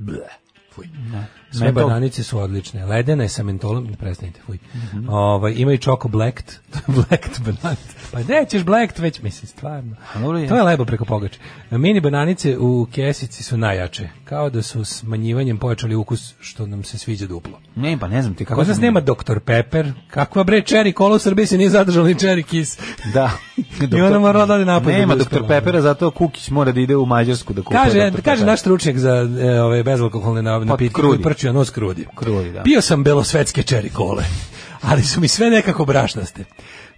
S6: Mm. Sve
S7: Mentol.
S6: bananice su odlične. Ledena je sa mentolom, ne prestanite, fuj. Ovaj, ima i čoko blacked, blacked bananice. Pa nećeš blacked, već mislim, stvarno.
S7: A dobro je.
S6: To je lebo preko pogače. Mini bananice u kesici su najjače. Kao da su smanjivanjem pojačali ukus, što nam se sviđa duplo.
S7: Ne, pa ne znam ti kako...
S6: Kod nas
S7: sam-
S6: nema Dr. Pepper. Kakva bre čeri kola u Srbiji se nije zadržala ni čeri kis.
S7: Da.
S6: I onda mora da ode napolje
S7: Nema
S6: da bude
S7: doktor
S6: uspela.
S7: Pepera, zato Kukić mora da ide u Mađarsku da kupuje
S6: Kaže,
S7: Dr.
S6: kaže
S7: Pepera.
S6: naš stručnjak za e, ove bezalkoholne na- napitke, koji
S7: Pa krudi.
S6: prči a nos krudi.
S7: Krudi, da.
S6: Pio sam belosvetske čeri kole, ali su mi sve nekako brašnaste.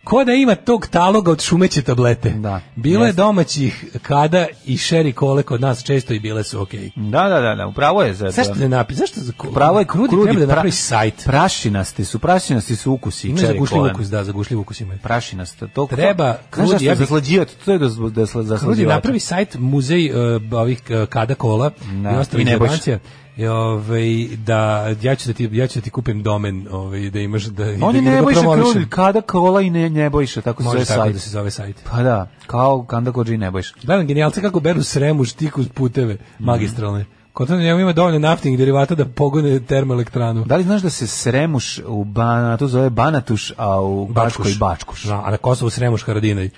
S6: Ko da ima tog taloga od šumeće tablete.
S7: Da,
S6: Bilo je
S7: jeste.
S6: domaćih kada i šeri kole kod nas često i bile su okej.
S7: Da, da, da, da, upravo je za
S6: Zašto ne napi? Zašto za ko-
S7: Pravo je krudi,
S6: treba da
S7: pra-
S6: napravi sajt.
S7: Prašinasti su, prašinasti su ukusi i
S6: Ima
S7: čeri
S6: zagušljiv
S7: kolen.
S6: ukus, da, zagušljiv ukus imaju.
S7: Prašinasta, to
S6: Treba, krudi,
S7: krudi,
S6: ja
S7: ja
S6: bih-
S7: to je do zlo- da sla- za
S6: Ljudi,
S7: slađivača.
S6: napravi sajt muzej e, ovih e, kada kola
S7: Da,
S6: i ostalih
S7: i Nebojša.
S6: zebancija. I, ovaj, da ja ću da ti ja ću da ti kupim domen, ovaj da imaš da i
S7: On
S6: da,
S7: je
S6: ga- da ga
S7: Nebojša
S6: promovišem.
S7: Krulj, kada kola i ne, Nebojša, tako se
S6: Može
S7: zove
S6: tako
S7: sajt.
S6: da se zove sajt.
S7: Pa da, kao Kanda Kođi i Nebojša.
S6: Gledam genijalce kako beru sremu, štiku puteve
S7: Mhm.
S6: magistralne. Kod toga njemu ima dovoljno naftnih derivata da pogone termoelektranu.
S7: Da li znaš da se Sremuš u Banatu zove Banatuš, a u Bačkoj
S6: Bačkuš.
S7: Bačkuš?
S6: Da, a na Kosovu sremuš Haradinaj.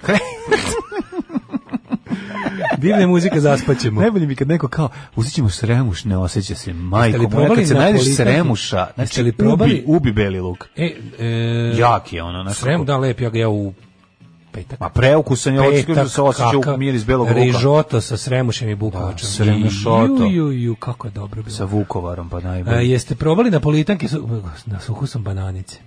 S6: Divne muzika zaspaćemo.
S7: Najbolje mi kad neko kao, uzet ćemo sremuš, ne osjeća se, majko
S6: li
S7: moja,
S6: probali
S7: kad se
S6: na
S7: najdeš
S6: politehniku?
S7: sremuša,
S6: Jeste
S7: znači
S6: li
S7: li ubi,
S6: probali-
S7: ubi beli luk.
S6: E, e,
S7: Jak je ono, znači.
S6: Srem, da, lep, ja ga ja u petak.
S7: Ma preukusan je, hoćeš da se osjeća u miris belog luka.
S6: Rižoto sa sremušem i bukovačem.
S7: Da, sremušoto.
S6: Ju, ju, ju, kako je dobro bilo.
S7: Sa Vukovarom, pa
S6: E,
S7: najbolje.
S6: jeste probali napolitanke su, na suhu sam bananice.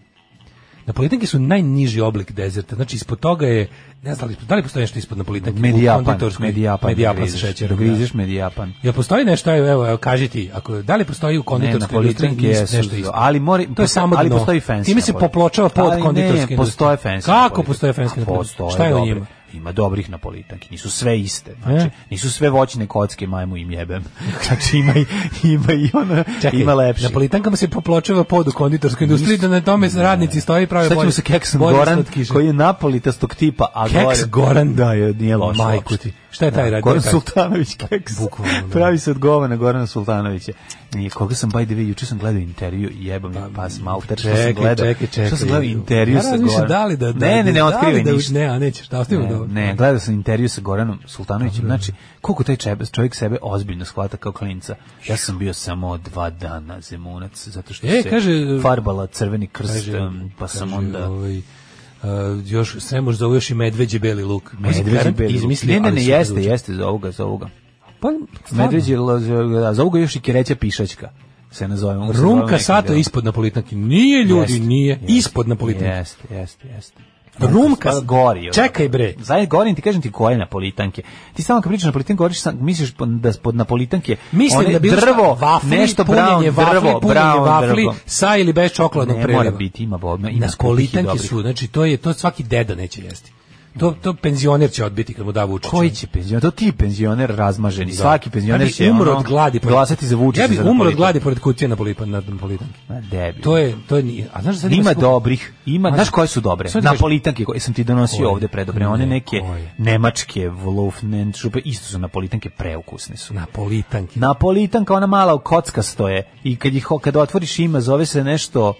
S6: Napolitanke su najniži oblik dezerta. Znači ispod toga je ne znam da li, da li postoji nešto ispod napolitanke? U
S7: Medijapan,
S6: konditorskoj-
S7: medijapan, da
S6: medijapan sa
S7: griziš,
S6: šećerom.
S7: Da
S6: Da.
S7: griziš medijapan.
S6: Jel postoji nešto, evo, evo, evo kaži ti, ako, da li postoji u konditorskoj industriji
S7: napolitanke
S6: nis-
S7: jesu,
S6: nešto isto?
S7: ali mori-
S6: to je
S7: posto-
S6: samo
S7: ali
S6: dno.
S7: postoji fancy
S6: Time se
S7: napolitanke.
S6: poplačava pod
S7: Ali ne,
S6: konditorske
S7: postoje
S6: industrije.
S7: fancy
S6: Kako
S7: napolitanke?
S6: postoje fancy
S7: A
S6: napolitanke?
S7: Pa postoje,
S6: Šta je u
S7: dobre.
S6: njima?
S7: Ima dobrih napolitanki, nisu sve iste. Znači,
S6: E?
S7: nisu sve voćne kocke, majmu im jebem. Znači, ima, i- ima i ona,
S6: Čekaj,
S7: ima lepši.
S6: Na politanka se popločava pod u konditorskoj industriji, da na tome radnici stoje i prave
S7: Šta ćemo
S6: bolje-
S7: sa keksom
S6: bolje
S7: Goran,
S6: slatkiše.
S7: koji je napolitastog tipa, a
S6: Keks
S7: gore-
S6: Goran?
S7: Da, je, nije loš. Da,
S6: Majku ti. Šta je taj radio?
S7: Goran
S6: Taj-
S7: Sultanović keks.
S6: Bukvalno, da.
S7: Pravi se od govana Gorana Sultanovića. Nije, koga sam, by the way, juče sam gledao intervju, jebam je pas malter, što sam
S6: Pa, Čekaj,
S7: gledao.
S6: čekaj, čekaj.
S7: Što sam gledao intervju
S6: ja
S7: sa
S6: razmišljam
S7: Goranom.
S6: da li da, da
S7: ne, ne,
S6: da
S7: ne,
S6: li
S7: otkrivaj
S6: da,
S7: ništa.
S6: Ne, a nećeš, da ostavimo dobro.
S7: Ne, gledao sam intervju sa Goranom Sultanovićem, znači, koliko taj čebe, čovjek sebe ozbiljno shvata kao klinca. Ja sam bio samo dva dana zemunac, zato što
S6: E,
S7: se
S6: kaže-
S7: farbala crveni krst,
S6: Kaže,
S7: em, pa sam
S6: kaže,
S7: onda...
S6: Ovaj, Uh, još sve možda zove još i medveđi beli luk.
S7: Medveđi beli.
S6: Izmislio,
S7: ne, ne,
S6: ali
S7: ne,
S6: super
S7: jeste,
S6: zvuči.
S7: jeste, za ovoga, za ovoga.
S6: Pa,
S7: Medveđi, lo- da, za ovoga još i kereća pišačka se nazove. on se zove
S6: Runka
S7: nekim
S6: sato
S7: delom.
S6: ispod napolitanki. Nije ljudi,
S7: Jeste,
S6: nije
S7: jeste,
S6: ispod napolitanki.
S7: Jeste, jeste, jeste.
S6: Rumka
S7: Pa gori. ono.
S6: Čekaj bre.
S7: Zajedno gorim ti kažem ti koje napolitanke. Ti samo kad pričaš napolitanke, govoriš sam, misliš po- da pod napolitanke
S6: Mislim
S7: one
S6: da bilo šta,
S7: drvo,
S6: vafli,
S7: nešto
S6: punjenje
S7: brown,
S6: vafli,
S7: drvo,
S6: punjenje
S7: brown,
S6: vafli
S7: drvo.
S6: sa ili bez čokoladnog
S7: Ne
S6: preliva.
S7: mora biti, ima bodno, ima
S6: Napolitanke
S7: dobrih i
S6: su, znači to je to svaki deda neće jesti. To to penzioner će odbiti kad mu da Vučić.
S7: Koji će penzioner? To ti penzioner razmaženi. Svaki penzioner
S6: Ja bi
S7: će
S6: Da. Pa umro
S7: ono,
S6: od gladi pored-
S7: glasati za Vučića.
S6: Ja bi
S7: za da
S6: umro od
S7: Napolitan.
S6: gladi pored kutije na polipan na napolitanke.
S7: Ma debil.
S6: To je to nije. A znaš da sad
S7: Ima
S6: skup-
S7: dobrih, ima,
S6: Ma,
S7: znaš koje su dobre?
S6: sad ti kažem-
S7: Napolitanke koje sam ti donosio
S6: Koje?
S7: ovde predobre, one
S6: Ne,
S7: neke
S6: koje?
S7: nemačke, Wolfenschruppe, isto su napolitanke, preukusne su.
S6: Napolitanke.
S7: Napolitanka, ona mala u kocka stoje i kad ih kad otvoriš ima zove se nešto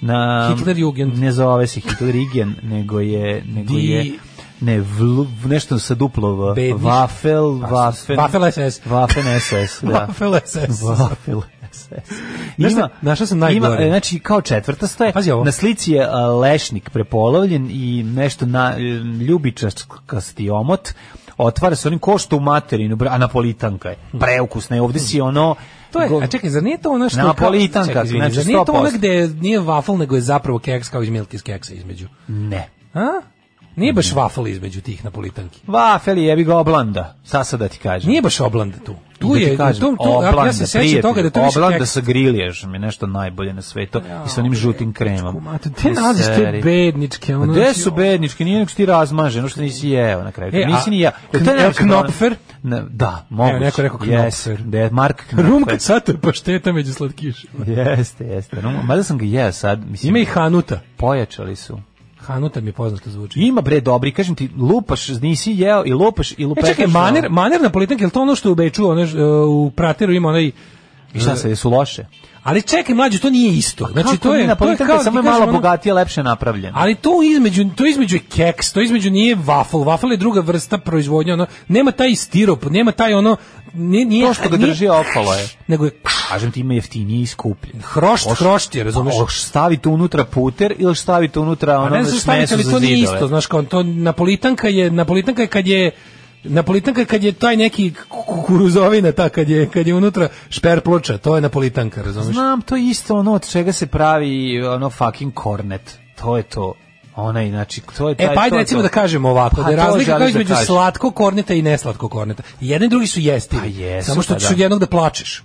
S7: na
S6: Hitlerjugend.
S7: Ne zove se Hitlerjugend, nego je nego
S6: Di-
S7: je ne vl, nešto sa duplo v,
S6: Bedniš-
S7: wafel,
S6: Pa,
S7: wafen,
S6: Wafel SS.
S7: wafen SS, da.
S6: Wafel SS.
S7: Wafel SS.
S6: Znaš šta, našao sam najgore.
S7: Ima, e, znači, kao četvrta stoje.
S6: Pazi ovo.
S7: Na slici je a, lešnik prepolovljen i nešto na ljubičaskasti omot. Otvara se onim ko što u materinu, bra- a napolitanka je. Preukusna je. Ovde si ono...
S6: To je,
S7: go-
S6: a čekaj, zar nije to ono što... kao-
S7: Napolitanka,
S6: čekaj, izvini,
S7: znači
S6: zar nije to ono
S7: 100%.
S6: gde nije waffle, nego je zapravo keks kao iz Milky's keksa između?
S7: Ne.
S6: A? Nije baš waffle između tih napolitanki.
S7: Vafel je, jebi ga oblanda. Sad sad da ti kažem.
S6: Nije baš oblanda tu. Tu
S7: Da ti
S6: je,
S7: kažem,
S6: tu, tu, ja, ja se sećam
S7: prijatelju,
S6: toga da to više
S7: Oblanda
S6: keks.
S7: sa griliješ mi je nešto najbolje na svetu i sa onim žutim kremom.
S6: Mate, te nalaziš te
S7: Seri.
S6: bedničke,
S7: Ma
S6: ono...
S7: Gde
S6: znači,
S7: su bednički? Nije nego što ti razmaže, ono što nisi jeo na kraju.
S6: E, a-
S7: nisi ni ja.
S6: Kn- jel Knopfer?
S7: Da, moguće.
S6: neko je rekao Knopfer.
S7: Yes, da je Mark Knopfer.
S6: Rumka sata pašteta među slatkišima.
S7: Jeste, jeste. Rum, mada sam ga jeo sad. Mislim,
S6: Ima i Hanuta.
S7: pojačali su.
S6: Hanuta mi je poznato zvuči.
S7: Ima bre dobri, kažem ti, lupaš, nisi jeo i lupaš i
S6: E
S7: lupetaš.
S6: čekaj,
S7: ono.
S6: maner, maner napolitanke, je li to ono što u Beču, ono, ž- e, u Prateru ima onaj...
S7: I šta se, jesu loše?
S6: Ali čekaj, mlađe, to nije isto. E. Znači, to je, to je
S7: Napolitanka
S6: kao,
S7: samo je
S6: ti kažem,
S7: malo
S6: ono-
S7: bogatije, lepše napravljeno.
S6: Ali to između to između je keks, to između nije waffle. Waffle je druga vrsta proizvodnje, ono nema taj stirop, nema taj ono nije, nije
S7: to što ga
S6: nije-
S7: drži okolo je.
S6: nego je
S7: Kažem ti ima jeftinije i skuplje.
S6: hrošt,
S7: Oš-
S6: hrošt je, razumeš?
S7: Pa, oš, stavite unutra puter ili stavite unutra
S6: Pa
S7: ono
S6: ne znam šta mi
S7: smesu
S6: ali
S7: za
S6: to nije
S7: zidove.
S6: isto, znaš, kao to napolitanka je napolitanka je kad je Napolitanka je kad je taj neki kukuruzovina ta kad je kad je unutra šper ploča, to je napolitanka, razumeš?
S7: Znam, to je isto ono od čega se pravi ono fucking kornet. To je to. Onaj, znači, to je taj...
S6: E pa
S7: to
S6: ajde
S7: je
S6: recimo
S7: to.
S6: da kažemo ovako,
S7: Pa,
S6: da je
S7: to
S6: razlika
S7: želiš
S6: kao
S7: da
S6: između
S7: kažeš.
S6: slatko korneta i neslatko korneta. I jedan i drugi su jesti.
S7: Pa jesu,
S6: Samo što
S7: pa
S6: ćeš
S7: da.
S6: od jednog da plačeš.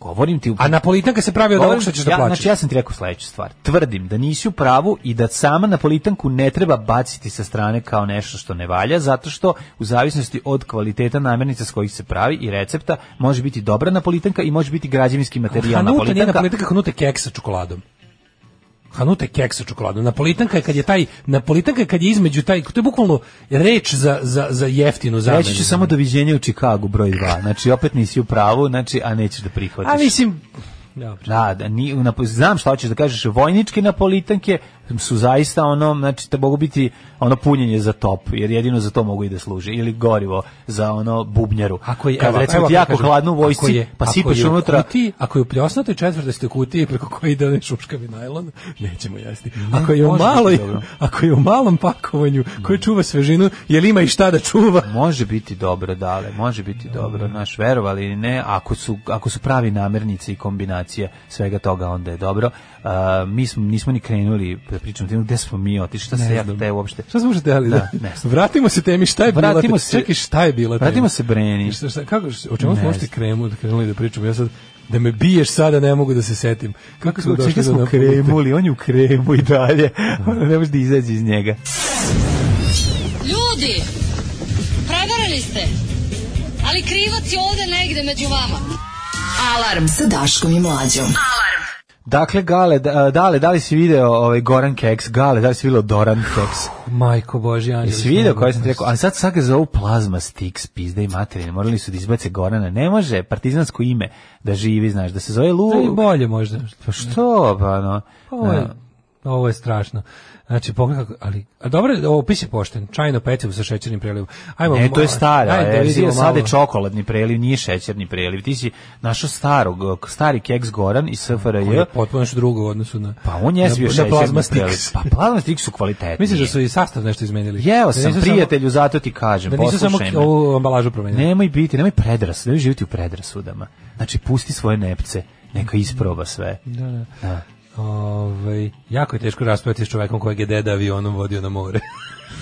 S7: Govorim ti... u-
S6: A napolitanka se pravi od
S7: Govorim-
S6: ovog što ćeš da
S7: ja,
S6: plaćaš.
S7: Znači, ja sam ti rekao sledeću stvar. Tvrdim da nisi u pravu i da sama napolitanku ne treba baciti sa strane kao nešto što ne valja, zato što u zavisnosti od kvaliteta namirnica s kojih se pravi i recepta, može biti dobra napolitanka i može biti građevinski materijal
S6: Hanuta nije
S7: napolitanka.
S6: napolitanka, Hanuta je keks sa čokoladom. Hanuta je keks sa čokoladom. Napolitanka je kad je taj, napolitanka je kad je između taj, to je bukvalno reč za, za, za jeftinu zamenu.
S7: Reći ću samo doviđenja u Čikagu broj 2. Znači, opet nisi u pravu, znači, a nećeš da prihvatiš.
S6: A mislim, dobro.
S7: Da, da, ni, na, znam šta hoćeš da kažeš, vojničke napolitanke su zaista ono, znači da mogu biti ono punjenje za top, jer jedino za to mogu i da služe, ili gorivo za ono bubnjaru.
S6: Ako je,
S7: Kad,
S6: evo,
S7: recimo
S6: evo
S7: ti jako
S6: ako kažem,
S7: hladno u
S6: ako
S7: vojsci,
S6: je-
S7: pa
S6: ako
S7: sipaš
S6: je u
S7: unutra,
S6: Kutiji, ako je u pljosnatoj četvrtastoj kutiji preko koje ide onaj šuškavi najlon, nećemo jesti. Ako je u
S7: može biti
S6: maloj,
S7: dobro. Mm.
S6: ako je u malom pakovanju koje čuva svežinu, jel ima i šta da čuva?
S7: može biti dobro, dale, može biti
S6: Mm.
S7: dobro, naš verovali ili ne, ako su, ako su pravi namernice i kombinacije svega toga, onda je dobro. A, mi smo, nismo ni krenuli da pričamo o tome, gde smo mi otišli, šta se ja te uopšte...
S6: Šta smo možete ali da?
S7: Da, ne znam.
S6: Vratimo se temi šta je bila.
S7: Vratimo
S6: tema?
S7: se-
S6: Čekaj, šta je bila? tema?
S7: Vratimo se Breni.
S6: Šta, šta, kako, o čemu smo
S7: Ne
S6: uopšte
S7: znam.
S6: kremu, krenuli da pričamo? Ja sad da me biješ sada ne mogu da se setim. Kako smo došli da do
S7: smo
S6: napolitanke?
S7: kremuli, on je u kremu i dalje. Ono ne može da izađe iz njega.
S12: Ljudi, prevarili ste. Ali krivac je ovde negde među vama.
S11: Alarm sa Daškom i Mlađom.
S7: Dakle, Gale, da- dale, da li si video ovaj Goran Keks? Gale, da li si video Doran Keks?
S6: Majko Bože, Anđeli.
S7: Jesi video koji sam ti rekao? A sad sad ga zovu Plazma Sticks, pizde i materine. Morali su da izbace Gorana. Ne može partizansko ime da živi, znaš, da se zove
S6: To je
S7: Lu...
S6: bolje možda.
S7: Pa što, pa no?
S6: Ovo je, ovo je strašno. Znači, pogledaj kako, ali, a dobro, opis je pošten, čajno pecivo sa šećernim prelivom. Ajmo,
S7: Ne, to je stara, e,
S6: ajde da vidimo
S7: verzija, sad je
S6: malo.
S7: čokoladni preliv, nije šećerni preliv. Ti si našao starog, stari keks Goran iz SFRJ.
S6: Koji je Potpuno nešto drugo u odnosu na...
S7: Pa on je
S6: na-
S7: bio
S6: na
S7: šećerni
S6: plazma
S7: preliv.
S6: sticks.
S7: Pa plazma sticks su kvalitetni.
S6: Misliš da su i sastav nešto izmenili?
S7: Jeo
S6: Da
S7: sam,
S6: nisu samo-
S7: prijatelju, zato ti kažem,
S6: Da nisu samo
S7: poslušaj me.
S6: ovu ambalažu promenili.
S7: Nemoj biti, nemoj predrasu, nemoj živjeti u predrasudama. Znači, pusti svoje nepce, neka isproba sve.
S6: Da, da. Ovaj, jako je teško raspraviti s čovekom kojeg je deda avionom vodio na more.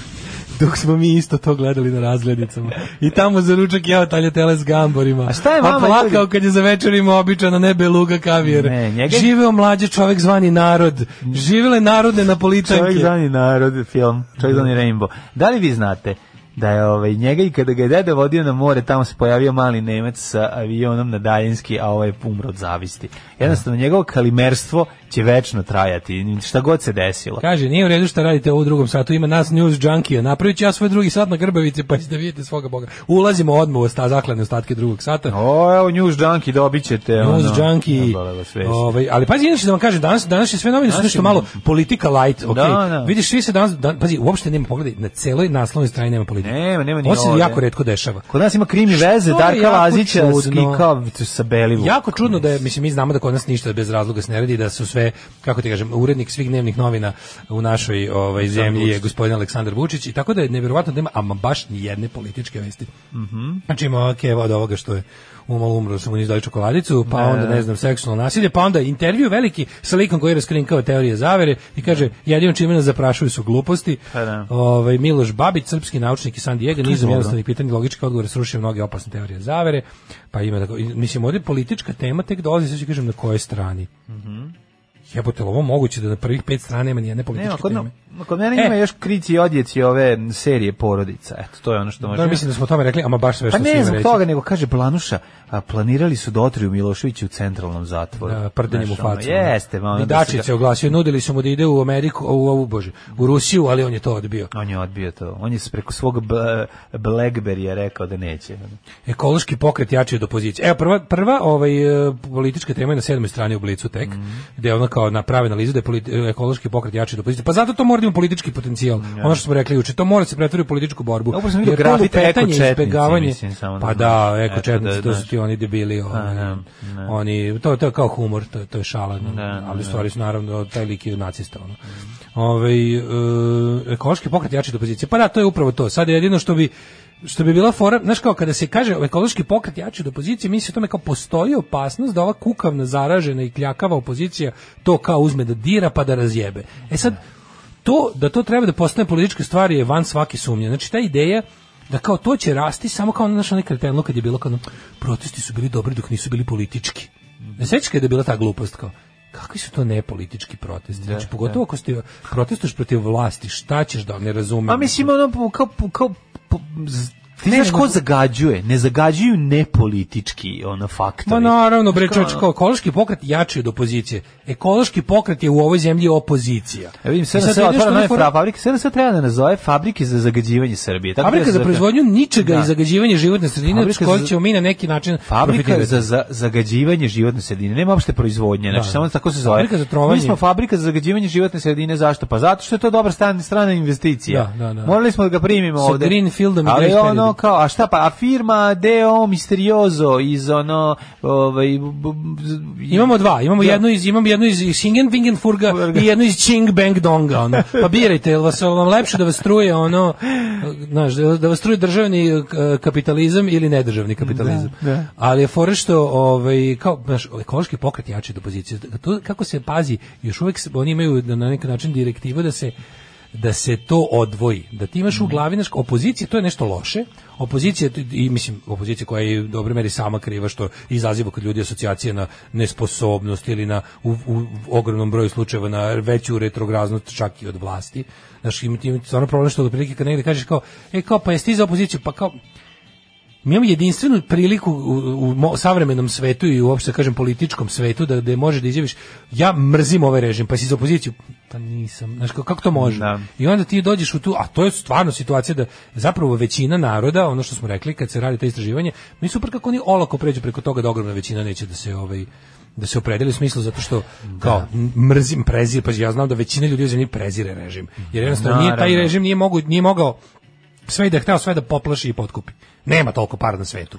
S6: dok smo mi isto to gledali na razglednicama. I tamo za ručak jeo taljatele s gamborima.
S7: A šta je vama
S6: A plakao kad je za večer imao običana nebe luga kavijer.
S7: Ne, njega je-
S6: Živeo mlađe čovek zvani narod. Živele narodne napolitanke.
S7: Čovjek zvani narod film, čovjek zvani Rainbow. Da li vi znate da je ovaj, njega i kada ga je deda vodio na more, tamo se pojavio mali Nemac sa avionom na daljinski, a ovaj je umro od zavisti. Jednostavno, njegovo kalimerstvo će večno trajati, šta god se desilo.
S6: Kaže, nije u redu šta radite ovo u drugom satu, ima nas news junkie, napravit ću ja svoj drugi sat na Grbavici, pa ćete vidjeti svoga boga. Ulazimo odmah u sta, zaklane ostatke drugog sata.
S7: O, evo, News Junkie, dobit ćete.
S6: News
S7: ono,
S6: junkie.
S7: zaboravila svest.
S6: Ovaj, ali pazi, inače da vam kažem, danas, danas je sve novine su
S7: Danas
S6: nešto
S7: je-
S6: malo politika light, ok.
S7: Da, da.
S6: Vidiš, svi se danas, dan- pazi, uopšte nema pogledaj, na celoj naslovnoj strani nema politike.
S7: Nema, nema ni
S6: Ovo se
S7: ovde.
S6: jako retko dešava.
S7: Kod nas ima krimi veze,
S6: je
S7: Darka
S6: jako
S7: Lazića s-
S6: čudno.
S7: i kao sa Belivu.
S6: Jako čudno da je, mislim, mi znamo da kod nas ništa bez razloga se ne radi, da su sve, kako ti kažem, urednik svih dnevnih novina u našoj ovaj, zemlji je gospodin Aleksandar Vučić i tako da je nevjerovatno da ima, ama baš ni jedne političke vesti. Znači ima keva od ovoga što je umalo umro, što mu nisu dali čokoladicu,
S7: Da,
S6: pa onda, ne znam, seksualno nasilje, pa onda intervju veliki sa likom koji je raskrinkao teorije zavere i kaže, jedino čime nas zaprašuju su gluposti.
S7: Da. Pa da. Pa
S6: Ovaj, Miloš Babić, srpski naučnik iz San Diego, nizom
S7: dobro.
S6: jednostavnih pitanja i logičkih odgovora srušio mnoge opasne teorije zavere, pa ima tako, i, mislim, ovdje politička tema tek dolazi, sad ću kažem, na kojoj strani. Jebote, jel ovo moguće da na prvih pet strana nema nijedne
S7: Mhm. Nema,
S6: političke
S7: kod,
S6: teme?
S7: na- kod mene ima
S6: E.
S7: još krici i odjeci ove serije porodica. Eto, to je ono što može.
S6: Da, mislim da smo o tome rekli, ama baš sve
S7: Pa
S6: što se
S7: ne
S6: ima
S7: zbog
S6: reći.
S7: toga, nego kaže Blanuša, a planirali su da otriju Miloševića u centralnom zatvoru.
S6: Da, prdenjem u
S7: Pa, Znaš, ono,
S6: facu.
S7: Jeste, ma ono da se
S6: Vidačić
S7: ga-
S6: je oglasio, nudili su mu da ide u Ameriku, u ovu bože, u Rusiju, ali on je to odbio.
S7: On je odbio to. On je s- preko svog b- Blackberryja rekao da neće.
S6: Ekološki pokret jači od opozicije. Evo prva prva ovaj e, politička tema je na sedmoj strani u blicu tek,
S7: Mhm.
S6: gdje je ona kao napravi analizu da je politi- ekološki pokret jači od opozicije. Pa zato to mora da ima politički potencijal. Ono što smo rekli juče, to mora da se pretvori u političku borbu.
S7: Ja, upravo sam vidio
S6: Jer to
S7: grafite
S6: lupetanje,
S7: ekočetnici,
S6: izbegavanje-
S7: mislim, samo da
S6: pa da,
S7: znaš. Eto,
S6: eko četnici,
S7: da,
S6: to su
S7: znaš.
S6: ti oni debili, ovaj. oni,
S7: da, da.
S6: oni to, to je kao humor, to, to je šala,
S7: da,
S6: ali u
S7: da.
S6: stvari su naravno taj lik je nacista. Ono. Ovaj, e, ekološki pokret jači od opozicije. Pa da, to je upravo to. Sad je jedino što bi što bi bila fora, znaš kao kada se kaže ekološki pokret jači od opozicije, misli se o tome kao postoji opasnost da ova kukavna, zaražena i kljakava opozicija to kao uzme da dira pa da razjebe. E sad, to, da to treba da postane politička stvar je van svake sumnje. Znači ta ideja da kao to će rasti samo kao naš onaj kretenluk kad je bilo kao ono, protesti su bili dobri dok nisu bili politički. Ne sećaš kada je bila ta glupost kao kakvi su to nepolitički protesti?
S7: Da,
S6: Znači, pogotovo ako ste protestuješ protiv vlasti, šta ćeš da ne razumem?
S7: Pa mislim, ono, kao... kao po- z- ti
S6: Ne,
S7: znaš
S6: nego-
S7: ko zagađuje? Ne zagađuju nepolitički ono, faktori.
S6: Ma naravno, bre, čovječ, kao ekološki pokret jači od opozicije. Ekološki pokret je u ovoj zemlji opozicija.
S7: Ja E, vidim, sve
S6: I
S7: na
S6: sad
S7: sve
S6: vidiš
S7: otvara
S6: što
S7: nove
S6: fora-
S7: fra- fabrike, sve na sve treba da nazove fabrike za zagađivanje Srbije. Tako
S6: Fabrika
S7: da se
S6: za
S7: zove-
S6: proizvodnju ničega
S7: Da.
S6: i zagađivanje životne sredine, od
S7: Fabrika
S6: koje
S7: za-
S6: ćemo mi na neki način
S7: Fabrika
S6: profitirati.
S7: za, za zagađivanje životne sredine, nema uopšte proizvodnje, znači
S6: Da.
S7: samo tako se zove.
S6: Fabrika za trovanje.
S7: Mi smo fabrika za zagađivanje životne sredine, zašto? Pa zato što je to dobra strana, strana investicija.
S6: Da, da, da.
S7: Morali smo da ga primimo
S6: Sa
S7: ovde.
S6: Greenfieldom i
S7: Ali
S6: Greenfieldom.
S7: ono kao, a šta pa, a firma DO Misterioso iz ono... Ovaj, b- b- b-
S6: Imamo dva, imamo
S7: Da.
S6: jednu iz imamo jednu iz Singenfingenfurga i jednu iz Ching Bang Donga. Ono. Pa birajte, jel vas jel vam lepše da vas struje ono, znaš, da da vas struje državni eh, kapitalizam ili nedržavni kapitalizam. Ali je fore što ovaj kao znaš, ekološki pokret jači od opozicije. To kako se pazi, još uvek se- oni imaju na- na neki način direktivu da se da se to odvoji. Da ti imaš u glavi znaš, opozicija, to je nešto loše. Opozicija t- i mislim opozicija koja je u dobroj meri sama kriva što izaziva kod ljudi asocijacije na nesposobnost ili na u, u ogromnom broju slučajeva na veću retrograznost čak i od vlasti. Znaš, ima ti ima stvarno problem što otprilike kad negde kažeš kao, e kao, pa jesi ti za opoziciju, pa kao, mi imamo jedinstvenu priliku u, u mo- savremenom svetu i uopšte da kažem političkom svetu da da možeš da izjaviš ja mrzim ovaj režim pa si za opoziciju pa nisam znaš kako, kako to može
S7: Da.
S6: i onda ti dođeš u tu a to je stvarno situacija da zapravo većina naroda ono što smo rekli kad se radi to istraživanje mi super kako oni olako pređu preko toga da ogromna većina neće da se ovaj da se opredeli u smislu zato što kao m- mrzim prezir pa ja znam da većina ljudi u zemlji prezire režim jer jednostavno nije taj
S7: Naravno.
S6: režim da nije mogu nije mogao sve i da je hteo sve da poplaši i potkupi. Nema toliko para na svetu.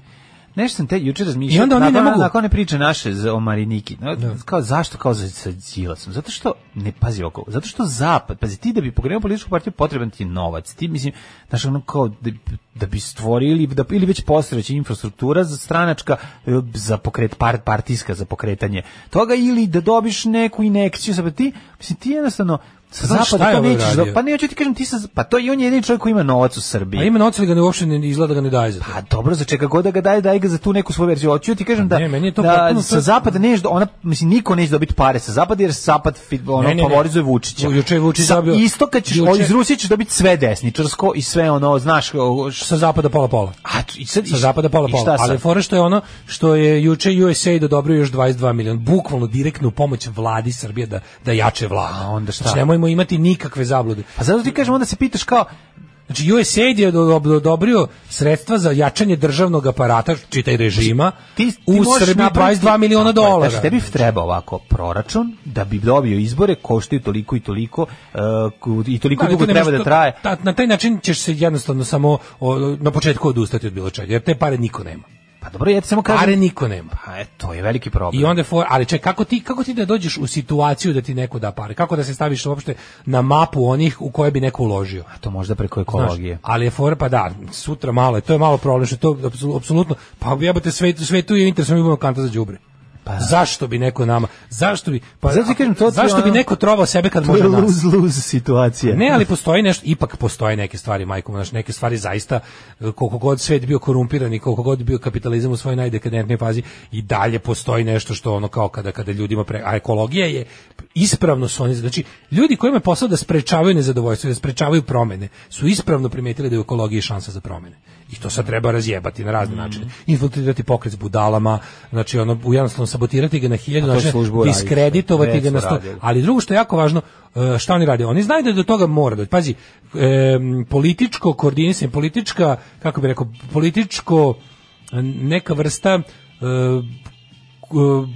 S7: Nešto sam te juče razmišljao.
S6: I onda oni
S7: nakon-
S6: ne mogu. Da.
S7: Nakon one priče naše za- o Mariniki. No, Kao, zašto? Kao za, sa Đilasom. Zato što, ne pazi oko, zato što Zapad, pazi, ti da bi pokrenuo političku partiju potreban ti je novac. Ti, mislim, znaš, ono kao, da, da bi stvorili, da, ili već postojeća infrastruktura za stranačka, e, za pokret, par, partijska, za pokretanje toga, ili da dobiš neku inekciju. Sad, ti, mislim, ti jednostavno, sa
S6: Znaš, šta
S7: zapada
S6: je
S7: to
S6: ovaj
S7: nećeš,
S6: radio?
S7: do- pa neću ti kažem ti sa, pa to i on je jedini čovjek koji ima novac u Srbiji.
S6: A ima novca ali ga ne uopšte ne izgleda da ga ne daje za to.
S7: Pa dobro, za čega god da ga daje, daje ga za tu neku svoju verziju. Hoću ti kažem da,
S6: Ne, meni je to
S7: da
S6: potpuno-
S7: sa zapada neš, ona, mislim, niko neće dobiti pare sa zapada, jer zapad fit, ono,
S6: ne, ne.
S7: favorizuje Vučića.
S6: U- juče je Vučić
S7: sa,
S6: dobio-
S7: Isto kad ćeš,
S6: juče-
S7: o, iz Rusije ćeš dobiti sve desničarsko i sve ono, znaš, o, š-
S6: Sa zapada pola pola.
S7: a, tu- i sad,
S6: Sa zapada pola
S7: i
S6: pola.
S7: šta sad?
S6: Ali fora što je ono što je juče USA dodobrio još 22 miliona, bukvalno direktnu pomoć vladi Srbije da da jače vlada.
S7: A onda šta?
S6: Znači, nemojmo imati nikakve zablude.
S7: Pa zato ti kažem, onda se pitaš kao,
S6: Znači USAID je do- do- odobrio sredstva za jačanje državnog aparata, čitaj režima,
S7: ti, ti
S6: u
S7: možeš
S6: Srbiji
S7: napraviti-
S6: 22 miliona
S7: Tako je,
S6: dolara.
S7: Znači, tebi treba ovako proračun da bi dobio izbore, koštaju toliko i toliko uh, ku- i toliko
S6: Da, ali
S7: dugo
S6: to ne
S7: treba
S6: može-
S7: da
S6: to-
S7: traje.
S6: ta- na taj način ćeš se jednostavno samo o, na početku odustati od bilo čega, jer te pare niko nema.
S7: Pa dobro, ja ti samo kažem,
S6: Pare niko nema.
S7: pa e, to je veliki problem.
S6: I onda je for, ali ček, kako ti kako ti da dođeš u situaciju da ti neko da pare? Kako da se staviš uopšte na mapu onih u koje bi neko uložio?
S7: A to možda preko
S6: Znaš,
S7: ekologije.
S6: ali je fora pa da, sutra malo, je, to je malo problem što to apsu- apsolutno, pa jebote svetu, svetu je interesno imamo kanta za đubre. Pa, zašto bi neko nama, zašto bi, pa
S7: da. Zato ti kažem, to ti je
S6: zašto bi
S7: ono-
S6: neko trovao sebe kad
S7: To je
S6: može nas?
S7: lose-lose situacija.
S6: Ne, ali postoji nešto, ipak postoje neke stvari, majko, moja, znaš, neke stvari zaista, e, koliko god svet bio korumpiran i koliko god bio kapitalizam u svojoj najdekadentnijoj fazi, i dalje postoji nešto što ono kao kada, kada ljudima, pre, a ekologija je ispravno su oni, znači, ljudi kojima je posao da sprečavaju nezadovoljstvo, i da sprečavaju promene, su ispravno primetili da je u ekologiji šansa za promene. I to sad treba razjebati na razne načine. Infiltrirati pokret s budalama, znači ono, jednostavno sabotirati ga na hiljadu
S7: A to
S6: načina,
S7: službu radiš,
S6: diskreditovati
S7: već
S6: ga na
S7: su
S6: sto,
S7: radili.
S6: ali drugo što je jako važno, e, šta oni rade? Oni znaju da do toga mora doći. Pazi, em, političko koordinisanje, politička, kako bi rekao, političko e, neka vrsta e, k- e,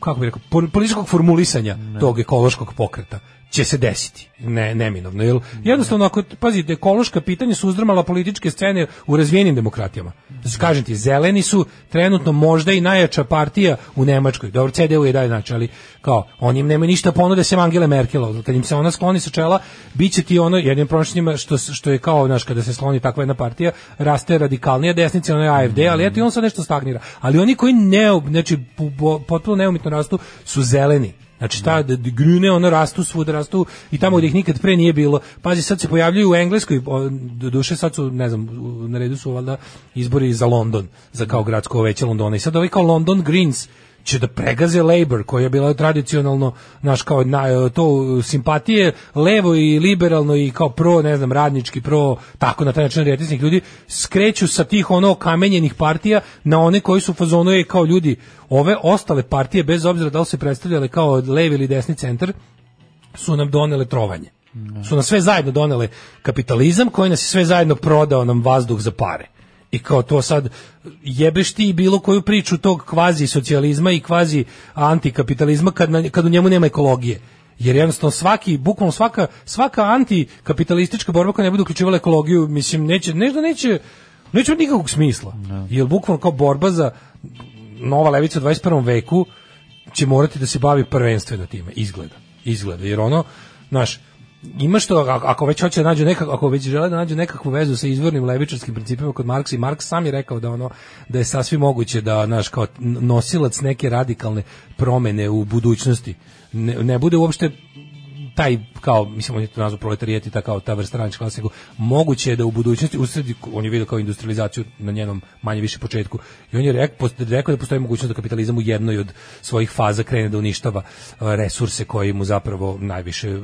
S6: kako bi rekao, pol- političkog formulisanja tog ekološkog pokreta će se desiti, ne, neminovno. Jer jednostavno, ako, pazi, ekološka pitanja su uzdrmala političke scene u razvijenim demokratijama. Znači, Kažem ti, zeleni su trenutno možda i najjača partija u Nemačkoj. Dobro, CDU je dalje, znači, ali kao, oni im nemaju ništa ponude sem Angele Merkel. Kad im se ona skloni sa čela, bit će ti ono, jedin problem s njima što, s- što je kao, znaš, kada se skloni takva jedna partija, raste radikalnija desnica, ono je AFD, ali eto i on sad nešto stagnira. Ali oni koji ne, znači, po- po- potpuno neumitno rastu su zeleni. Znači ta d- d- grune, ono rastu svuda, rastu i tamo gdje ih nikad pre nije bilo. Pazi, sad se pojavljuju u Engleskoj, o, do duše sad su, ne znam, u- na redu su valjda izbori za London, za kao gradsko veće Londona. I sad ovi kao London Greens će da pregaze Labour, koja je bila tradicionalno, naš kao na, to simpatije, levo i liberalno i kao pro, ne znam, radnički, pro, tako na taj način retisnih ljudi, skreću sa tih ono kamenjenih partija na one koji su u fazonu je kao ljudi, ove ostale partije, bez obzira da li se predstavljale kao levi ili desni centar, su nam donele trovanje. Su nam sve zajedno donele kapitalizam koji nas je sve zajedno prodao nam vazduh za pare. I kao to sad jebeš ti bilo koju priču tog kvazi socijalizma i kvazi antikapitalizma kad, na, kad u njemu nema ekologije. Jer jednostavno svaki, bukvalno svaka, svaka antikapitalistička borba koja ne bude uključivala ekologiju, mislim, neće, ne da neće, neće imati nikakvog smisla. Jer bukvalno kao borba za nova levica u 21. veku će morati da se bavi prvenstveno time, izgleda. Izgleda, jer ono, znaš, ima što, a- ako već hoće da nađu nekak, ako već žele da nađu nekakvu vezu sa izvornim levičarskim principima kod Marksa i Marks sam je rekao da ono, da je sasvim moguće da, znaš, kao n- nosilac neke radikalne promene u budućnosti ne, ne bude uopšte taj kao mislim on je to nazvao proletarijat i ta kao ta vrsta radnička klasa nego moguće je da u budućnosti usred on je video kao industrializaciju na njenom manje više početku i on je rekao rekao da postoji mogućnost da kapitalizam u jednoj od svojih faza krene da uništava e, resurse koji mu zapravo najviše e,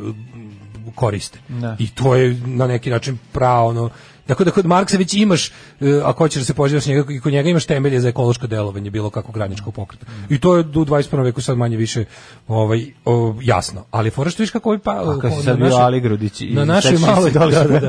S6: koriste.
S7: Da.
S6: I to je na neki način pravo ono Tako da kod Marksa već imaš, e, ako hoćeš da se pozivaš njega, i kod njega imaš temelje za ekološko delovanje bilo kakvog radničkog pokreta.
S7: Mm.
S6: I to je u 21. veku sad manje više ovaj, o, jasno. Ali fora što viš kako ovi pa...
S7: A kad si
S6: na
S7: sad bio
S6: našoj-
S7: Ali Grudić i
S6: na našoj
S7: sećaš se
S6: maloj-
S7: da,
S6: da, da,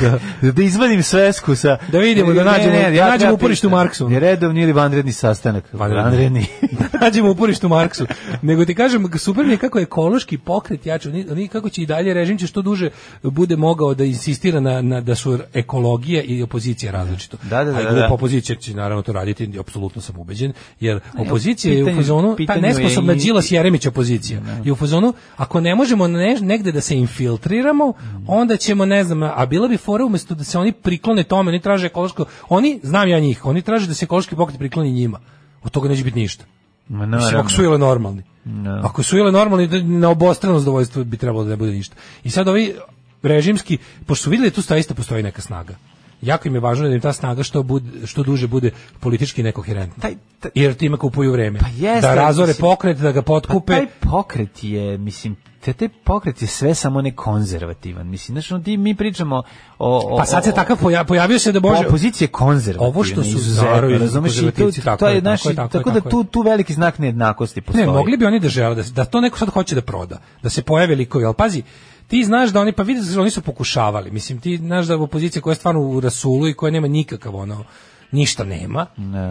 S6: da.
S7: da, da izvadim svesku sa
S6: Da vidimo, da nađemo- da nađemo
S7: treba
S6: uporište u
S7: pitam,
S6: Marksu.
S7: Je redovni ili vanredni sastanak?
S6: Vanredni.
S7: Vanredni.
S6: da nađemo uporište u Marksu. Nego ti kažem, super mi je kako je ekološki pokret jače, oni, oni kako će i dalje režim će što duže bude mogao da insistira na, na da su ekolo, ideologija i opozicija različito.
S7: Da, da, da,
S6: A i
S7: da,
S6: glupa
S7: da.
S6: opozicija će naravno to raditi, apsolutno sam ubeđen, jer
S7: Ne,
S6: opozicija je u
S7: pitanju-
S6: fazonu, ta
S7: pitanju je
S6: nesposobna
S7: i- Da.
S6: Đilas Jeremić opozicija. I u fazonu, ako ne možemo ne, negde da se infiltriramo, onda ćemo, ne znam, a bila bi fora umesto da se oni priklone tome, oni traže ekološko, oni, znam ja njih, oni traže da se ekološki pokret prikloni njima. Od toga neće biti ništa.
S7: Ma,
S6: Mislim,
S7: Da, naravno.
S6: ako su ili normalni.
S7: Da.
S6: Ako su ili normalni, da- na obostrano zadovoljstvo bi trebalo da ne bude ništa. I sad ovi režimski, pošto su vidjeli tu staista postoji neka snaga. Jako im je važno da im ta snaga što, bude, što duže bude politički nekoherentna. Jer time kupuju vreme.
S7: Pa jeste,
S6: da razore
S7: mislim-
S6: pokret, da ga potkupe.
S7: Pa taj pokret je, mislim, te, taj pokret je sve samo ne konzervativan. Mislim, znaš, ono ti mi pričamo o... o
S6: Pa sad se
S7: o-
S6: takav poja- pojavio se da može...
S7: Opozicija je konzervativna.
S6: Ovo što su
S7: izuzetno,
S6: zaroj
S7: razumeš, i tu-
S6: konzervativci, tako
S7: to
S6: je,
S7: je,
S6: tako
S7: znaš,
S6: je, tako je,
S7: tako da
S6: tako je.
S7: tu, tu veliki znak nejednakosti postoji.
S6: Ne, mogli bi oni da žele da, se- da to neko sad hoće da proda, da se pojave likovi, ali pazi, ti znaš da oni pa vidi oni su pokušavali. Mislim ti znaš da opozicija koja je stvarno u rasulu i koja nema nikakav ono ništa nema.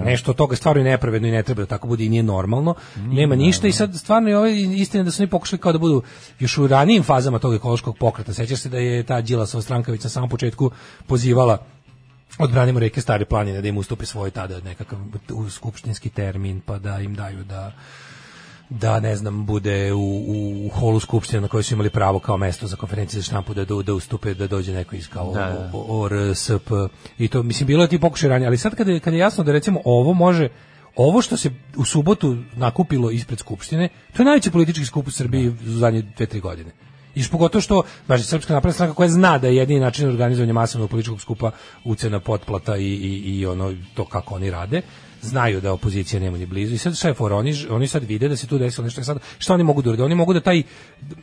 S6: Nešto od toga stvarno je nepravedno i ne treba da tako bude i nije normalno. nema ništa i sad stvarno je ovaj istina da su oni pokušali kao da budu još u ranijim fazama tog ekološkog pokreta. Sećaš se da je ta Đilasova stranka već na samom početku pozivala odbranimo reke Stare planine da im ustupi svoj tada nekakav skupštinski termin pa da im daju da da ne znam bude u, u, u holu skupštine na kojoj su imali pravo kao mesto za konferencije za štampu da do, da ustupe da dođe neko iz kao
S7: da.
S6: o- o- ORSP i to mislim bilo je ti pokušaj ranije ali sad kada je, kada je jasno da recimo ovo može ovo što se u subotu nakupilo ispred skupštine to je najveći politički skup u Srbiji
S7: Da.
S6: u zadnje dve tri godine i još pogotovo što znači srpska napredna stranka koja zna da je jedini način organizovanja masovnog političkog skupa ucena potplata i, i, i ono to kako oni rade znaju da opozicija nema ni blizu i sad šta je fora? oni, ž- oni sad vide da se tu desilo nešto I sad šta oni mogu da urade oni mogu da taj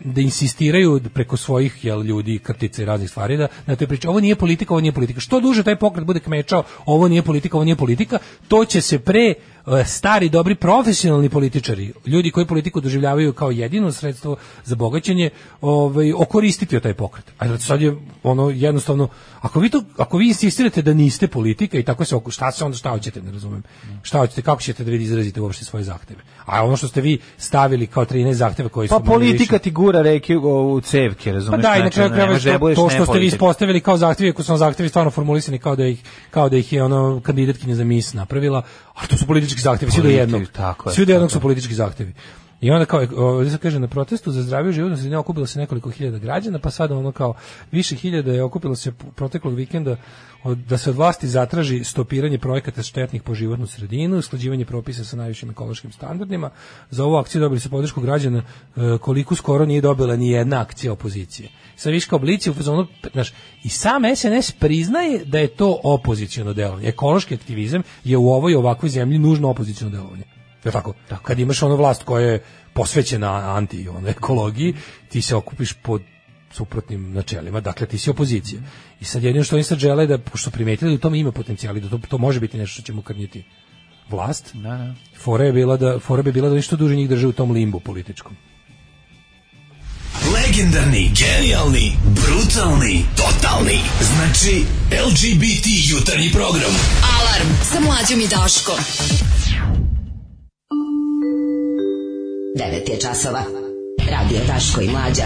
S6: da insistiraju preko svojih jel, ljudi krtice i raznih stvari da na toj priči ovo nije politika ovo nije politika što duže taj pokret bude kmečao ovo nije politika ovo nije politika to će se pre e, stari dobri profesionalni političari ljudi koji politiku doživljavaju kao jedino sredstvo za bogaćenje ovaj okoristiti od taj pokret a jel sad je ono jednostavno ako vi to ako vi insistirate da niste politika i tako se oko- šta se onda šta hoćete ne razumem šta hoćete kako ćete da vi izrazite uopšte svoje zahteve a ono što ste vi stavili kao 13 zahteva koji
S7: Pa
S6: su manje više-
S7: politika ti gura reke u u cevke,
S6: pa
S7: razumeš?
S6: da, i na
S7: znači,
S6: kraju
S7: ono,
S6: krajeva
S7: ne može da
S6: što,
S7: budeš
S6: to što ste vi
S7: nepolitik.
S6: ispostavili kao zahtjevi, ako su vam zahtjevi stvarno formulisani kao da ih, kao da ih je ono kandidatkinja za mis napravila, ali to su politički zahtjevi, svi do
S7: Politi-
S6: jednog.
S7: tako je,
S6: svi do jednog
S7: tako
S6: su
S7: je.
S6: politički zahtjevi. I onda kao, ovdje se kaže, na protestu za zdraviju životnu sredinu okupilo se nekoliko hiljada građana, pa sada ono kao više hiljada je okupilo se proteklog vikenda od, da se od vlasti zatraži stopiranje projekata štetnih po životnu sredinu, usklađivanje propisa sa najvišim ekološkim standardima. Za ovu akciju dobili su podršku građana e, koliko skoro nije dobila ni jedna akcija opozicije. Sa viška oblici u fazonu, znaš, i sam SNS priznaje da je to opoziciono delovanje. Ekološki aktivizam je u ovoj i ovakvoj zemlji nužno opoziciono delovanje. Je li tako? Kad imaš ono vlast koja je posvećena anti ono, ekologiji, ti se okupiš pod suprotnim načelima, dakle ti si opozicija.
S7: Mhm.
S6: I sad jedino što oni sad žele da, pošto primetili da u tome ima potencijali, da to, to može biti nešto što će mu krnjiti vlast,
S7: Da, da.
S6: fora je bila da, fora bi bila da ništa duže njih drže u tom limbu političkom.
S13: Legendarni, genijalni, brutalni, totalni. Znači, LGBT jutarnji program.
S11: Alarm sa mlađom i Daškom.
S10: 9 je časova. Radio Daško i Mlađa.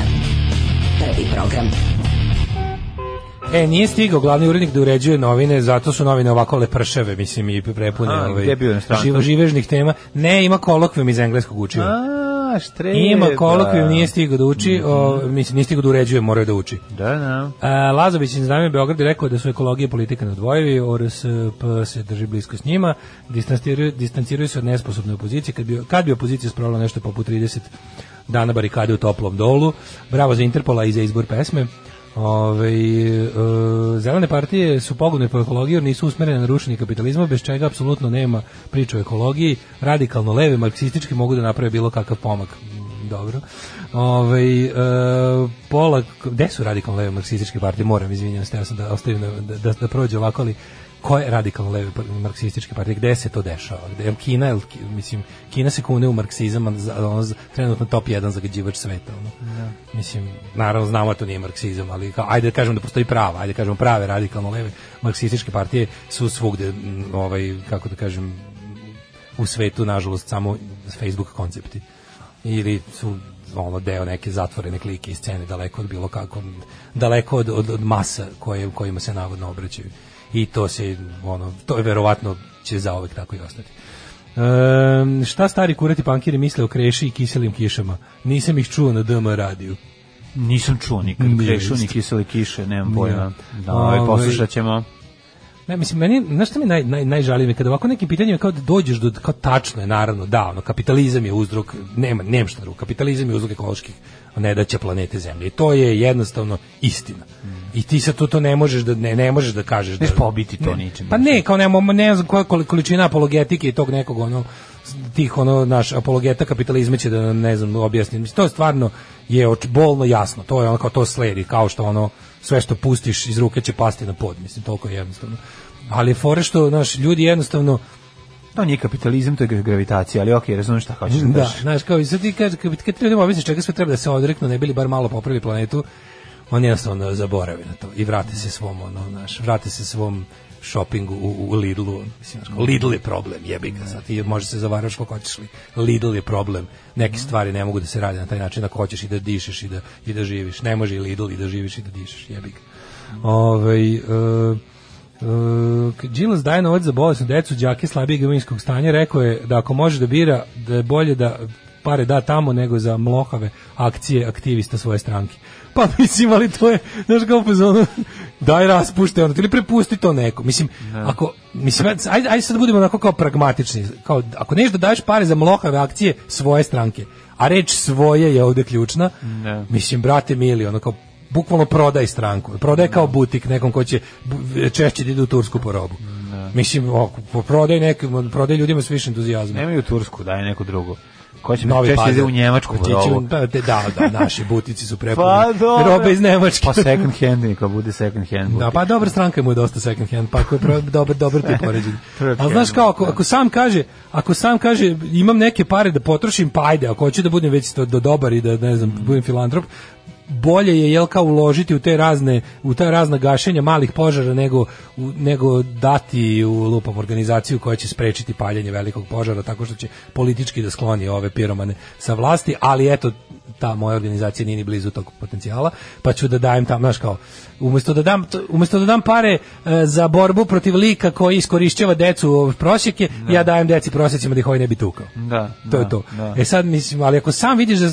S10: Prvi program.
S6: E, nije stigao glavni urednik da uređuje novine, zato su novine ovako lepršave, mislim, i prepune
S7: A,
S6: ovaj,
S7: gdje je bio inostranstvo?
S6: živo- živežnih tema. Ne, ima kolokvim iz engleskog učiva.
S7: A, štreba.
S6: Ima kolokvijum, nije stigao da uči, o, mislim, nije stigao da uređuje, morao je da uči.
S7: Da, da.
S6: A, Lazović iz Znamenja Beograd je rekao da su ekologija i politika neodvojivi, ORSP se drži blisko s njima, distanciraju, distanciraju se od nesposobne opozicije, kad bi, kad bi opozicija spravila nešto poput 30 dana barikade u toplom dolu, bravo za Interpola i za izbor pesme, Ove, e, zelene partije su pogodne po ekologiju jer nisu usmerene na rušenje kapitalizma bez čega apsolutno nema priče o ekologiji radikalno leve marksistički mogu da naprave bilo kakav pomak dobro. Ovaj e, pola gde su radikalno leve marksističke partije? Moram izvinjavam se, ja sam da ostavim da, da, da prođe ovako, ali koje radikalno leve par- marksističke partije? Gde se to dešava? Gde jel Kina, jel Ki- mislim Kina se kune u marksizam, a za- ono, za- trenutno top 1 zagađivač sveta, ono. Mislim, naravno znamo da to nije marksizam, ali kao, ajde da kažemo da postoji prava, ajde da kažemo prave radikalno leve marksističke partije su svugde m, ovaj kako da kažem u svetu nažalost samo Facebook koncepti ili su ono deo neke zatvorene klike i scene daleko od bilo kako daleko od, od, od masa koje, kojima se navodno obraćaju i to se ono to je verovatno će zaovek tako i ostati Ehm, šta stari kurati pankiri misle o kreši i kiselim kišama? Nisam ih čuo na DM radiju.
S7: Nisam čuo nikad
S6: Nije
S7: krešu ni
S6: isto.
S7: kisele kiše, nemam
S6: Nije.
S7: pojma. Da,
S6: Ovaj,
S7: ovaj, poslušat ćemo.
S6: Ne, mislim, meni, znaš šta mi naj, naj, najžalije mi je? kada ovako nekim pitanjima kao da dođeš do, kao tačno je, naravno, da, ono, kapitalizam je uzrok, nema, nema šta drugo, kapitalizam je uzrok ekoloških nedaća planete Zemlje. I to je jednostavno istina. I ti sad to, to ne možeš da ne, ne možeš da kažeš da
S7: pobiti to ničim.
S6: Pa ne, kao ne, ne znam koja koli- količina apologetike i tog nekog ono tih ono naš apologeta kapitalizma će da nam ne znam objasni. Mislim to je stvarno je oč- bolno jasno. To je ono kao to sledi kao što ono sve što pustiš iz ruke će pasti na pod. Mislim toliko je jednostavno. Ali je fore što naš ljudi jednostavno
S7: To nije kapitalizam, to je gravitacija, ali okej, razumem šta hoćeš da
S6: da,
S7: kažeš.
S6: znaš, kao i sad ti kad, kad, kad treba da objasniš čega sve treba da se odreknu, ne bili bar malo popravi planetu, on jednostavno zaboravi na to i vrate se svom, ono, znaš, vrate se svom shoppingu u, u Lidlu. Mislim, znaš, kao, Lidl je problem, jebi ga, sad ti može se zavaraš kako hoćeš li. Lidl je problem. Neke stvari ne mogu da se rade na taj način ako hoćeš i da dišeš i da, i da živiš. Ne može i Lidl i da živiš i da dišeš, jebi ga. Ovaj, e, Uh, Đilas daje novac za bolesnu decu, đake slabijeg imovinskog stanja, rekao je da ako može da bira, da je bolje da pare da tamo nego za mlohave akcije aktivista svoje stranke. Pa mislim, ali to je, znaš kao pa za ono, daj raspušte ono, ili prepusti to neko. Mislim, ako, mislim, ajde, ajde sad da budemo onako kao pragmatični, kao, ako neš da daješ pare za mlohave akcije svoje stranke, a reč svoje je ovde ključna,
S7: Da.
S6: Mislim, brate mili, ono kao bukvalno prodaj stranku. Prodaj kao butik nekom ko će bu- češće da ide u Tursku po robu.
S7: Da.
S6: Mislim, o, po- prodaj nekim, prodaj ljudima s više entuzijazma.
S7: Nemaju Tursku, daj neko drugo. Ko će
S6: Novi
S7: Novi E, češće da
S6: Pazar.
S7: ide u Njemačku
S6: Otići
S7: po
S6: u-
S7: ovo?
S6: pa, te- da, da, naši butici su prepuni.
S7: Pa dobro.
S6: Robe iz Nemačke.
S7: Pa second hand, neka bude second hand.
S6: Da, pa dobra stranka mu je dosta second hand, pa ako je pro- dobar, dobar ti poređenje.
S7: Third
S6: A znaš
S7: hand,
S6: kao, ako, ako sam kaže, ako sam kaže, imam neke pare da potrošim, pa ajde, ako hoću da budem već do, do dobar i da, ne znam,
S7: Mm.
S6: budem filantrop, bolje je jel kao uložiti u te razne u ta razna gašenja malih požara nego u- nego dati u lupam organizaciju koja će sprečiti paljenje velikog požara tako što će politički da skloni ove piromane sa vlasti ali eto ta moja organizacija nije ni blizu tog potencijala pa ću da dajem tam znaš kao umesto da dam umesto da dam pare e, za borbu protiv lika koji iskorišćava decu u prosjeke ja dajem deci prosjecima da ih ovaj ne bi tukao
S7: Da,
S6: to
S7: da,
S6: je to
S7: da.
S6: e sad mislim ali ako sam vidiš da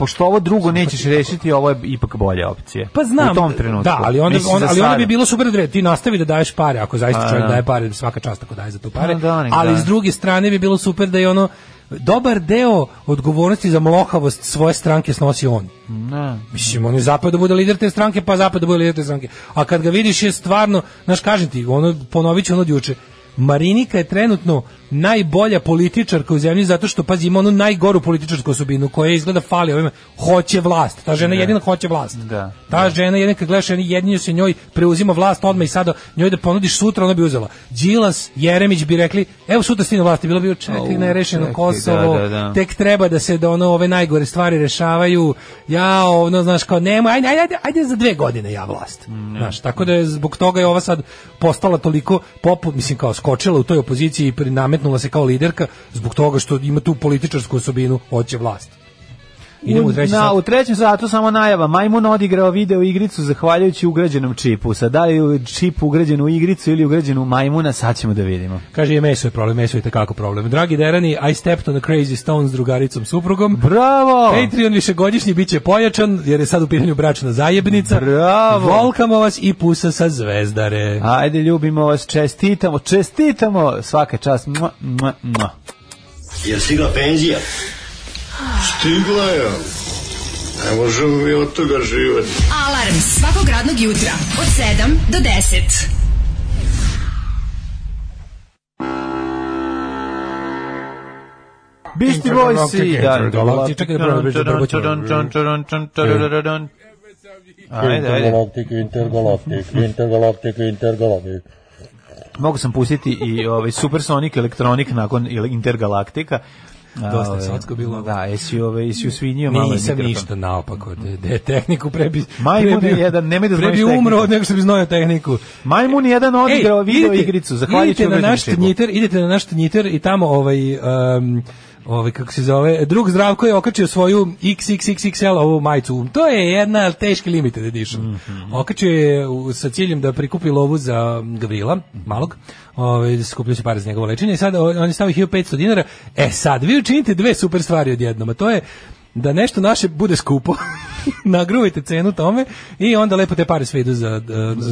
S7: Pošto ovo drugo nećeš rešiti, ovo je ipak bolja opcija.
S6: pa znam.
S7: U tom trenutku.
S6: Da, ali onda,
S7: Mislim,
S6: on-
S7: za
S6: ali onda
S7: sada.
S6: bi bilo super da ti nastavi da daješ pare, ako zaista
S7: Pa,
S6: čovjek
S7: da.
S6: daje pare, svaka čast ako daje za to pare.
S7: Pa, da, nek
S6: ali
S7: daje.
S6: s druge strane bi bilo super da je ono dobar deo odgovornosti za mlohavost svoje stranke snosi on.
S7: Da.
S6: Mislim, on je zapad da bude lider te stranke, pa zapad da bude lider te stranke. A kad ga vidiš je stvarno, znaš, kažem ti, ono, ponovit ću ono od juče, Marinika je trenutno najbolja političarka u zemlji zato što, pazi, ima onu najgoru političarsku osobinu koja izgleda fali ovima, hoće vlast. Ta žena jedina hoće vlast.
S7: Da.
S6: Ta žena jedina kad gledaš, jedin- jedinju se njoj preuzima vlast odmah i sada njoj da ponudiš sutra, ona bi uzela. Đilas, Jeremić bi rekli, evo sutra stine vlasti, bilo bi čekaj,
S7: Au,
S6: nerešeno
S7: čekaj,
S6: Kosovo,
S7: da, da, da.
S6: tek treba da se da ono ove najgore stvari rešavaju. Ja ono znaš kao nema, ajde ajde ajde, ajde za dve godine ja vlast.
S7: Mm,
S6: Znaš, tako da je zbog toga je ova sad postala toliko popu, mislim kao skočila u toj opoziciji i prinametnula se kao liderka zbog toga što ima tu političarsku osobinu hoće vlast. Idemo u treći
S7: na,
S6: sat.
S7: u trećem satu samo najava. Majmun odigrao video igricu zahvaljujući ugrađenom čipu. Sad da li je čip ugrađen u igricu ili ugrađen u majmuna, sad ćemo da vidimo.
S6: Kaže, je meso je problem, meso je tekako problem. Dragi Derani, I stepped on a crazy stone s drugaricom suprugom.
S7: Bravo!
S6: Patreon višegodišnji bit će pojačan, jer je sad u pitanju bračna zajebnica.
S7: Bravo!
S6: Volkamo vas i pusa sa zvezdare.
S7: Ajde, ljubimo vas, čestitamo, čestitamo! Svaka čast. Mua, mua, mua.
S14: Jel stigla penzija?
S9: Stigla je. Ne možemo mi od toga živati.
S11: Alarm svakog radnog jutra od 7 do 10.
S7: Bišti Boysi! da,
S6: Intergalactic, čekaj da probam da probam ćemo.
S7: Ajde, ajde.
S15: Intergalaktik, intergalaktik, intergalaktik, intergalaktik.
S7: Mogu sam pustiti i ovaj Supersonic Electronic nakon ili Intergalaktika. A,
S6: Dosta je
S7: ovaj,
S6: socko bilo.
S7: Da, jesi, ove, jesi usvinjio malo
S6: Nisam
S7: mikrofon.
S6: ništa naopako, de, de tehniku prebi...
S7: Majmun je
S6: prebi-
S7: jedan, nemoj da
S6: Pre
S7: znaš
S6: bi
S7: tehniku.
S6: umro od nego što bi znao tehniku.
S7: Majmun je jedan odigrao video igricu, zahvaljujući
S6: idite na
S7: ugrađenom
S6: naš
S7: čipu.
S6: Twitter, idete na naš Twitter i tamo ovaj um, Ovaj kako se zove, drug Zdravko je okačio svoju XXXXL ovu majicu. To je jedna teški limited edition. Okačio je u- sa ciljem da prikupi lovu za Gavrila, malog. Ovaj da skupljaju se pare za njegovo lečenje i sad o- on je stavio 1500 dinara. E sad vi učinite dve super stvari odjednom, a to je da nešto naše bude skupo. Nagruvajte cenu tome i onda lepo te pare sve idu za, e,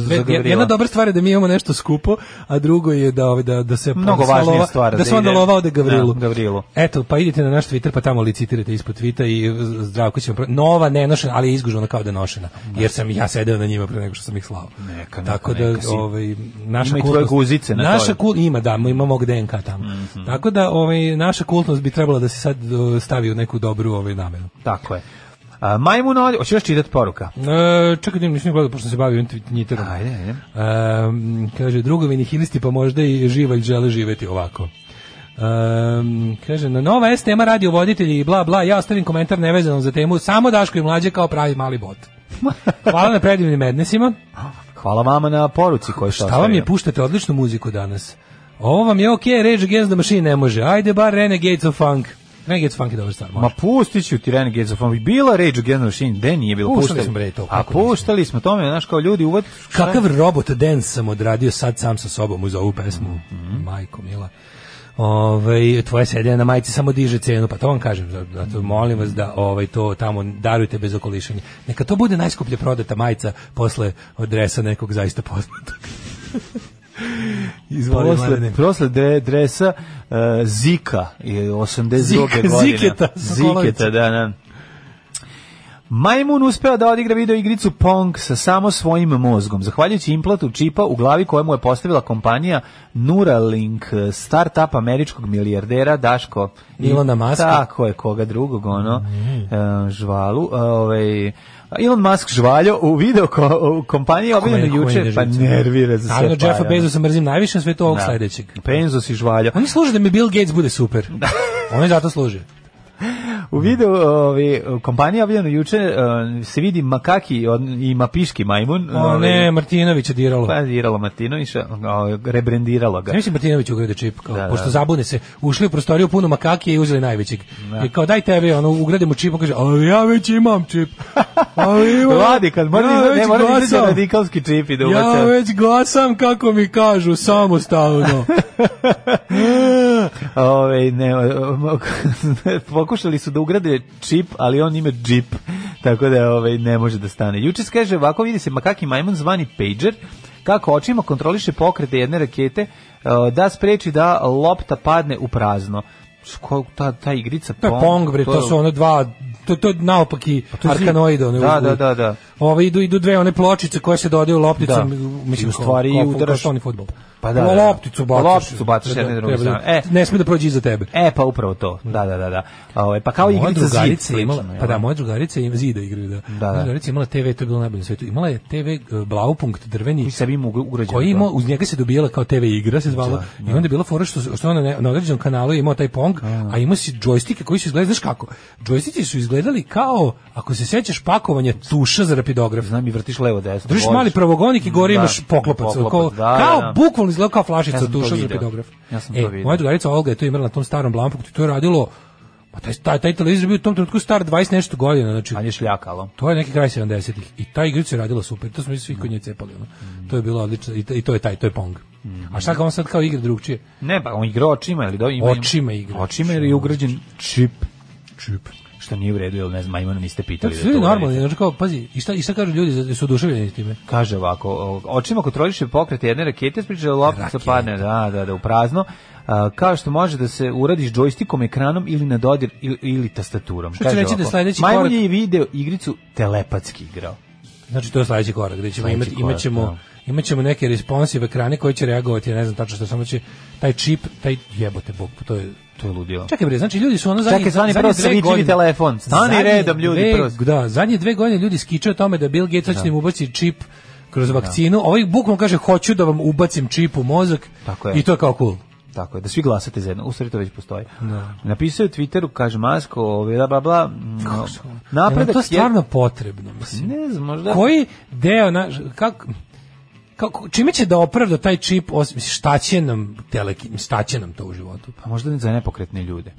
S6: dve-
S7: Gavrila.
S6: jedna dobra stvar je da mi imamo nešto skupo, a drugo je da ovaj, da da se
S7: Mnogo
S6: da se
S7: važnija
S6: lova-
S7: stvar
S6: da
S7: da
S6: se onda
S7: ide.
S6: lova ode Gavrilu.
S7: Da, Gavrilu.
S6: Eto, pa idite na naš Twitter pa tamo licitirate ispod tvita i uh, Zdravko će vam pro- nova nenošena, ali je izgužena kao da je nošena. Jer sam ja sedeo na njima pre nego što sam ih slao.
S7: Neka, neka,
S6: Tako da
S7: neka si.
S6: ovaj naša
S7: Ima i tvoje
S6: kultnost-
S7: guzice na
S6: naša
S7: toj. Mhm.
S6: kul ima da, ima mog DNK tamo. Tako da ovaj naša kultnost bi trebala da se sad uh, stavi u neku dobru ovaj namenu.
S7: Tako je. A, majmun olje, hoćeš još čitat poruka?
S6: E, čekaj, da im nisam gledao, pošto sam se bavio Twitterom.
S7: Ajde, ajde.
S6: Um, kaže, drugovi nihilisti pa možda i živalj žele živeti ovako. Um, kaže, na nova S tema radio voditelji i bla bla, ja ostavim komentar nevezanom za temu, samo Daško i mlađe kao pravi mali bot. Hvala na predivnim mednesima.
S7: Hvala vama na poruci koju ste
S6: Šta vam je,
S7: ostavili.
S6: puštate odličnu muziku danas. Ovo vam je okej, Rage Against the Machine ne može. Ajde bar Renegades of Funk. Renegades of Funk je dobra stvar, može.
S7: Ma pustit ću ti Renegades of Funk. Bila Rage Against the Machine, gde nije bilo
S6: Puštali smo, bre, to,
S7: A
S6: kako
S7: puštali smo tome, znaš, kao ljudi uvod...
S6: Kakav robot dance sam odradio sad sam sa sobom uz ovu pesmu,
S7: Mhm.
S6: majko mila. Ove, tvoje sedenje na majici samo diže cenu, pa to vam kažem, zato- zato molim vas da ovaj to tamo darujte bez okolišanja. Neka to bude najskuplje prodata majica posle od dresa nekog zaista poznatog. Izvoli,
S7: Posle,
S6: Mladene.
S7: posle dre- dresa uh, Zika je 82.
S6: Zika-
S7: godine.
S6: Ziketa Sokolovića.
S7: Ziketa, da, da. Majmun uspeo da odigra video igricu Pong sa samo svojim mozgom, zahvaljujući implantu čipa u glavi kojemu je postavila kompanija Neuralink, eh, startup američkog milijardera Daško
S6: Ilona Mm. Maska.
S7: Tako je, koga drugog, ono, eh, žvalu. eh, ovaj, Elon Musk žvaljo u video ko, u kompaniji
S6: Meni
S7: obiljeno
S6: koji
S7: juče,
S6: ne
S7: pa
S6: živi cenu.
S7: nervira za sve
S6: Naravno,
S7: pare, da.
S6: Jeffa
S7: ono.
S6: Bezosa mrzim najviše na svetu ovog
S7: Da.
S6: sledećeg.
S7: Penzos i žvalja.
S6: Oni služe da mi Bill Gates bude super.
S7: Da.
S6: Oni zato služe.
S7: U videu ovi, kompanija objavljeno juče eh, se vidi makaki od, i mapiški majmun.
S6: O
S7: ovi,
S6: ne, Martinović je diralo.
S7: Ovaj. Pa je diralo Martinovića, ovi, rebrendiralo ga.
S6: Znaš si Martinović ugrade čip, kao,
S7: Da, da.
S6: pošto zabune se, ušli u prostoriju puno makakije i uzeli najvećeg.
S7: Da.
S6: I kao, daj tebe, ono, ugradimo čip, on kaže, ali ja već imam čip. Ali imam,
S7: Vladi, kad mora da ne
S6: već
S7: mora da izađe
S6: glasam.
S7: radikalski čip i da
S6: Ja
S7: ubace.
S6: već glasam, kako mi kažu, samostalno.
S7: Ove, ne, o- pokušali su da ugrade čip, ali on ima džip, tako da ove, ne može da stane. Juče se kaže ovako, vidi se makaki majmun zvani pager, kako očima kontroliše pokrete jedne rakete e, da spreči da lopta padne u prazno. Ko, ta, ta igrica
S6: To je Pong, bre, to su ono dva, to, to je naopaki
S7: Pa to je zi-
S6: arkanoide. One,
S7: Da,
S6: u-
S7: da, da, da.
S6: Ove, idu, idu dve one pločice koje se dodaju lopticom,
S7: Da. I
S6: mislim,
S7: u stvari
S6: ko, ko,
S7: udaraš-
S6: ko što oni fudbal.
S7: Pa da, da, da.
S6: Lopticu bacaš.
S7: Lopticu bacaš jedne druge
S6: treba da-
S7: strane. E.
S6: Ne sme da prođe iza tebe.
S7: E, pa upravo to, da, da, da. da. Ove, pa kao
S6: moja
S7: igrica zid.
S6: drugarica je imala,
S7: slično, jel?
S6: pa da, moja drugarica ima zida igraju, da.
S7: da.
S6: Moja drugarica je imala TV, to je bilo najbolje na svetu. Imala je TV e, Blaupunkt drveni
S7: I sebi ima ugr- ugrađeno
S6: koji da.
S7: to.
S6: ima, uz njega se dobijala kao TV igra, se zvala. I onda je bila fora što, što ona na- na određenom kanalu je imao taj Pong, a imao si džojstike koji su izgledali, znaš kako? Džojstici su izgledali kao, ako se sećaš, pakovanje tuša za rapidograf.
S7: Znam i vrtiš levo desno.
S6: Držiš
S7: voliš.
S6: mali pravogonik i gore
S7: Da,
S6: imaš poklopac.
S7: poklopac,
S6: kao,
S7: da,
S6: kao
S7: da, da.
S6: bukvalno izgleda kao flašica
S7: Ja
S6: ja
S7: sam to
S6: tuša za
S7: video.
S6: pedograf.
S7: Ja sam
S6: e,
S7: to video.
S6: Moja drugarica Olga je to imala na tom starom lampuktu, to je radilo Pa taj, taj, taj televizor je bio u tom trenutku star 20 nešto godina, znači
S7: Ali je šljakalo.
S6: to je neki kraj 70-ih i ta igrica je radila super, to smo mi svi kod nje cepali. Ono. To je bilo odlično i, to- i to je taj, to je Pong. A šta kao on sad kao igra drugčije?
S7: Ne, pa on igra očima ili do ima
S6: Očima igra.
S7: Očima ili je ugrađen čip
S6: Čip.
S7: što nije u redu, jel ne znam, majmuna niste
S6: Tako
S7: pitali.
S6: su
S7: da
S6: ljudi
S7: to
S6: normalni,
S7: uradite.
S6: znači kao, pazi, i šta, i šta kažu ljudi, da su oduševljeni time?
S7: Kaže ovako, o- očima kontroliše pokret jedne rakete, spriča loptica
S6: Rakete.
S7: padne, da, da, da, u prazno. A, kao što može da se uradiš džojstikom, ekranom ili na dodir ili, ili tastaturom.
S6: Što će reći da je sledeći
S7: Majmun
S6: korak-
S7: je i video igricu telepatski igrao.
S6: Znači to je sledeći korak, gde ćemo
S7: Sledeći
S6: imati
S7: korak, da.
S6: imaćemo imaćemo neke responsive ekrane koji će reagovati, ja ne znam tačno što samo će taj čip, taj jebote bog, to je
S7: To je ludilo.
S6: Čekaj bre, znači ljudi su ono zadnje
S7: Čekaj, stani
S6: zadnje
S7: prvo
S6: dve
S7: sviđivi
S6: godine-
S7: telefon. Stani
S6: zadnje
S7: redom, ljudi,
S6: dve-
S7: prvo.
S6: Da, zadnje dve godine ljudi skiče o tome da Bill Gates hoće da im ubaci čip
S7: Da.
S6: kroz vakcinu, a ovaj bukvalno kaže hoću da vam ubacim čip u mozak
S7: Tako je.
S6: i to je kao cool.
S7: Tako je, da svi glasate za jedno. U stvari to već postoji.
S6: Da.
S7: Napisao je u Twitteru, kaže Masko, ovaj, bla, bla, bla. mm,
S6: Napredak
S7: Napredak
S6: E, to stvarno potrebno, mislim.
S7: Ne znam, možda...
S6: Koji deo, na, kako, kako, čime će da opravda taj čip, osim, mislim, šta će nam, teleki, šta će nam to u životu?
S7: Pa možda za nepokretne ljude.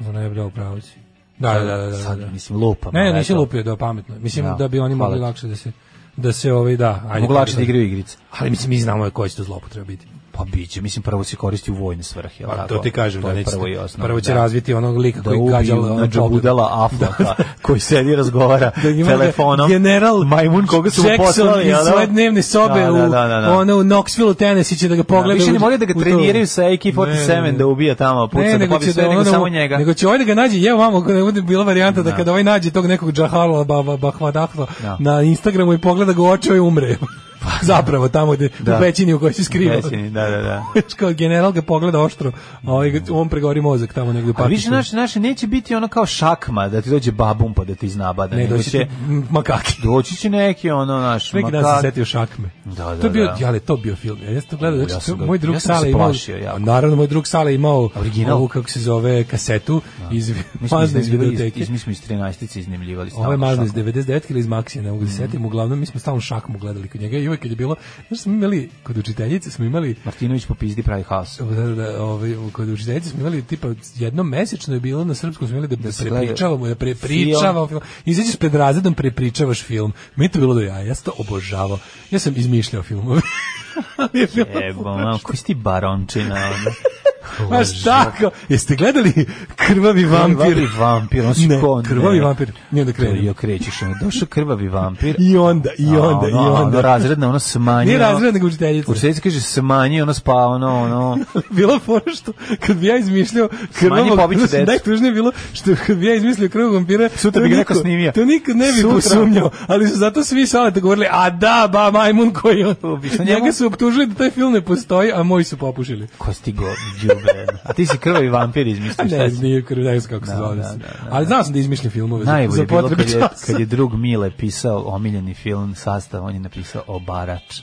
S6: No ne, da, upravo si. Da, da, da, da, da.
S7: Sad,
S6: da.
S7: mislim, lupam,
S6: Ne,
S7: ali
S6: nisi
S7: eto.
S6: lupio, da, pametno. Mislim
S7: Da,
S6: da, bi oni mogli
S7: hvala ti.
S6: lakše da se da se ovaj da, ajde.
S7: Mogu lakše da igraju igrice.
S6: Ali mislim mi znamo koji će to zloupotreba biti.
S7: Pa biće, mislim prvo se koristi u vojne svrhe, jel
S6: Pa,
S7: tako?
S6: to ti kažem,
S7: To
S6: da
S7: je
S6: neće.
S7: prvo i osnovno,
S6: prvo će
S7: da.
S6: razviti onog lika
S7: da
S6: koji gađa
S7: ubiju na džabudala
S6: Da,
S7: Aflaka koji sedi i razgovara
S6: ima da
S7: telefonom.
S6: general
S7: Majmun koga su mu
S6: Jackson
S7: poslali,
S6: iz
S7: jel da?
S6: svoje dnevne sobe
S7: Da,
S6: u,
S7: da, da, da, da.
S6: ono, u Knoxville, Tennessee će da ga pogleda.
S7: Više ne
S6: u-
S7: moraju da ga
S6: u to.
S7: treniraju sa AK-47
S6: Ne, ne,
S7: da ubija tamo, puca,
S6: ne,
S7: da
S6: nego
S7: pobi
S6: će
S7: sve,
S6: da
S7: nego
S6: ono,
S7: samo njega.
S6: Nego će ovaj da ga nađe, je vamo, ako ne bude bila varijanta da,
S7: Da.
S6: kada ovaj nađe tog nekog džahala ba, ba, bahvadahla
S7: Da.
S6: na Instagramu i pogleda ga u očeva i umre. Zapravo tamo gde,
S7: Da.
S6: u pećini u kojoj se skriva.
S7: Pećini, da, da, da.
S6: Kao general ga pogleda oštro, a ovaj, ga- on pregori mozak tamo negde u
S7: A više
S6: Pakistanu.
S7: naše, naše neće biti ono kao šakma, da ti dođe babum pa da ti iznabada.
S6: Ne,
S7: nego
S6: doći će makaki.
S7: Doći će neki ono naš
S6: Neki dan sam se setio šakme.
S7: Da, da,
S6: to je bio,
S7: da.
S6: ja, ali to je bio film. Ja sam to gledao,
S7: U,
S6: znači,
S7: ja sam
S6: to-
S7: ga-
S6: moj drug
S7: ja sam se
S6: Sale imao,
S7: plašio jako.
S6: naravno, moj drug Sale imao
S7: Original?
S6: ovu, kako se zove, kasetu iz,
S7: Mi smo
S6: maznu iz
S7: iznajmljivali iz,
S6: videoteke.
S7: iz, mi smo iz 13. iznemljivali stalno.
S6: Ovo je mazno iz
S7: šakmu.
S6: 99 ili iz Maxija, ne
S7: Mhm.
S6: mogu da se setim. Uglavnom, mi smo stalno šakmu gledali kod njega i uvek kad je bilo, znaš, smo imali, kod učiteljice smo imali,
S7: Martinović po pizdi pravi haos.
S6: da, da, da, ovaj, kod učiteljice smo imali, tipa, jednom mesečno je bilo na srpskom, smo imali da,
S7: se gleda
S6: prepričavamo, da prepričavamo film. Izađeš pred razredom, prepričavaš film. Mi je to bilo do jaja, ja sam to obožavao. Ja sam izmišljao filmove. Ali je bilo
S7: Jebo, mam, koji si ti barončina? ono?
S6: Baš tako. Jeste gledali Krvavi vampir?
S7: Krvavi vampir, on si
S6: Ne,
S7: ko,
S6: krvavi vampir. I onda krene.
S7: Jo, krećeš, ono, došao krvavi vampir.
S6: I onda, i
S7: A,
S6: onda, i
S7: ono,
S6: onda.
S7: Ono razredno, ono smanje.
S6: Nije
S7: ono-
S6: razredna nego učiteljica.
S7: Učiteljica kaže smanje, ono spa, ono, ono.
S6: bilo fora što kad bi ja izmišljao
S7: Smanji
S6: krvavog
S7: pobiću decu.
S6: najtužnije je bilo što kad bi ja izmislio krvavog vampira
S7: Sutra
S6: to
S7: bi ga
S6: niko-
S7: neko snimio.
S6: to niko ne bi
S7: Sutra.
S6: posumnjao ali su zato svi salete govorili a da ba majmun koji je on
S7: Obično njemu-
S6: njega su optužili da taj film ne postoji a moji su popušili
S7: Ko si ti go, djube. A ti si krvavi vampir
S6: A
S7: izmislio, šta
S6: ne,
S7: si?
S6: nije krv, ne znam kako se
S7: Da,
S6: zove.
S7: da, da, da.
S6: Ali znao sam da izmišljam filmove za,
S7: Najbolje
S6: za
S7: je bilo
S6: potrebe
S7: kad je,
S6: časa.
S7: kad je drug Mile pisao omiljeni film sastav, on je napisao Obarač.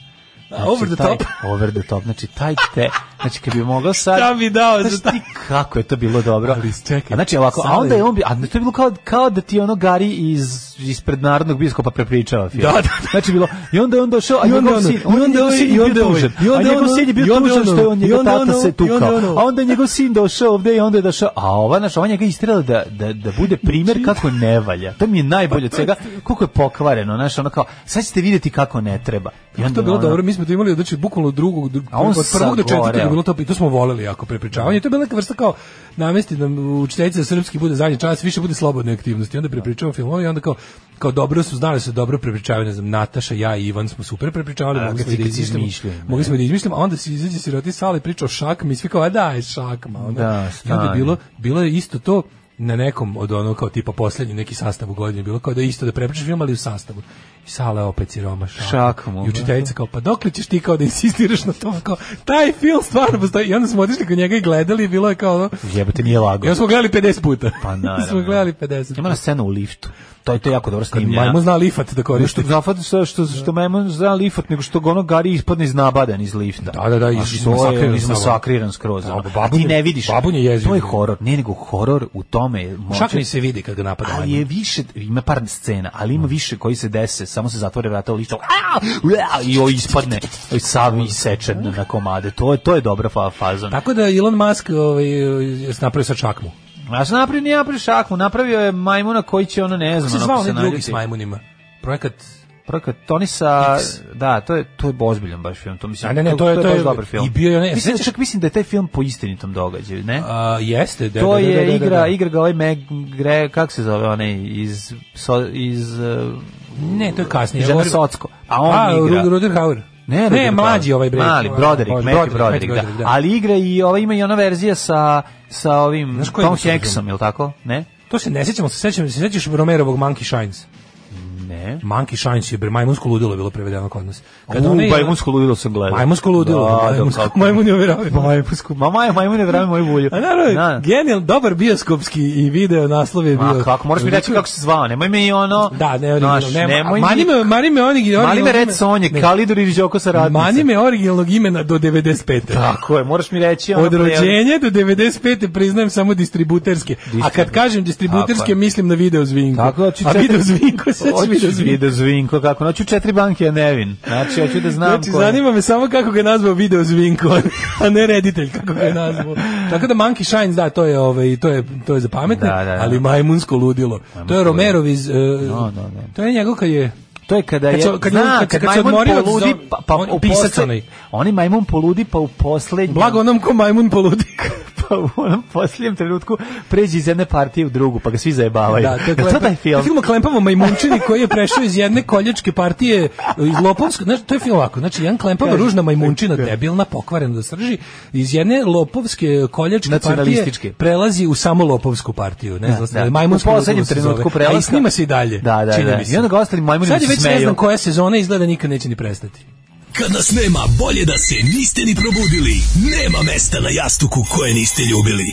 S7: Znači,
S6: over the
S7: taj,
S6: top.
S7: Over the top. Znači, taj te... Znači, kad bi mogao sad...
S6: Šta bi dao Pa za
S7: Znaš ti kako je to bilo dobro.
S6: Ali čekaj, da
S7: a znači, ovako, a
S6: Sale-
S7: onda je on... bi- A to je bilo kao, kao da ti ono Gari iz, ispred Narodnog biskopa prepričava film.
S6: Da, da, da.
S7: Znači, bilo... I onda je on došao, a
S6: I onda
S7: njegov
S6: ono,
S7: sin...
S6: i
S7: on je- njegov
S6: onda ono,
S7: sin
S6: i
S7: je
S6: onda
S7: bio
S6: ono,
S7: tužan.
S6: i
S7: A
S6: onda
S7: njegov
S6: ono,
S7: sin je
S6: i
S7: bio
S6: onda
S7: tužan
S6: ono,
S7: što je on
S6: i
S7: njegov
S6: onda
S7: tata
S6: ono,
S7: se
S6: i onda
S7: tukao.
S6: ono.
S7: A onda je njegov sin došao ovde i onda je došao... A ova, znaš, ova njega istrela da, da, da bude
S6: Znači-
S7: primjer kako ne valja. To mi je najbolje
S6: Pa
S7: od svega. Koliko je pokvareno, znaš, ono kao... Sad ćete vidjeti kako ne treba. I onda
S6: To je bilo
S7: ono-
S6: dobro, mi smo to imali znači bukvalno od drugog dru-
S7: A on
S6: od prvog do četvrtog je
S7: sagoreo.
S6: bilo to i to smo voleli jako prepričavanje. To je bila neka vrsta kao namesti da učiteljica za srpski bude zadnji čas, više bude slobodne aktivnosti. I Onda prepričavamo filmove i onda kao kao dobro su znali se dobro prepričavaju, ne znam, Nataša, ja i Ivan smo super prepričavali,
S7: A,
S6: mogli
S7: kad
S6: smo
S7: si-
S6: i da
S7: kad si
S6: izmišljamo.
S7: izmišljaju,
S6: Mogli smo i da izmišljamo, a onda se izađe siroti sale i priča o šakmi i svi kao, a da, je šakma. Ono.
S7: Da,
S6: I onda je
S7: stani.
S6: bilo, bilo je isto to na nekom od ono kao tipa poslednji neki sastav u godini bilo kao da je isto da prepričaš film ali u sastavu i sala je opet siroma
S7: Šakmu,
S6: i učiteljica kao, pa dokle ćeš ti kao da insistiraš na tom, kao, taj film stvarno postoji. I onda smo otišli kod njega i gledali i bilo je kao, ono,
S7: Jebote, nije lago.
S6: i onda smo gledali 50 puta.
S7: Pa naravno.
S6: smo gledali 50
S7: Ima na
S6: puta.
S7: scenu u liftu. To je to je jako dobro snimljeno.
S6: Majmo zna lifat da
S7: Nego
S6: koristi.
S7: što zafat što što,
S6: Da.
S7: što Majmon zna lifat nego što ga ono gari ispadne iz nabadan iz lifta.
S6: Da, da, da,
S7: A
S6: iz-
S7: što
S6: izmasakriran
S7: je
S6: samo.
S7: izmasakriran skroz.
S6: Da,
S7: ono.
S6: babun
S7: A ti
S6: je-
S7: ne vidiš.
S6: babun je jeziv.
S7: To je horor, ne nego horor u tome je moće-
S6: Šak pa da, mi se vidi kad ga napada.
S7: ali
S6: majmun.
S7: je više ima par scena, ali
S6: Da.
S7: ima više koji se dese, samo se zatvore vrata u lištu. a, ua, I o ispadne, i sav isečen na komade. To je to je dobra fa- faza.
S6: Tako da Elon Musk ovaj, je napravio sa čakmu.
S7: A što napravio nije napravio šakmu, napravio je majmuna koji će ono ne znam.
S6: Kako se
S7: ono,
S6: zvao
S7: ako
S6: onaj drugi
S7: naljute.
S6: s majmunima? Projekat
S7: Projekat Tony sa
S6: X.
S7: da, to je to je ozbiljan baš film, to mislim.
S6: A ne, ne, to je- to
S7: baš
S6: je-
S7: dobar film.
S6: i bio je onaj-
S7: mislim,
S6: sećaš-
S7: čak mislim da je taj film po istinitom događaju, ne?
S6: a, jeste. Da,
S7: to
S6: da, da,
S7: je
S6: da, da, da.
S7: igra, igra ga ovaj Meg Gre, kako se zove onaj iz so, iz uh,
S6: Ne, to je kasnije. Pa,
S7: Žena
S6: Govorim-
S7: Socko. A on
S6: a,
S7: igra.
S6: Ru- Ruder Hauer.
S7: Ne, Roderick
S6: mlađi
S7: Roderick.
S6: ovaj bre.
S7: Mali, Broderick,
S6: Ovaj,
S7: Matthew Broderick, da.
S6: Broderick, da.
S7: Ali igra i ova ima i ona verzija sa sa ovim
S6: Znaš koji
S7: Tom
S6: mi se
S7: Hanksom,
S6: razumije?
S7: je li tako? Ne?
S6: da. To se ne sjećamo, se sjećam, se sjećaš Romerovog Monkey Shines.
S7: Ne.
S6: Monkey Shines je bre majmunsko ludilo je bilo prevedeno kod nas. Kada
S7: U,
S6: onaj-
S7: Majmunsko ludilo sam gledao.
S6: Majmunsko ludilo,
S7: Da, da,
S6: majmunsko-
S7: kako-
S6: majmun je verovao.
S7: Majmunsko, ma maj, majmune vrame moju bulju.
S6: A naravno, genijal, dobar bioskopski i video naslov je bio.
S7: Da.
S6: Znači,
S7: Ma kako, moraš mi reći kako se zvao, nemoj me i ono...
S6: Da, ne,
S7: znaš,
S6: originalno, nema.
S7: nemoj
S6: Mani
S7: mi-
S6: me, mani me onih,
S7: Mali me
S6: originalnog
S7: Red
S6: ime-
S7: Sonje,
S6: Ne,
S7: Kalidur i Riđoko sa radnice.
S6: Mani me originalnog imena do 95.
S7: Tako Da. je, moraš mi reći ono...
S6: Od rođenja do 95. priznajem samo distributerske. A kad kažem distributerske,
S7: Tako je.
S6: mislim na video zvinko.
S7: Tako, znači,
S6: A
S7: čekaj.
S6: video zvinko, sad ću mi
S7: I da zvinko, kako? Noću četiri banke, ja nevin. Znači, hoću da znam
S6: Znači,
S7: ko je.
S6: zanima me samo kako ga je nazvao video Zvinko, a ne reditelj kako ga je nazvao. Tako da Monkey Shines, da, to je, ovaj, to je, to je za pametne,
S7: Da, da, da.
S6: ali majmunsko ludilo. to je Romerov iz... eh,
S7: da.
S6: To je njegov kad je...
S7: To je kada je,
S6: Kad se- kad je-
S7: zna,
S6: kad se-
S7: kad
S6: kad se
S7: majmun
S6: odmorio od
S7: poludi,
S6: zo-
S7: pa, pa
S6: on-
S7: u
S6: pisac
S7: posle-
S6: onaj.
S7: Oni majmun poludi, pa u poslednjem...
S6: Blago onom ko majmun poludi.
S7: pa u onom posljednjem trenutku pređi iz jedne partije u drugu, pa ga svi zajebavaju.
S6: Da, to je,
S7: to taj film?
S6: Film o klempavom majmunčini koji je prešao iz jedne koljačke partije iz Lopovske, znači to je film ovako, znači jedan klempava
S7: Kaži.
S6: ružna majmunčina debilna pokvarena da srži iz jedne Lopovske koljačke
S7: Nacionalističke.
S6: partije prelazi u samo Lopovsku partiju, ne znam,
S7: Da, da.
S6: da. majmunsko
S7: U poslednjem trenutku prelaska.
S6: A i snima se i dalje.
S7: Da, da,
S6: čini
S7: da.
S6: mi se.
S7: I onda ga ostali majmuni
S6: Sad je
S7: se
S6: već ne
S7: smeju.
S6: znam koja sezona izgleda nikad neće ni prestati.
S16: Kad nas nema, bolje da se niste ni probudili. Nema mesta na jastuku koje niste ljubili.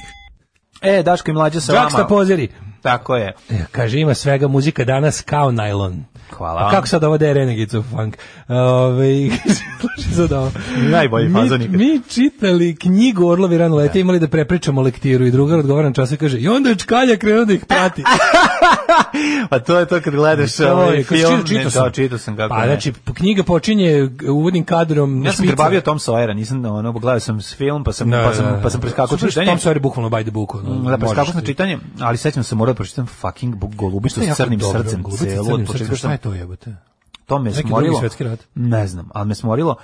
S7: E, Daško i mlađa sa vama.
S6: Džaksta pozeri.
S7: Tako je.
S6: E, Kaže, ima svega muzika danas kao najlon.
S7: Hvala
S6: A
S7: vam.
S6: kako sad ovo da je Renegades of Funk? Ove, slušaj sad ovo.
S7: Najbolji fazon
S6: mi,
S7: ikad.
S6: mi čitali knjigu Orlovi rano lete, imali da prepričamo lektiru i drugar odgovara na čas i kaže, i onda je čkalja krenuo da ih prati.
S7: Pa to je to kad gledaš
S6: To
S7: ovaj
S6: je, kad
S7: film.
S6: čitao- čitao
S7: ne,
S6: sam.
S7: da, čitao sam kako
S6: pa,
S7: ne.
S6: znači, p- knjiga počinje g- uvodnim kadrom.
S7: Ja sam
S6: špica.
S7: grbavio Tom Sawyera, nisam ono, gledao sam s film, pa sam,
S6: Da,
S7: pa sam,
S6: da, da.
S7: pa sam preskakao
S6: Slušaš
S7: čitanje.
S6: Tom Sawyer je bukvalno by the book. ono,
S7: Da,
S6: možeš
S7: preskakao sam
S6: ti.
S7: čitanje, ali sećam se morao da pročitam fucking bu- Golubicu
S6: To je
S7: s
S6: jako
S7: crnim
S6: dobro,
S7: srcem
S6: Golubica s
S7: celo
S6: crnim
S7: od
S6: srcem,
S7: početka.
S6: Šta je to jebote?
S7: To me
S6: Neki drugi
S7: smorilo.
S6: svetski rat?
S7: Ne znam, ali me smorilo.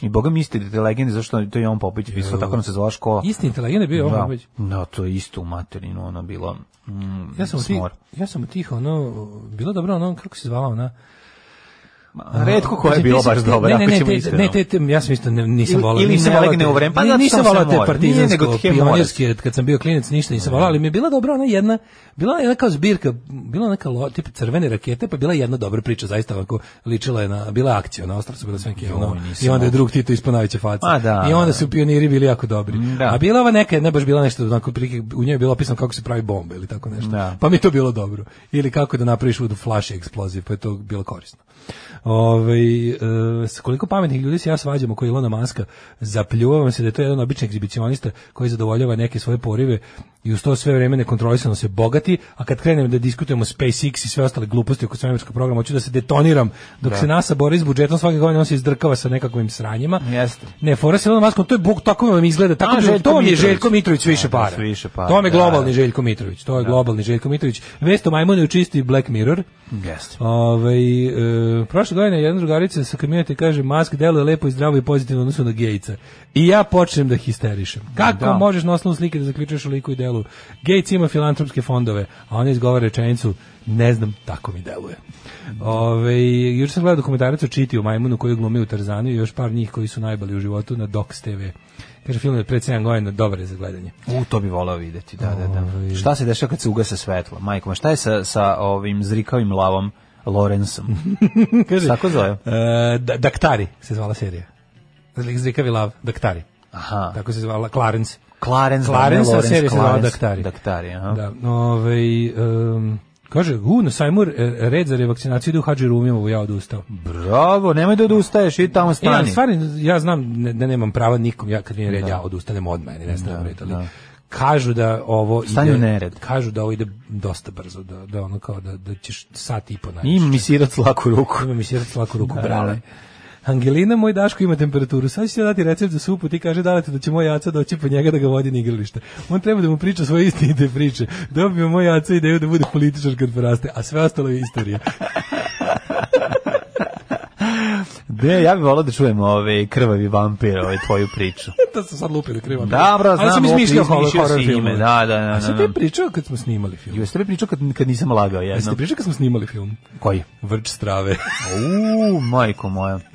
S7: I boga mi isti te legende, zašto to je on Popović pisao, tako nam se zvala škola.
S6: Isti inteligent je bio
S7: da,
S6: Jovan Popović.
S7: Da, to je isto u materinu, ono bilo mm,
S6: Ja sam od tih,
S7: smor.
S6: ja sam od tih, ono, bilo dobro, ono, kako se zvala ona?
S7: Ma, Redko koja je
S6: Mislim,
S7: bilo
S6: ti si-
S7: baš dobra,
S6: ne, ne,
S7: ako
S6: ne,
S7: ćemo
S6: te-
S7: iskreno.
S6: Ne, te, te, ja sam isto, ne, nisam
S7: Ili-
S6: volao.
S7: ili
S6: nisam
S7: se
S6: volao
S7: legne
S6: te-
S7: u vreme, pa
S6: ni-
S7: zato što
S6: nisam
S7: sam
S6: volao
S7: se
S6: te
S7: morao. Nije, nego ti je morac.
S6: pionirske, kad sam bio klinac, ništa
S7: Da.
S6: nisam volao, ali mi je bila dobra ona jedna, bila je neka zbirka, bila je neka lo- tip crvene rakete, pa bila je jedna dobra priča, zaista ovako ličila je na, bila je akcija, na ostalo su bile sve neke, ono,
S7: nisam
S6: i onda je
S7: mogao.
S6: drug Tito isponaviće faca.
S7: A, da,
S6: I onda
S7: da.
S6: su pioniri bili jako dobri.
S7: da.
S6: A bila ova neka, ne baš bila nešto, onako, prilike, u njoj je bilo opisano kako se pravi bomba ili tako nešto.
S7: Da.
S6: Pa mi je to bilo dobro. Ili kako da napraviš vodu flaši eksploziv, pa je to bilo korisno. Ove, s koliko pametnih ljudi se ja svađam oko Ilona Maska, zapljuvam se da je to jedan običan egzibicionista koji zadovoljava neke svoje porive i uz to sve vreme nekontrolisano se bogati, a kad krenem da diskutujemo SpaceX i sve ostale gluposti oko svemirskog programa, hoću da se detoniram dok se NASA bori s budžetom svake godine on se izdrkava sa nekakvim sranjima.
S7: Jeste.
S6: Ne, fora sa Ilonom Maskom, to je bog tako vam izgleda, tako
S7: A,
S6: bi-
S7: Željko
S6: to vam je
S7: Mitrović.
S6: Željko Mitrović više
S7: Da,
S6: para.
S7: da, više para,
S6: To vam je
S7: da,
S6: globalni
S7: da.
S6: Željko Mitrović, to je globalni Željko Mitrović. Vesto Majmune u čisti Black Mirror.
S7: Jeste.
S6: Ove, e, prošle godine jedna drugarica sa kamionete kaže mask deluje lepo i zdravo i pozitivno u odnosu na gejca. I ja počnem da histerišem. Kako
S7: Da.
S6: možeš na osnovu slike da zaključuješ o liku i delu? Gejc ima filantropske fondove, a on izgovara rečenicu ne znam, tako mi deluje. Ove, juče sam gledao dokumentarac o Čiti o majmunu koji glumi u Tarzanu i još par njih koji su najbali u životu na Docs TV. Kaže, film je pred 7 godina, dobar je za gledanje.
S7: U, to bi volao videti, da, da,
S6: Ovaj.
S7: da. Šta se dešava kad se ugase svetlo? Majko, ma šta je sa, sa ovim zrikavim lavom Lorenzom?
S6: Kaže,
S7: Tako zove?
S6: e, da, Daktari se zvala serija. Zlik zrikavi lav, Daktari.
S7: Aha.
S6: Tako se zvala Clarence.
S7: Clarence,
S6: Da, Clarence,
S7: da, ne
S6: a
S7: Lawrence,
S6: serija se zvala
S7: Clarence.
S6: Daktari.
S7: Daktari, aha.
S6: Da, ovaj, em, kaže, u, na sajmu e, red za revakcinaciju ide u Hadži Rumijevu, ja odustao.
S7: Bravo, nemoj da odustaješ, i tamo
S6: E, ali
S7: stani. Da.
S6: stvari, ja znam ne- da nemam prava nikom, ja kad mi je red, ja odustanem odmah, ne stavim red, ali kažu da ovo
S7: Stani u nered.
S6: kažu da ovo ide dosta brzo, da, da ono kao da, da ćeš sat i po najviše.
S7: Ima mi sirac laku ruku.
S6: Ima mi sirac laku ruku,
S7: Da,
S6: brale. Angelina, moj Daško ima temperaturu. Sad ću ti ja dati recept za supu, ti kaže dalete da će moj jaca doći po njega da ga vodi na igralište. On treba da mu priča svoje istinite priče. Dobio moj jaca ideju da bude političar kad poraste, a sve ostalo je istorija.
S7: De, ja bih volao da čujem ove krvavi vampir, ove tvoju priču.
S6: to sam sad lupio krivo.
S7: Da, bro, znam,
S6: Ali sam
S7: opet
S6: izmišljao horror,
S7: izmišljao si
S6: horror
S7: ime,
S6: filmove.
S7: da, da, da,
S6: A
S7: da,
S6: sam ti
S7: da.
S6: pričao kad smo snimali film?
S7: Jeste li pričao kad, kad nisam lagao
S6: Jeste
S7: jedno?
S6: ti pričao kad smo snimali film?
S7: Koji?
S6: Vrč strave.
S7: Uuu, majko moja.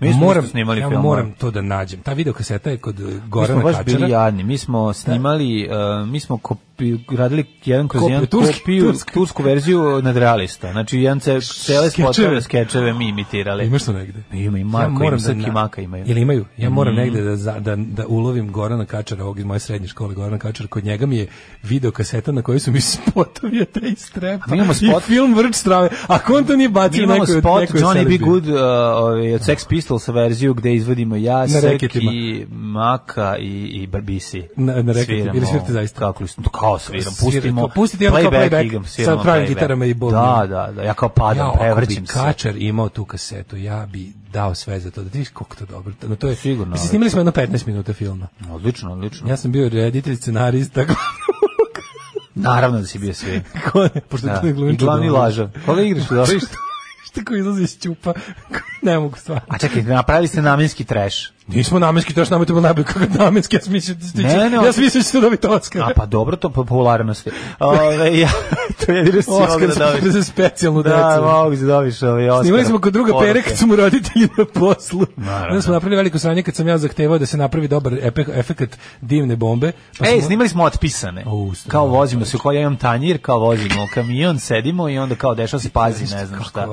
S7: Mi smo snimali, mi
S6: ja moram, e,
S7: smo
S6: moram,
S7: isto snimali
S6: ja
S7: film.
S6: moram to da nađem. Ta video kaseta je kod e,
S7: Mi smo
S6: Gorana
S7: baš bili
S6: Kačara. Da.
S7: jadni, mi smo snimali, uh, mi smo kopi, radili jedan kroz
S6: Kopiju,
S7: jedan
S6: turski-
S7: kopiju,
S6: turski.
S7: tursku verziju nadrealista. Znači, jedan ce, cele
S6: Skečeve.
S7: spotove, skečeve mi imitirali.
S6: Imaš to negde? da
S7: Ima i Marko, ima Mm. Srki
S6: na-
S7: Maka imaju.
S6: Ili imaju? Ja moram negde da, za- da, da ulovim Gorana Kačara, ovog iz moje srednje škole Gorana Kačara, kod njega mi je video kaseta na kojoj su mi spotovi od te
S7: A mi imamo spot-
S6: i film Vrč strave. Ako on to nije
S7: Mi
S6: bacio,
S7: imamo
S6: neko je
S7: spot
S6: neko je
S7: Johnny B.
S6: selekbio.
S7: Good uh, ovaj, od Sex Pistols verziju gde izvodimo ja,
S6: Na
S7: Srki,
S6: reketima.
S7: Maka i, i Barbisi.
S6: Na- na reketima, ili svirate zaista?
S7: Kako li smo, kako kao sviram, pustimo
S6: pustite ono kao playback,
S7: igram,
S6: sa pravim gitarama i bobnim.
S7: Da, da, da, ja kao padam,
S6: ja,
S7: prevrćem
S6: se. Kačar imao tu kasetu, ja bi dao sve za to. Da vidiš koliko to dobro. No, to je,
S7: Sigurno,
S6: Mislim,
S7: ali-
S6: snimili smo jedno 15 minuta filma.
S7: Odlično, odlično.
S6: Ja sam bio reditelj, scenarist, tako
S7: Naravno da si bio sve.
S6: Ko je? Pošto
S7: Da.
S6: to je glumča.
S7: I glavni laža. Koga igraš u dvorištu?
S6: Šta koji izlazi iz ćupa? ne mogu stvarno.
S7: A čekaj, napravili ste namenski trash.
S6: Nismo namenski, to je što nam je to bilo najbolje kako je namenski, ja sam mislio da ste-
S7: Ne, ne,
S6: ja sam mislio da ćete dobiti Oscar.
S7: A pa dobro, to po popularnosti. Ove, ja, to je jedino što si mogao
S6: Oscar
S7: da
S6: za-
S7: dobiš.
S6: za specijalnu
S7: Da,
S6: decu.
S7: mogu da dobiš ovaj Oscar.
S6: Snimali smo kod druga pere kad su mu roditelji na poslu.
S7: Naravno.
S6: Onda smo napravili veliko sranje kad sam ja zahtevao da se napravi dobar epe- efekat divne bombe. Pa
S7: Ej,
S6: smo-
S7: snimali smo otpisane. kao vozimo se, kao ja imam tanjir, kao vozimo kamion, sedimo i onda kao dešava se pazi, ne znam šta.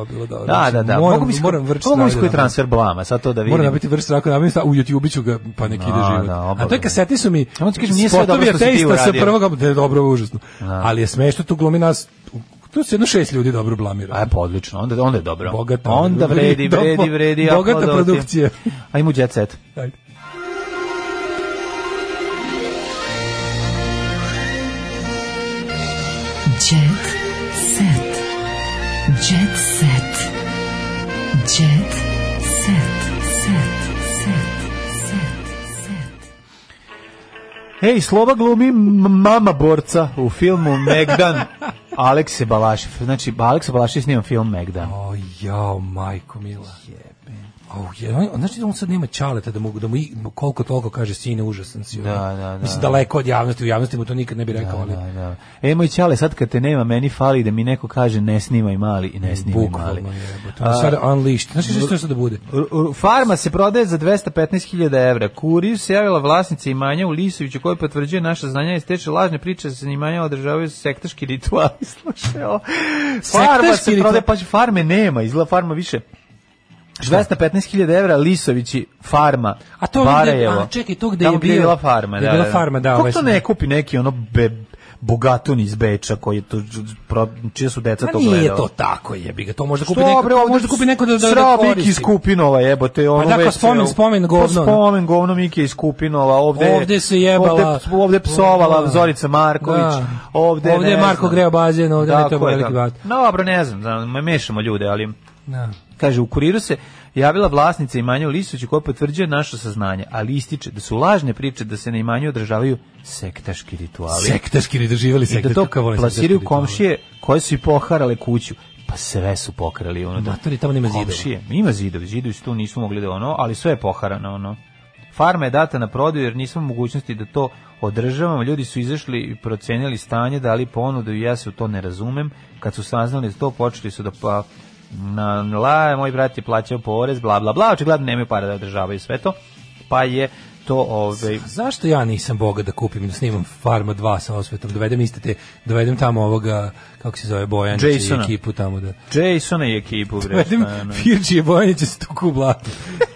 S7: Da, da, da.
S6: Moram-
S7: mogu bi
S6: moram vrč
S7: Mogu bi
S6: snage
S7: koji
S6: da-
S7: transfer blama, sad to da vidim.
S6: Mora nabiti vrst raka, nabiti u YouTube ću ga, pa nek ide
S7: Da,
S6: život.
S7: da,
S6: A to je
S7: obavezno.
S6: kaseti su mi
S7: Samo ti kažem, nije sve dobro
S6: spotovi
S7: što si ti
S6: ateista sa
S7: uradio. Da.
S6: prvog, ne, dobro, užasno. Ali je smešno, tu glumi nas, tu se jedno šest ljudi dobro blamira.
S7: Aj, pa odlično, onda, onda je dobro.
S6: Bogata.
S7: onda vredi, vredi, vredi.
S6: Bogata
S7: aplauz.
S6: produkcija.
S7: Ajmo u jet set.
S6: Ajde.
S5: Jet set. Jet set. Jet set. Set. Set. Set.
S7: Ej, Sloba glumi m- mama borca u filmu Megdan. Alekse Balašev. Znači, Aleksa Balašev snima film Megdan.
S6: O, jao, majko mila. Au, je, on, znaš da on sad nema čaleta da mogu da mu i- koliko toliko kaže sine užasan si. ono.
S7: Da, da, da.
S6: Mislim daleko od javnosti, u javnosti mu to nikad ne bi rekao, ali
S7: Da, da. E, moj ćale, sad kad te nema, meni fali da mi neko kaže ne snimaj mali i ne snimaj mali.
S6: bukvalno je. To je sad unleashed. Znaš šta će sad da bude?
S7: R- r- Farma se prodaje za 215.000 evra. Kuriju se javila vlasnica imanja u Lisoviću koja potvrđuje naša znanja i steče lažne priče da se imanja održavaju sektaški rituali. Slušaj, ovo. Farma
S6: Sektaški
S7: se prodaje,
S6: rituali?
S7: pa farme nema, izgleda farma više. 215.000 evra Lisovići farma.
S6: A to ovdje-
S7: Barajevo.
S6: a, čekaj, to gde
S7: Tamo
S6: je
S7: je
S6: bio-
S7: bila farma,
S6: gde je
S7: da,
S6: bila
S7: da.
S6: farma, da,
S7: Kako
S6: ovaj
S7: to
S6: sam-
S7: ne kupi neki ono be, bogatun iz Beča koji je to, pro- čija su deca
S6: Ma
S7: to gledala.
S6: Pa nije to tako, jebi ga. To možda kupi
S7: Što,
S6: neko,
S7: bre,
S6: to
S7: ovde
S6: možda kupi neko da da, da
S7: Srao Miki
S6: koristi.
S7: iz Kupinova, jebote, ono
S6: Pa da, kao spomen, spomen, govno, da.
S7: Pa spomen, govno Miki iz Kupinova, ovde,
S6: Ovde se jebala.
S7: Ovde, ovde psovala
S6: Da.
S7: Zorica Marković,
S6: Da.
S7: ovde,
S6: Ovde je
S7: ne
S6: Marko
S7: znam.
S6: greo bazen, ovde ne treba
S7: Tako je, da.
S6: veliki bat.
S7: No, dobro, ne znam, znam, me mešamo ljude, ali...
S6: Da.
S7: Kaže, u kuriru se javila vlasnica imanja u Lisoviću koja potvrđuje naše saznanje, ali ističe da su lažne priče da se na imanju održavaju sektaški rituali.
S6: Sektaški ne doživjeli
S7: I da
S6: sektaški.
S7: to
S6: kako volim
S7: plasiraju
S6: sektaški rituale.
S7: komšije koje su i poharale kuću. Pa sve su pokrali. Ono, da
S6: Matori, tamo nema zidova.
S7: Komšije. Ima zidovi, zidovi su tu nisu mogli da ono, ali sve je poharano. Ono. Farma je data na prodaju jer nismo u mogućnosti da to održavamo. Ljudi su izašli i procenili stanje, dali ponudu i ja se u to ne razumem. Kad su saznali za to, počeli su da pa na la, moj brat je plaćao porez, bla bla bla, očigledno nemaju para da održavaju sve to. Pa je to ovaj
S6: Zašto ja nisam boga da kupim i da snimam Farma 2 sa osvetom, dovedem iste te, dovedem tamo ovoga, kako se zove, Bojanića i
S7: Jasona.
S6: ekipu tamo da...
S7: Jasona i ekipu bre,
S6: Dovedem
S7: šta je ono.
S6: Firči i Bojanića da se tuku u blatu.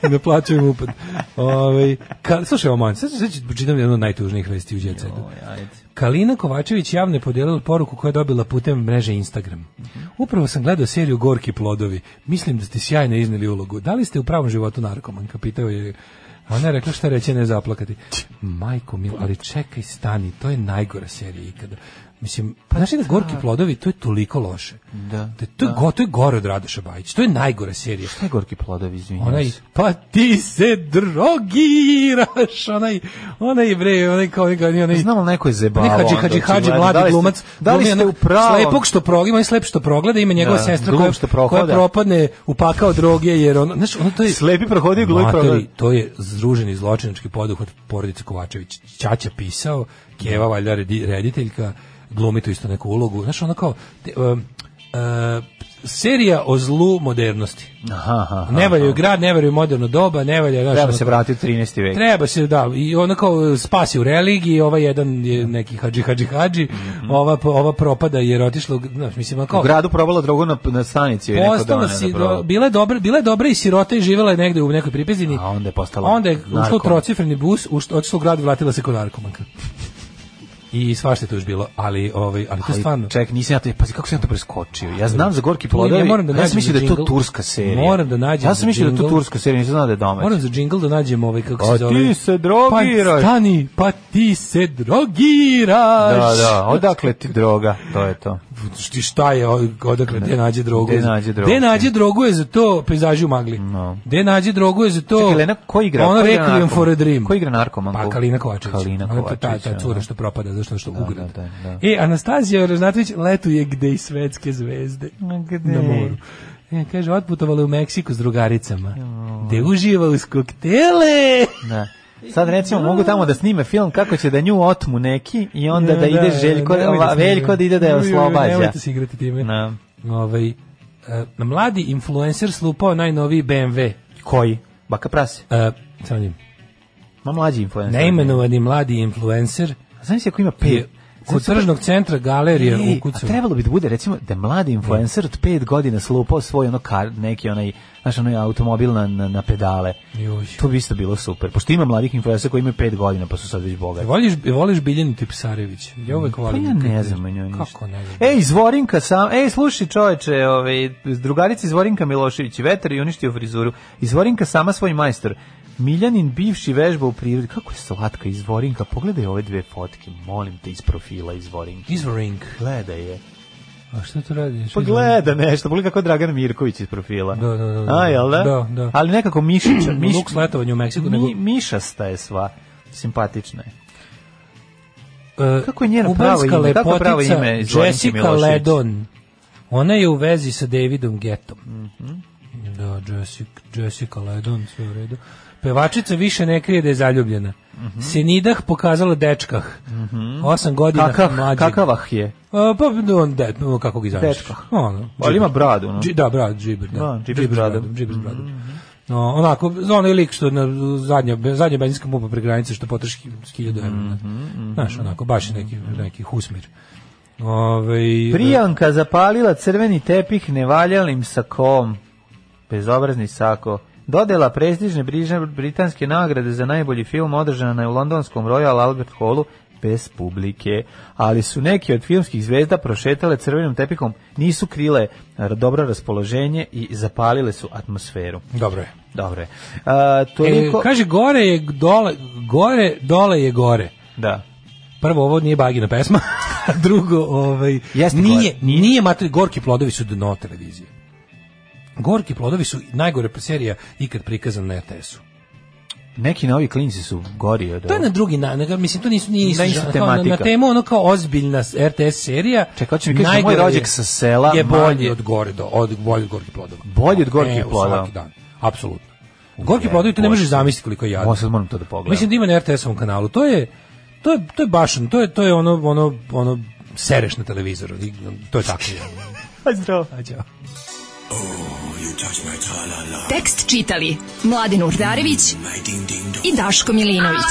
S6: ne plaćaju im upad. Ove, ka, slušaj, ovo manj, sad, sad ću čitam jednu od najtužnijih vesti u djecetu. Kalina Kovačević javno je podijelila poruku koju je dobila putem mreže Instagram. Upravo sam gledao seriju Gorki plodovi. Mislim da ste sjajno izneli ulogu. Da li ste u pravom životu narkoman? Kapitao je a ona je rekla šta reći, ne zaplakati. Majko mil, ali čekaj, stani, to je najgora serija ikada. Mislim, pa znaš li da Gorki plodovi, to je toliko loše.
S7: Da.
S6: Da, to, je go, to je gore od Radoša Bajić, to je najgora serija.
S7: Šta je gorki plodovi, izvinjam
S6: Onaj,
S7: se.
S6: pa ti se drogiraš, onaj, onaj bre, onaj kao, onaj, onaj,
S7: Znamo li neko je zebalo.
S6: ne, Hadži,
S7: Pa onda,
S6: Hadži, Hadži,
S7: očigledno.
S6: mladi
S7: li ste-
S6: glumac.
S7: Da li
S6: glumi
S7: ste
S6: onog
S7: u pravom?
S6: Slepog što progleda, ima i slep što progleda, ima njegova
S7: Da,
S6: sestra
S7: glup
S6: koja,
S7: što
S6: koja
S7: prohoda.
S6: propadne u pakao droge, jer ono, znaš, ono to je...
S7: Slepi prohodio, glupi
S6: Matori,
S7: prohodio.
S6: To je združeni zločinački poduhvat porodice Kovačević. Ćaća pisao, Keva valjda redi- rediteljka, glumi tu isto neku ulogu. Znaš, ono kao... te, um, uh, serija o zlu modernosti.
S7: Aha, aha, aha.
S6: Ne valjaju grad, ne valjaju moderno doba, ne valja... znaš,
S7: Treba
S6: ono
S7: da se
S6: kao-
S7: vratiti u 13. vek.
S6: Treba se, da, i ona kao spasi u religiji, ova jedan je neki hađi, hađi, hađi, ova, ova propada jer otišla, u- znaš, mislim, ono
S7: Mhm. U
S6: kao,
S7: gradu probala drogu na, na stanici. je neko
S6: postala
S7: doneo da
S6: si,
S7: proba.
S6: do, bila, je dobra, bila je dobra i sirota i živjela je negde u nekoj pripezini,
S7: A onda je postala
S6: onda je ušla u
S7: narko.
S6: trocifreni bus, ušla, otišla u grad i vratila se kod narkomanka. I svašta je tu još bilo, ali ovaj ali to
S7: Ali,
S6: stvarno.
S7: Ček, nisam ja to, pazi kako sam ja to preskočio. Ja znam za Gorki
S6: To je-
S7: plodovi.
S6: ja moram da
S7: ja sam
S6: nađem
S7: mislio da je to
S6: jingle.
S7: turska serija.
S6: Moram da nađem.
S7: Ja sam mislio da je to
S6: jingle.
S7: turska serija, nisam znao da je domaća.
S6: Moram za jingle da nađem ovaj kako
S7: A
S6: se zove.
S7: Pa ti se drogiraš.
S6: Pa stani, pa ti se drogiraš.
S7: Da, da, odakle ti droga, to je to.
S6: Šti- šta je o- odakle gde nađe drogu?
S7: Gde nađe drogu?
S6: Gde nađe drogu je za to pejzaži u magli.
S7: No.
S6: Gde nađe drogu je za to?
S7: Čekaj, Lena, ko igra?
S6: Ono
S7: Ko igra
S6: Requiem
S7: narkoman?
S6: for a Dream.
S7: Ko igra narkomanku?
S6: Pa Kalina Kovačević.
S7: Kalina
S6: Ona je Ta, ta
S7: Kovačević,
S6: cura
S7: da.
S6: što propada, zašto što
S7: Da,
S6: ugra.
S7: da, da, da.
S6: E, Anastasija Raznatović letuje gde i svetske zvezde.
S7: gde?
S6: Na moru. E, kaže, otputovala u Meksiku s drugaricama. Gde uživa uz koktele.
S7: Da. Sad recimo mogu tamo da snime film kako će da nju otmu neki i onda da,
S6: Ne,
S7: ide Željko,
S6: nemojte
S7: va-
S6: se-
S7: Veljko da ide da je
S6: Ju, ju, ju,
S7: oslobađa.
S6: Nemojte se igrati time.
S7: Da.
S6: Ovaj, e, mladi influencer slupao najnoviji BMW.
S7: Koji? Baka prase.
S6: E, samo njim.
S7: Ma mlađi influencer.
S6: Neimenovani mladi influencer
S7: Znaš si ako ima pet.
S6: je kod tržnog centra galerije u Kucu.
S7: E, A trebalo bi da bude recimo da je mladi influencer od 5 godina slupao svoj ono kar, neki onaj znaš onaj automobil na, na, na pedale.
S6: Joj.
S7: To bi isto bilo super. Pošto ima mladih influencera koji imaju 5 godina pa su sad već bogati.
S6: E, Voliš, voliš Biljanu Tipsarević? Ja uvek
S7: Pa
S6: volim.
S7: ja ne znam o njoj ništa. E,
S6: Kako ne znam?
S7: Ej, Zvorinka sam, ej, slušaj čoveče, ovaj, drugarica Zvorinka Milošević, vetar i uništio frizuru. Izvorinka sama svoj majstor. Miljanin bivši vežba u prirodi. Kako je slatka Izvorinka, pogledaj ove dve fotke, molim te, iz profila Izvorinke.
S6: Izvoring.
S7: Gledaj je.
S6: A šta tu radiš?
S7: Pa gleda nešto, pogledaj kako je Dragan Mirković iz profila.
S6: Da, da, da. da.
S7: A, jel da?
S6: Da, da.
S7: Ali nekako mišića, miš,
S6: Luk sletovanje u Meksiku, nego...
S7: mi, mišasta je sva, simpatična je.
S6: E,
S7: Kako je njeno
S6: kubanska
S7: pravo ime? Kako je pravo
S6: lepotica
S7: ime Zoranke
S6: Jessica
S7: Milošević?
S6: Ledon. Ona je u vezi sa Davidom Getom.
S7: Mhm.
S6: Da, Jessica, Jessica Ledon, sve u redu. Pevačica više ne krije da je zaljubljena.
S7: Mhm.
S6: Senidah pokazala dečkah. Osam godina
S7: Kakav,
S6: mlađeg.
S7: kakavah je?
S6: A, pa on de, no, kako ga izražiš?
S7: Dečkah.
S6: Ono,
S7: Ali ima bradu, no?
S6: Dži- da, brad, džiber, da.
S7: Da, džiber s
S6: Džiber s
S7: bradom.
S6: Džiber s bradom. No, onako, onaj lik što na zadnja, zadnja benzinska pumpa pre granice što potroši hi- hiljadu evra. da.
S7: Mhm,
S6: Znaš, onako, baš je neki, neki husmir. Ovaj, Ove,
S7: Prijanka zapalila crveni tepih nevaljalim sakom. Bezobrazni sako. Dodela prestižne brižne- britanske nagrade za najbolji film održana je u londonskom Royal Albert Hallu bez publike, ali su neki od filmskih zvezda prošetale crvenim tepihom, nisu krile r- dobro raspoloženje i zapalile su atmosferu.
S6: Dobro je.
S7: Dobro je. A,
S6: E,
S7: toliko...
S6: kaže, gore je dole, gore, dole je gore.
S7: Da.
S6: Prvo, ovo nije bagina pesma, a drugo, ovaj,
S7: Jeste
S6: nije,
S7: gore,
S6: nije, mater- gorki plodovi su dno televizije. Gorki plodovi su najgore serija ikad prikazana na RTS-u.
S7: Neki novi klinci su gori od
S6: To je
S7: ovog.
S6: na drugi na, na- mislim to nisu nije
S7: Na
S6: isto,
S7: istu
S6: žanr, kao na,
S7: tematika.
S6: na temu ono kao ozbiljna s- RTS serija.
S7: Čekaj, hoće mi kažeš da
S6: najgore
S7: moj rođak
S6: je-
S7: sa sela
S6: je bolji
S7: manje-
S6: od gore do od bolji od gorkih plodova.
S7: Bolji od gorkih
S6: E,
S7: plodova.
S6: Svaki dan. Apsolutno. Gorki plodovi to ne možeš zamisliti koliko je jadno.
S7: Ovo sad moram to da pogledam.
S6: Mislim da ima na RTS-ovom kanalu. To je to je to je baš to je to je ono ono ono sereš na televizoru. I- To je tako.
S7: Aj, zdravo.
S6: Aj, ćao.
S5: Tekst čitali Mladin Urdarević i Daško Milinović.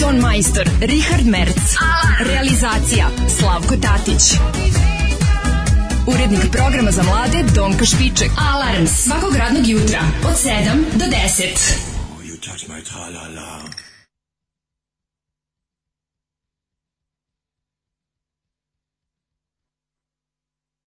S5: Ton majstor Richard Merc. Realizacija Slavko Tatić. Urednik programa za mlade Donka Špiček. Alarms svakog radnog jutra od 7 do 10.
S17: You touch my tra-la-la.